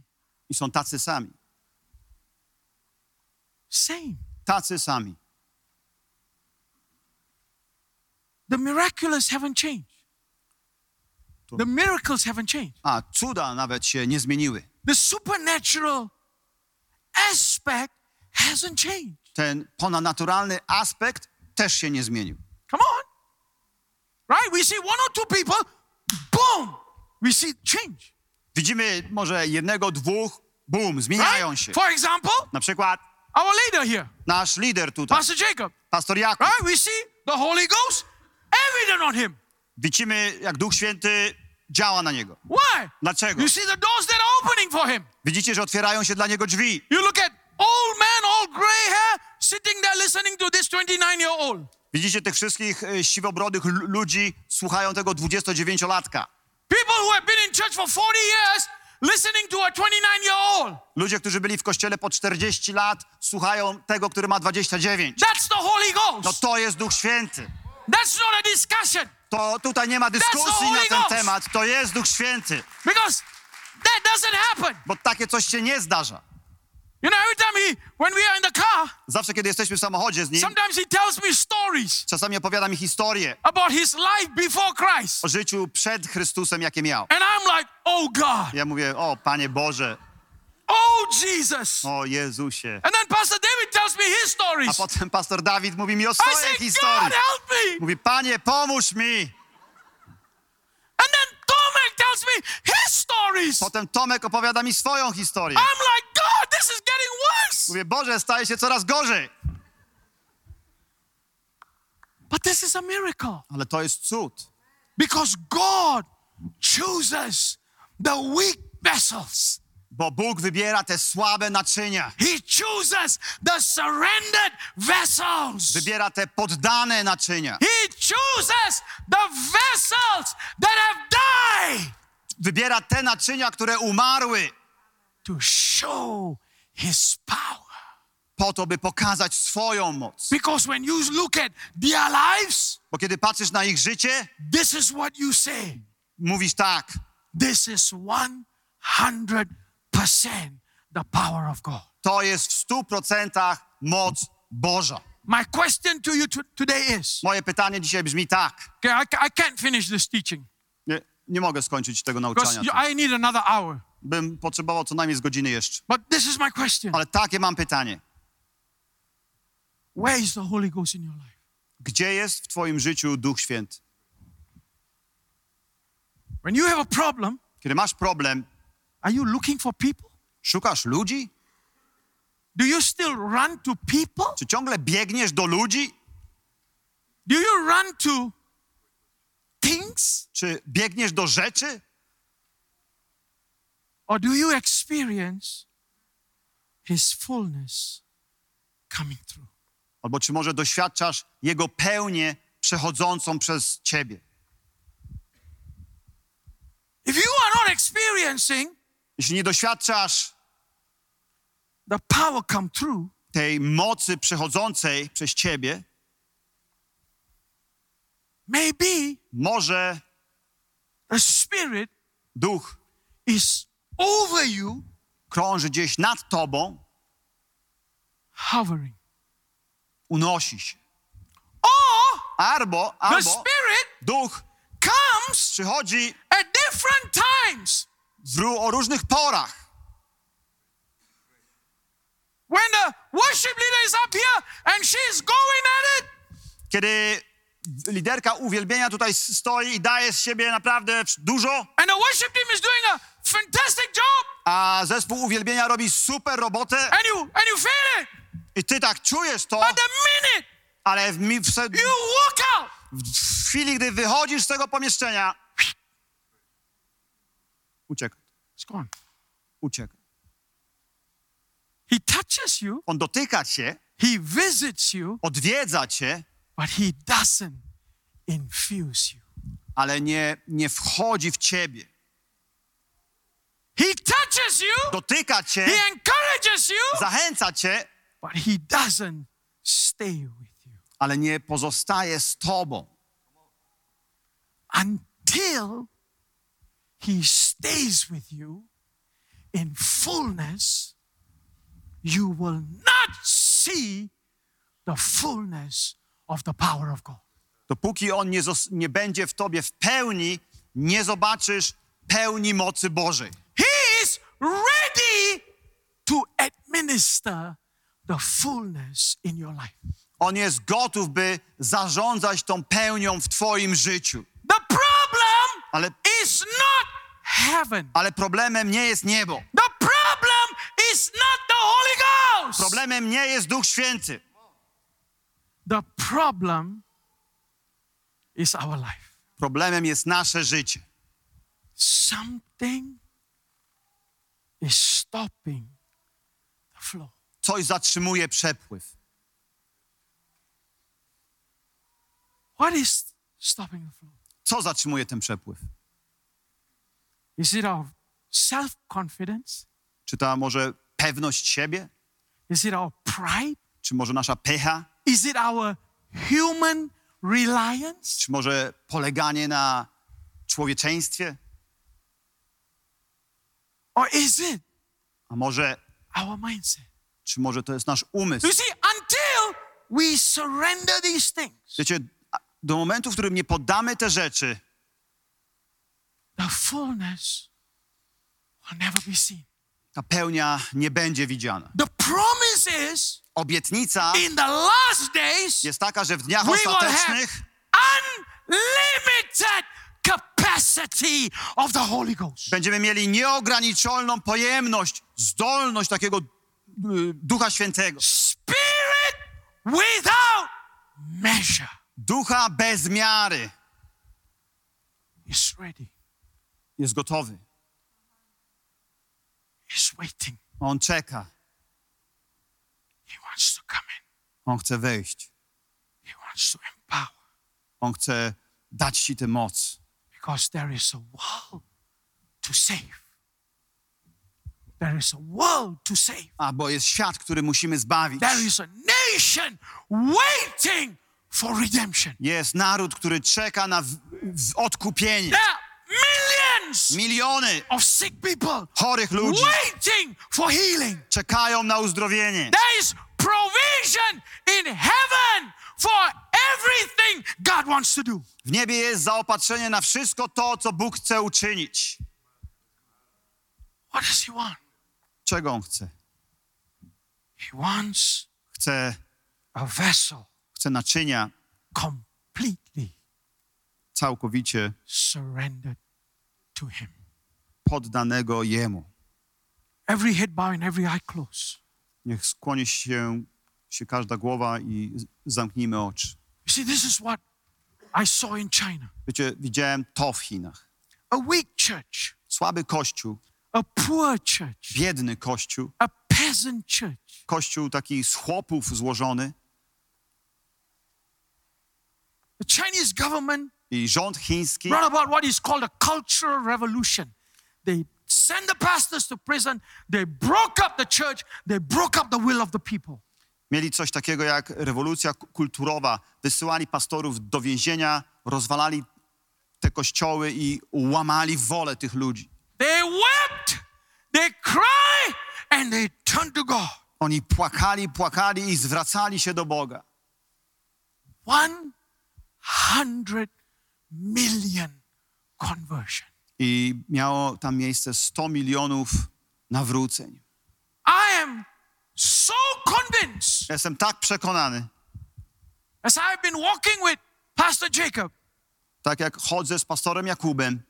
Speaker 3: i są tacy sami.
Speaker 2: Same.
Speaker 3: Tacy sami.
Speaker 2: The miraculous haven't changed. The miracles haven't changed.
Speaker 3: A cuda nawet się nie zmieniły.
Speaker 2: The supernatural aspect hasn't changed.
Speaker 3: Ten ponadnaturalny aspekt też się nie zmienił.
Speaker 2: Come on. Right? We see one or two people, boom, we see change.
Speaker 3: Widzimy może jednego, dwóch, bum, zmieniają
Speaker 2: Right?
Speaker 3: się.
Speaker 2: For example,
Speaker 3: Na przykład
Speaker 2: our leader here,
Speaker 3: nasz lider tutaj,
Speaker 2: Pastor Jacob.
Speaker 3: pastor Jakub.
Speaker 2: Right? We see the Holy Ghost evident on him.
Speaker 3: Widzimy, jak Duch Święty działa na niego.
Speaker 2: Why?
Speaker 3: Dlaczego?
Speaker 2: You see the doors that are opening for him.
Speaker 3: Widzicie, że otwierają się dla niego drzwi.
Speaker 2: You look at old man, all gray hair, sitting there listening to this 29 year old.
Speaker 3: Widzicie tych wszystkich e, siwobrodych lu- ludzi, słuchają tego 29-latka.
Speaker 2: People who have been in church for 40 years listening to a 29 year old.
Speaker 3: Ludzie, którzy byli w kościele po 40 lat, słuchają tego, który ma 29.
Speaker 2: That's the Holy
Speaker 3: No
Speaker 2: Ghost.
Speaker 3: to jest Duch Święty.
Speaker 2: That's not a discussion
Speaker 3: To tutaj nie ma dyskusji
Speaker 2: Holy
Speaker 3: na ten
Speaker 2: Ghost.
Speaker 3: temat. To jest Duch Święty.
Speaker 2: because that doesn't happen.
Speaker 3: Bo takie coś się nie zdarza.
Speaker 2: You know, every time he, when we are in the car,
Speaker 3: Zawsze, kiedy jesteśmy w samochodzie z nim,
Speaker 2: sometimes he tells me stories
Speaker 3: czasami opowiada mi historię
Speaker 2: about his life before Christ.
Speaker 3: o życiu przed Chrystusem, jakie miał.
Speaker 2: And I'm like, oh God,
Speaker 3: Ja mówię, o Panie Boże,
Speaker 2: oh Jesus.
Speaker 3: o Jezusie.
Speaker 2: And then Pastor David tells me his
Speaker 3: A
Speaker 2: stories.
Speaker 3: potem pastor Dawid mówi mi o
Speaker 2: I
Speaker 3: swojej
Speaker 2: say, God
Speaker 3: historii.
Speaker 2: help me.
Speaker 3: Mówi, Panie, pomóż mi.
Speaker 2: And then Tomek tells me his stories.
Speaker 3: Potem Tomek opowiada mi swoją historię.
Speaker 2: I'm like, God, this is getting worse.
Speaker 3: Mówię, Boże, staje się coraz gorzej.
Speaker 2: But this is a miracle
Speaker 3: Ale to jest cud.
Speaker 2: because God chooses the weak vessels.
Speaker 3: Bo Bóg wybiera te słabe naczynia.
Speaker 2: He chooses the surrendered vessels.
Speaker 3: Wybiera te poddane naczynia.
Speaker 2: He chooses the vessels that have died
Speaker 3: Wybiera te naczynia, które umarły,
Speaker 2: to show his power.
Speaker 3: po to, by pokazać swoją moc.
Speaker 2: Because when you look at their lives,
Speaker 3: Bo kiedy patrzysz na ich życie,
Speaker 2: this is what you say.
Speaker 3: mówisz tak,
Speaker 2: This is 100% the power of God.
Speaker 3: to jest w stu procentach moc Boża.
Speaker 2: My question to you to- today is
Speaker 3: Moje pytanie dzisiaj brzmi tak.
Speaker 2: okay, I, ca- I can't finish this teaching
Speaker 3: Nie, nie mogę skończyć tego
Speaker 2: because
Speaker 3: nauczania.
Speaker 2: you- I need another hour.
Speaker 3: Bym potrzebował co najmniej z godziny jeszcze.
Speaker 2: But this is my question
Speaker 3: Ale takie mam pytanie.
Speaker 2: Where is the Holy Ghost in your life?
Speaker 3: Gdzie jest w twoim życiu Duch Święty?
Speaker 2: When you have a problem,
Speaker 3: Kiedy masz problem,
Speaker 2: are you looking for people?
Speaker 3: szukasz ludzi?
Speaker 2: Do you still run to people?
Speaker 3: Czy ciągle biegniesz do ludzi?
Speaker 2: Do you run to things?
Speaker 3: Czy biegniesz do rzeczy?
Speaker 2: Or do you experience His fullness coming through?
Speaker 3: Albo czy może doświadczasz Jego pełnię przechodzącą przez ciebie?
Speaker 2: If you are not experiencing
Speaker 3: Jeśli nie doświadczasz
Speaker 2: the power come through,
Speaker 3: tej mocy przechodzącej przez ciebie,
Speaker 2: maybe
Speaker 3: może
Speaker 2: the Spirit
Speaker 3: Duch
Speaker 2: is over you,
Speaker 3: krąży gdzieś nad tobą,
Speaker 2: hovering.
Speaker 3: unosi się.
Speaker 2: Or
Speaker 3: Albo,
Speaker 2: the
Speaker 3: albo
Speaker 2: Spirit
Speaker 3: Duch
Speaker 2: comes
Speaker 3: przychodzi
Speaker 2: at different times.
Speaker 3: w, ró- o różnych porach.
Speaker 2: When the worship leader is up here and she's going at it,
Speaker 3: Kiedy liderka uwielbienia tutaj s- stoi i daje z siebie naprawdę dużo,
Speaker 2: and the worship team is doing a fantastic job,
Speaker 3: a zespół uwielbienia robi super robotę
Speaker 2: and you and you feel it.
Speaker 3: i ty tak czujesz to,
Speaker 2: But the minute
Speaker 3: ale w, mi- w, se-
Speaker 2: you walk out,
Speaker 3: w chwili, gdy wychodzisz z tego pomieszczenia, ucieka,
Speaker 2: it's gone.
Speaker 3: ucieka.
Speaker 2: He touches you,
Speaker 3: On dotyka cię,
Speaker 2: he visits you,
Speaker 3: odwiedza cię,
Speaker 2: but he doesn't infuse you.
Speaker 3: ale nie, nie wchodzi w ciebie.
Speaker 2: He touches you,
Speaker 3: Dotyka
Speaker 2: he
Speaker 3: cię,
Speaker 2: encourages you,
Speaker 3: zachęca cię,
Speaker 2: but he doesn't stay with you
Speaker 3: ale nie pozostaje z tobą,
Speaker 2: until he stays with you in fullness you will not see the fullness of the power of god
Speaker 3: Dopóki on nie, zos- nie będzie w tobie w pełni, nie zobaczysz pełni mocy Bożej.
Speaker 2: He is ready to administer the fullness in your life.
Speaker 3: On jest gotów, by zarządzać tą pełnią w twoim życiu.
Speaker 2: The problem
Speaker 3: Ale,
Speaker 2: is not heaven.
Speaker 3: ale problemem nie jest niebo.
Speaker 2: The problem is not the Holy Ghost.
Speaker 3: Problemem nie jest Duch Święty.
Speaker 2: The problem is our life.
Speaker 3: Problemem jest nasze życie.
Speaker 2: Something is stopping the flow.
Speaker 3: Coś zatrzymuje przepływ.
Speaker 2: What is stopping the flow?
Speaker 3: Co zatrzymuje ten przepływ?
Speaker 2: Is it our self confidence?
Speaker 3: Czy ta może pewność siebie?
Speaker 2: Is it our pride?
Speaker 3: Czy może nasza pycha?
Speaker 2: Is it our human reliance?
Speaker 3: Czy może poleganie na człowieczeństwie?
Speaker 2: Or is it
Speaker 3: A może,
Speaker 2: our mindset?
Speaker 3: czy może to jest nasz umysł?
Speaker 2: You see, until we surrender these things,
Speaker 3: Wiecie, a- do momentu, w którym nie poddamy te rzeczy,
Speaker 2: the fullness will never be seen.
Speaker 3: ta pełnia nie będzie widziana.
Speaker 2: The promise is
Speaker 3: Obietnica
Speaker 2: in the last days,
Speaker 3: jest taka, że w dniach
Speaker 2: we will have
Speaker 3: ostatecznych
Speaker 2: unlimited capacity of the Holy Ghost.
Speaker 3: będziemy mieli nieograniczoną pojemność, zdolność takiego y, Ducha Świętego.
Speaker 2: Spirit without measure
Speaker 3: Ducha bez miary
Speaker 2: is ready,
Speaker 3: jest gotowy.
Speaker 2: is waiting.
Speaker 3: On czeka.
Speaker 2: He wants to come in,
Speaker 3: On chce wejść.
Speaker 2: He wants to empower
Speaker 3: On chce dać ci tę moc,
Speaker 2: because there is a world to save. There is a world to save.
Speaker 3: a bo jest świat, który musimy zbawić.
Speaker 2: There is a nation waiting for redemption.
Speaker 3: Jest naród, który czeka na w- w- odkupienie.
Speaker 2: There are millions
Speaker 3: Miliony
Speaker 2: of sick people
Speaker 3: chorych ludzi
Speaker 2: waiting for healing.
Speaker 3: czekają na uzdrowienie.
Speaker 2: There is provision in heaven for everything God wants to do.
Speaker 3: W niebie jest zaopatrzenie na wszystko to, co Bóg chce uczynić.
Speaker 2: What does He want?
Speaker 3: Czego On chce?
Speaker 2: He wants
Speaker 3: Chce,
Speaker 2: a vessel
Speaker 3: chce naczynia
Speaker 2: completely
Speaker 3: całkowicie
Speaker 2: surrendered to Him.
Speaker 3: poddanego Jemu.
Speaker 2: Every head bowed and every eye closed.
Speaker 3: Niech skłoni się, się każda głowa i z- zamknijmy oczy.
Speaker 2: You see, this is what I saw in China
Speaker 3: Wiecie, widziałem to w Chinach.
Speaker 2: a weak church,
Speaker 3: Słaby kościół,
Speaker 2: a poor church,
Speaker 3: biedny kościół,
Speaker 2: a peasant church.
Speaker 3: kościół taki z chłopów złożony
Speaker 2: The Chinese government
Speaker 3: i rząd chiński
Speaker 2: brought about what is called a cultural revolution. They sent the pastors to prison, they broke up the church, they broke up the will of the people.
Speaker 3: mieli coś takiego jak rewolucja k- kulturowa. Wysyłali pastorów do więzienia, rozwalali te kościoły i łamali wolę tych ludzi.
Speaker 2: They wept, they cried, and they turned to God.
Speaker 3: Oni płakali, płakali i zwracali się do Boga.
Speaker 2: 100 million conversion.
Speaker 3: I miało tam miejsce 100 milionów nawróceń.
Speaker 2: I am so convinced
Speaker 3: Ja Jestem tak przekonany,
Speaker 2: as I've been walking with Pastor Jacob,
Speaker 3: tak jak chodzę z pastorem Jakubem,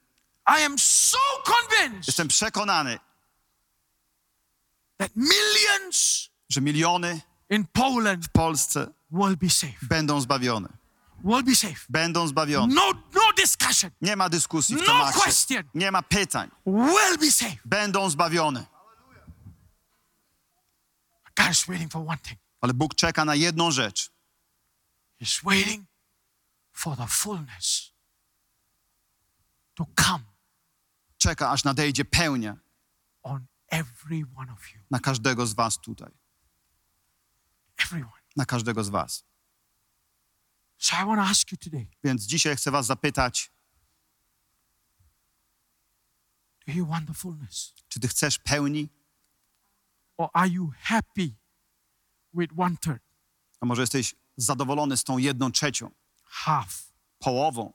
Speaker 2: I am so convinced
Speaker 3: jestem przekonany,
Speaker 2: that millions
Speaker 3: że miliony
Speaker 2: in Poland
Speaker 3: w Polsce
Speaker 2: will be saved.
Speaker 3: będą zbawione.
Speaker 2: Will be saved.
Speaker 3: Będą zbawione.
Speaker 2: No, no discussion.
Speaker 3: Nie ma dyskusji w
Speaker 2: No
Speaker 3: temacie.
Speaker 2: question.
Speaker 3: Nie ma pytań.
Speaker 2: Will be saved.
Speaker 3: Będą zbawione.
Speaker 2: God is waiting for one thing.
Speaker 3: Ale Bóg czeka na jedną rzecz.
Speaker 2: He's waiting for the fullness to come
Speaker 3: Czeka, aż nadejdzie pełnia
Speaker 2: on every one of you.
Speaker 3: na każdego z was tutaj.
Speaker 2: Everyone.
Speaker 3: Na każdego z was.
Speaker 2: So I want to ask you today
Speaker 3: Więc dzisiaj chcę was zapytać,
Speaker 2: do you want the fullness?
Speaker 3: czy ty chcesz pełni?
Speaker 2: Or are you happy with one third,
Speaker 3: A może jesteś zadowolony z tą jedną trzecią?
Speaker 2: half?
Speaker 3: połową,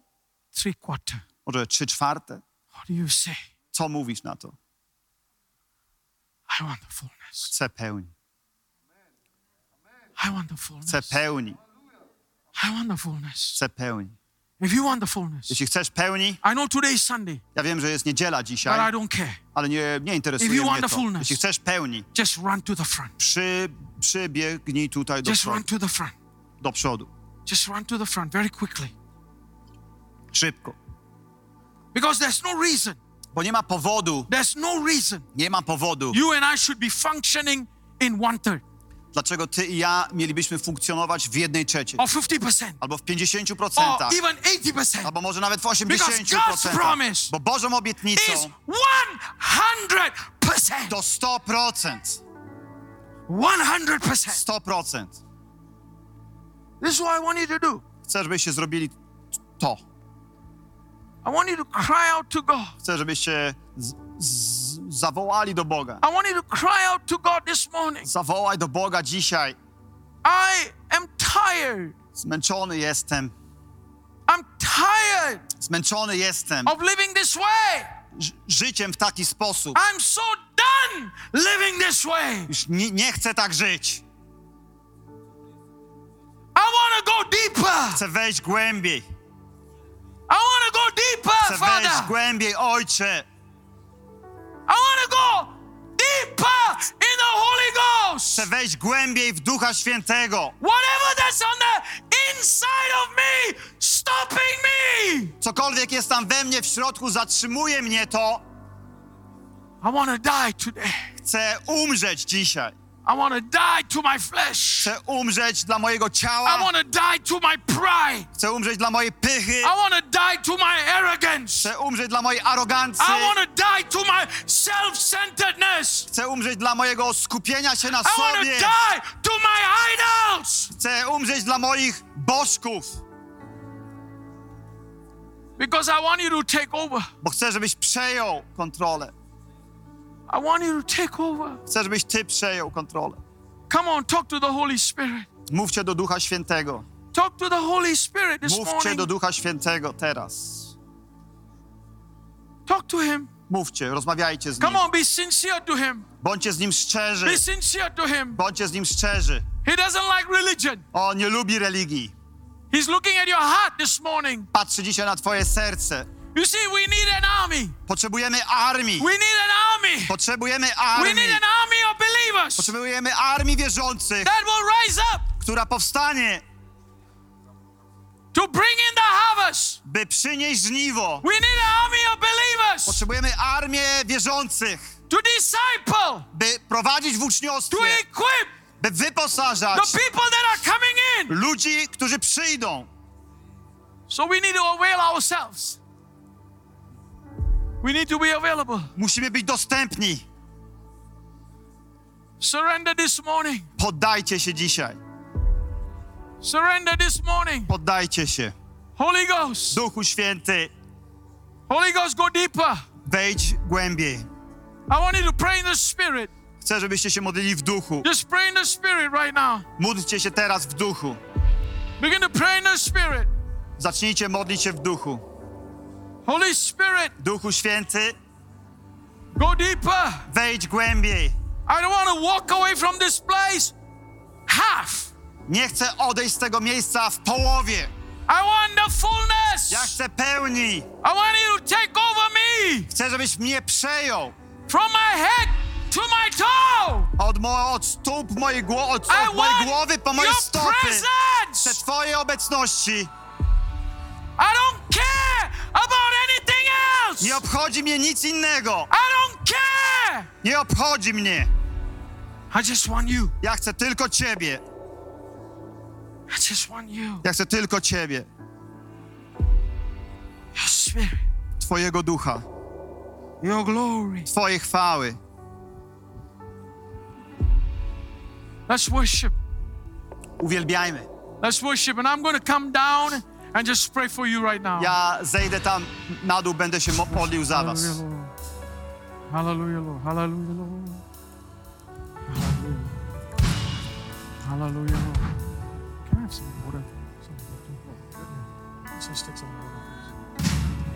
Speaker 2: three quarter.
Speaker 3: może trzy czwarte.
Speaker 2: What do you say?
Speaker 3: Co mówisz na to?
Speaker 2: I want the fullness.
Speaker 3: Chcę pełni,
Speaker 2: I want the fullness.
Speaker 3: chcę pełni,
Speaker 2: I want the fullness.
Speaker 3: chcę pełni.
Speaker 2: If you want the fullness,
Speaker 3: Jeśli chcesz pełni,
Speaker 2: I know today is Sunday,
Speaker 3: ja wiem, że jest niedziela
Speaker 2: but I
Speaker 3: dzisiaj,
Speaker 2: don't care.
Speaker 3: ale nie, nie interesuje
Speaker 2: If you
Speaker 3: mnie
Speaker 2: want the
Speaker 3: to.
Speaker 2: fullness.
Speaker 3: Jeśli chcesz pełni,
Speaker 2: Just run to the front.
Speaker 3: przy, przybiegnij tutaj do
Speaker 2: Just run
Speaker 3: przodu,
Speaker 2: to the front.
Speaker 3: do przodu,
Speaker 2: Just run to the front very quickly.
Speaker 3: szybko.
Speaker 2: Because there's no reason.
Speaker 3: Bo nie ma powodu,
Speaker 2: There's no reason.
Speaker 3: nie ma powodu,
Speaker 2: You and I should be functioning in one third
Speaker 3: dlaczego ty i ja mielibyśmy funkcjonować w jednej trzeciej,
Speaker 2: or 50%
Speaker 3: albo w
Speaker 2: or
Speaker 3: 50%,
Speaker 2: even 80%.
Speaker 3: albo może nawet w
Speaker 2: Because God's
Speaker 3: 80%.
Speaker 2: promise
Speaker 3: Bo Bożą
Speaker 2: Is
Speaker 3: obietnicą
Speaker 2: 100%.
Speaker 3: to 100%.
Speaker 2: 100%.
Speaker 3: 100%.
Speaker 2: This is what I want you to do.
Speaker 3: Chcę, żebyście zrobili to.
Speaker 2: I want you to cry out to God.
Speaker 3: Chcę, żebyście z, z, zawołali do Boga.
Speaker 2: I want you to cry out to God this morning.
Speaker 3: Zawołaj do Boga dzisiaj.
Speaker 2: I am tired.
Speaker 3: Zmęczony jestem.
Speaker 2: I'm tired
Speaker 3: Zmęczony jestem
Speaker 2: of living this way.
Speaker 3: ż- życiem w taki sposób.
Speaker 2: I'm so done living this way.
Speaker 3: Już nie, nie chcę tak żyć.
Speaker 2: I want to go deeper.
Speaker 3: Chcę wejść głębiej.
Speaker 2: I want to go deeper,
Speaker 3: Chcę wejść
Speaker 2: Father.
Speaker 3: głębiej, Ojcze.
Speaker 2: I want to go deeper in the Holy Ghost.
Speaker 3: Chcę wejść głębiej w Ducha Świętego.
Speaker 2: Whatever that's on the inside of me, stopping me.
Speaker 3: Cokolwiek jest tam we mnie w środku, zatrzymuje mnie to.
Speaker 2: I want to die today.
Speaker 3: Chcę umrzeć dzisiaj.
Speaker 2: I want to die to my flesh.
Speaker 3: Chcę umrzeć dla mojego
Speaker 2: I
Speaker 3: ciała.
Speaker 2: want to die to my pride.
Speaker 3: Chcę umrzeć dla mojej pychy.
Speaker 2: I want to die to my arrogance.
Speaker 3: Chcę umrzeć dla mojej arogancji.
Speaker 2: I want to die to my self centeredness.
Speaker 3: Chcę umrzeć dla mojego skupienia się na
Speaker 2: I want
Speaker 3: sobie.
Speaker 2: to die to my idols.
Speaker 3: Chcę umrzeć dla moich bożków,
Speaker 2: Because I want you to take over.
Speaker 3: bo chcę, żebyś przejął kontrolę.
Speaker 2: I want you to take over.
Speaker 3: Chcę, żebyś ty przejął kontrolę.
Speaker 2: Come on, talk to the Holy Spirit.
Speaker 3: Mówcie do Ducha Świętego.
Speaker 2: Talk to the Holy Spirit this
Speaker 3: Mówcie
Speaker 2: morning.
Speaker 3: do Ducha Świętego teraz.
Speaker 2: Talk to Him.
Speaker 3: Mówcie, rozmawiajcie z nim.
Speaker 2: Come on, be sincere to Him.
Speaker 3: Bądźcie z nim szczerzy.
Speaker 2: Be sincere to Him.
Speaker 3: Bądźcie z nim szczerzy.
Speaker 2: He doesn't like religion.
Speaker 3: On nie lubi religii.
Speaker 2: He's looking at your heart this morning.
Speaker 3: Patrzy dzisiaj na twoje serce.
Speaker 2: You see, we need an army.
Speaker 3: Potrzebujemy armii.
Speaker 2: We need an army.
Speaker 3: Potrzebujemy
Speaker 2: We
Speaker 3: armii.
Speaker 2: need an army of believers
Speaker 3: Potrzebujemy armii wierzących,
Speaker 2: that will rise up
Speaker 3: która powstanie,
Speaker 2: to bring in the harvest.
Speaker 3: by przynieść żniwo.
Speaker 2: We need an army of believers
Speaker 3: Potrzebujemy armię wierzących,
Speaker 2: to disciple,
Speaker 3: by prowadzić w uczniostwie,
Speaker 2: to equip
Speaker 3: by wyposażać
Speaker 2: the people that are coming in.
Speaker 3: ludzi, którzy przyjdą.
Speaker 2: So we need to avail ourselves. We need to be available.
Speaker 3: Musimy być dostępni.
Speaker 2: Surrender this morning.
Speaker 3: Poddajcie się dzisiaj.
Speaker 2: Surrender this morning.
Speaker 3: Poddajcie się.
Speaker 2: Holy Ghost.
Speaker 3: Duchu Święty,
Speaker 2: Holy Ghost, go deeper.
Speaker 3: wejdź głębiej.
Speaker 2: I want you to pray in the spirit.
Speaker 3: Chcę, żebyście się modlili w duchu.
Speaker 2: Just pray in the spirit right now.
Speaker 3: Módlcie się teraz w duchu.
Speaker 2: Begin to pray in the spirit.
Speaker 3: Zacznijcie modlić się w duchu.
Speaker 2: Holy Spirit,
Speaker 3: Duchu Święty,
Speaker 2: go deeper.
Speaker 3: wejdź głębiej.
Speaker 2: I don't want to walk away from this place half.
Speaker 3: Nie chcę odejść z tego miejsca w połowie.
Speaker 2: I want the
Speaker 3: Ja
Speaker 2: fullness.
Speaker 3: chcę pełni.
Speaker 2: I want you to take over me
Speaker 3: Chcę, żebyś mnie przejął.
Speaker 2: from my head to my toe.
Speaker 3: Od, mo- od stóp mojej gło- od,
Speaker 2: I
Speaker 3: od mojej
Speaker 2: want
Speaker 3: głowy po moje
Speaker 2: your
Speaker 3: stopy. Chcę
Speaker 2: presence.
Speaker 3: Twojej obecności.
Speaker 2: I don't care about anything else.
Speaker 3: Nie obchodzi mnie nic innego.
Speaker 2: I don't care.
Speaker 3: Nie obchodzi mnie.
Speaker 2: I just want you.
Speaker 3: Ja chcę tylko Ciebie.
Speaker 2: I just want you.
Speaker 3: Ja chcę tylko Ciebie.
Speaker 2: Your spirit,
Speaker 3: Twojego ducha.
Speaker 2: your glory.
Speaker 3: Twojej chwały.
Speaker 2: Let's worship.
Speaker 3: Uwielbiajmy.
Speaker 2: Let's worship. And I'm going to come down and just pray for you right now.
Speaker 3: Ja zejdę tam na dół, będę się mo- modlił za Was.
Speaker 2: Hallelujah, Lord. Hallelujah, Lord. Hallelujah, Lord. Hallelujah. Hallelujah, Lord. Can I have some water? Some water? So it sticks on the wall.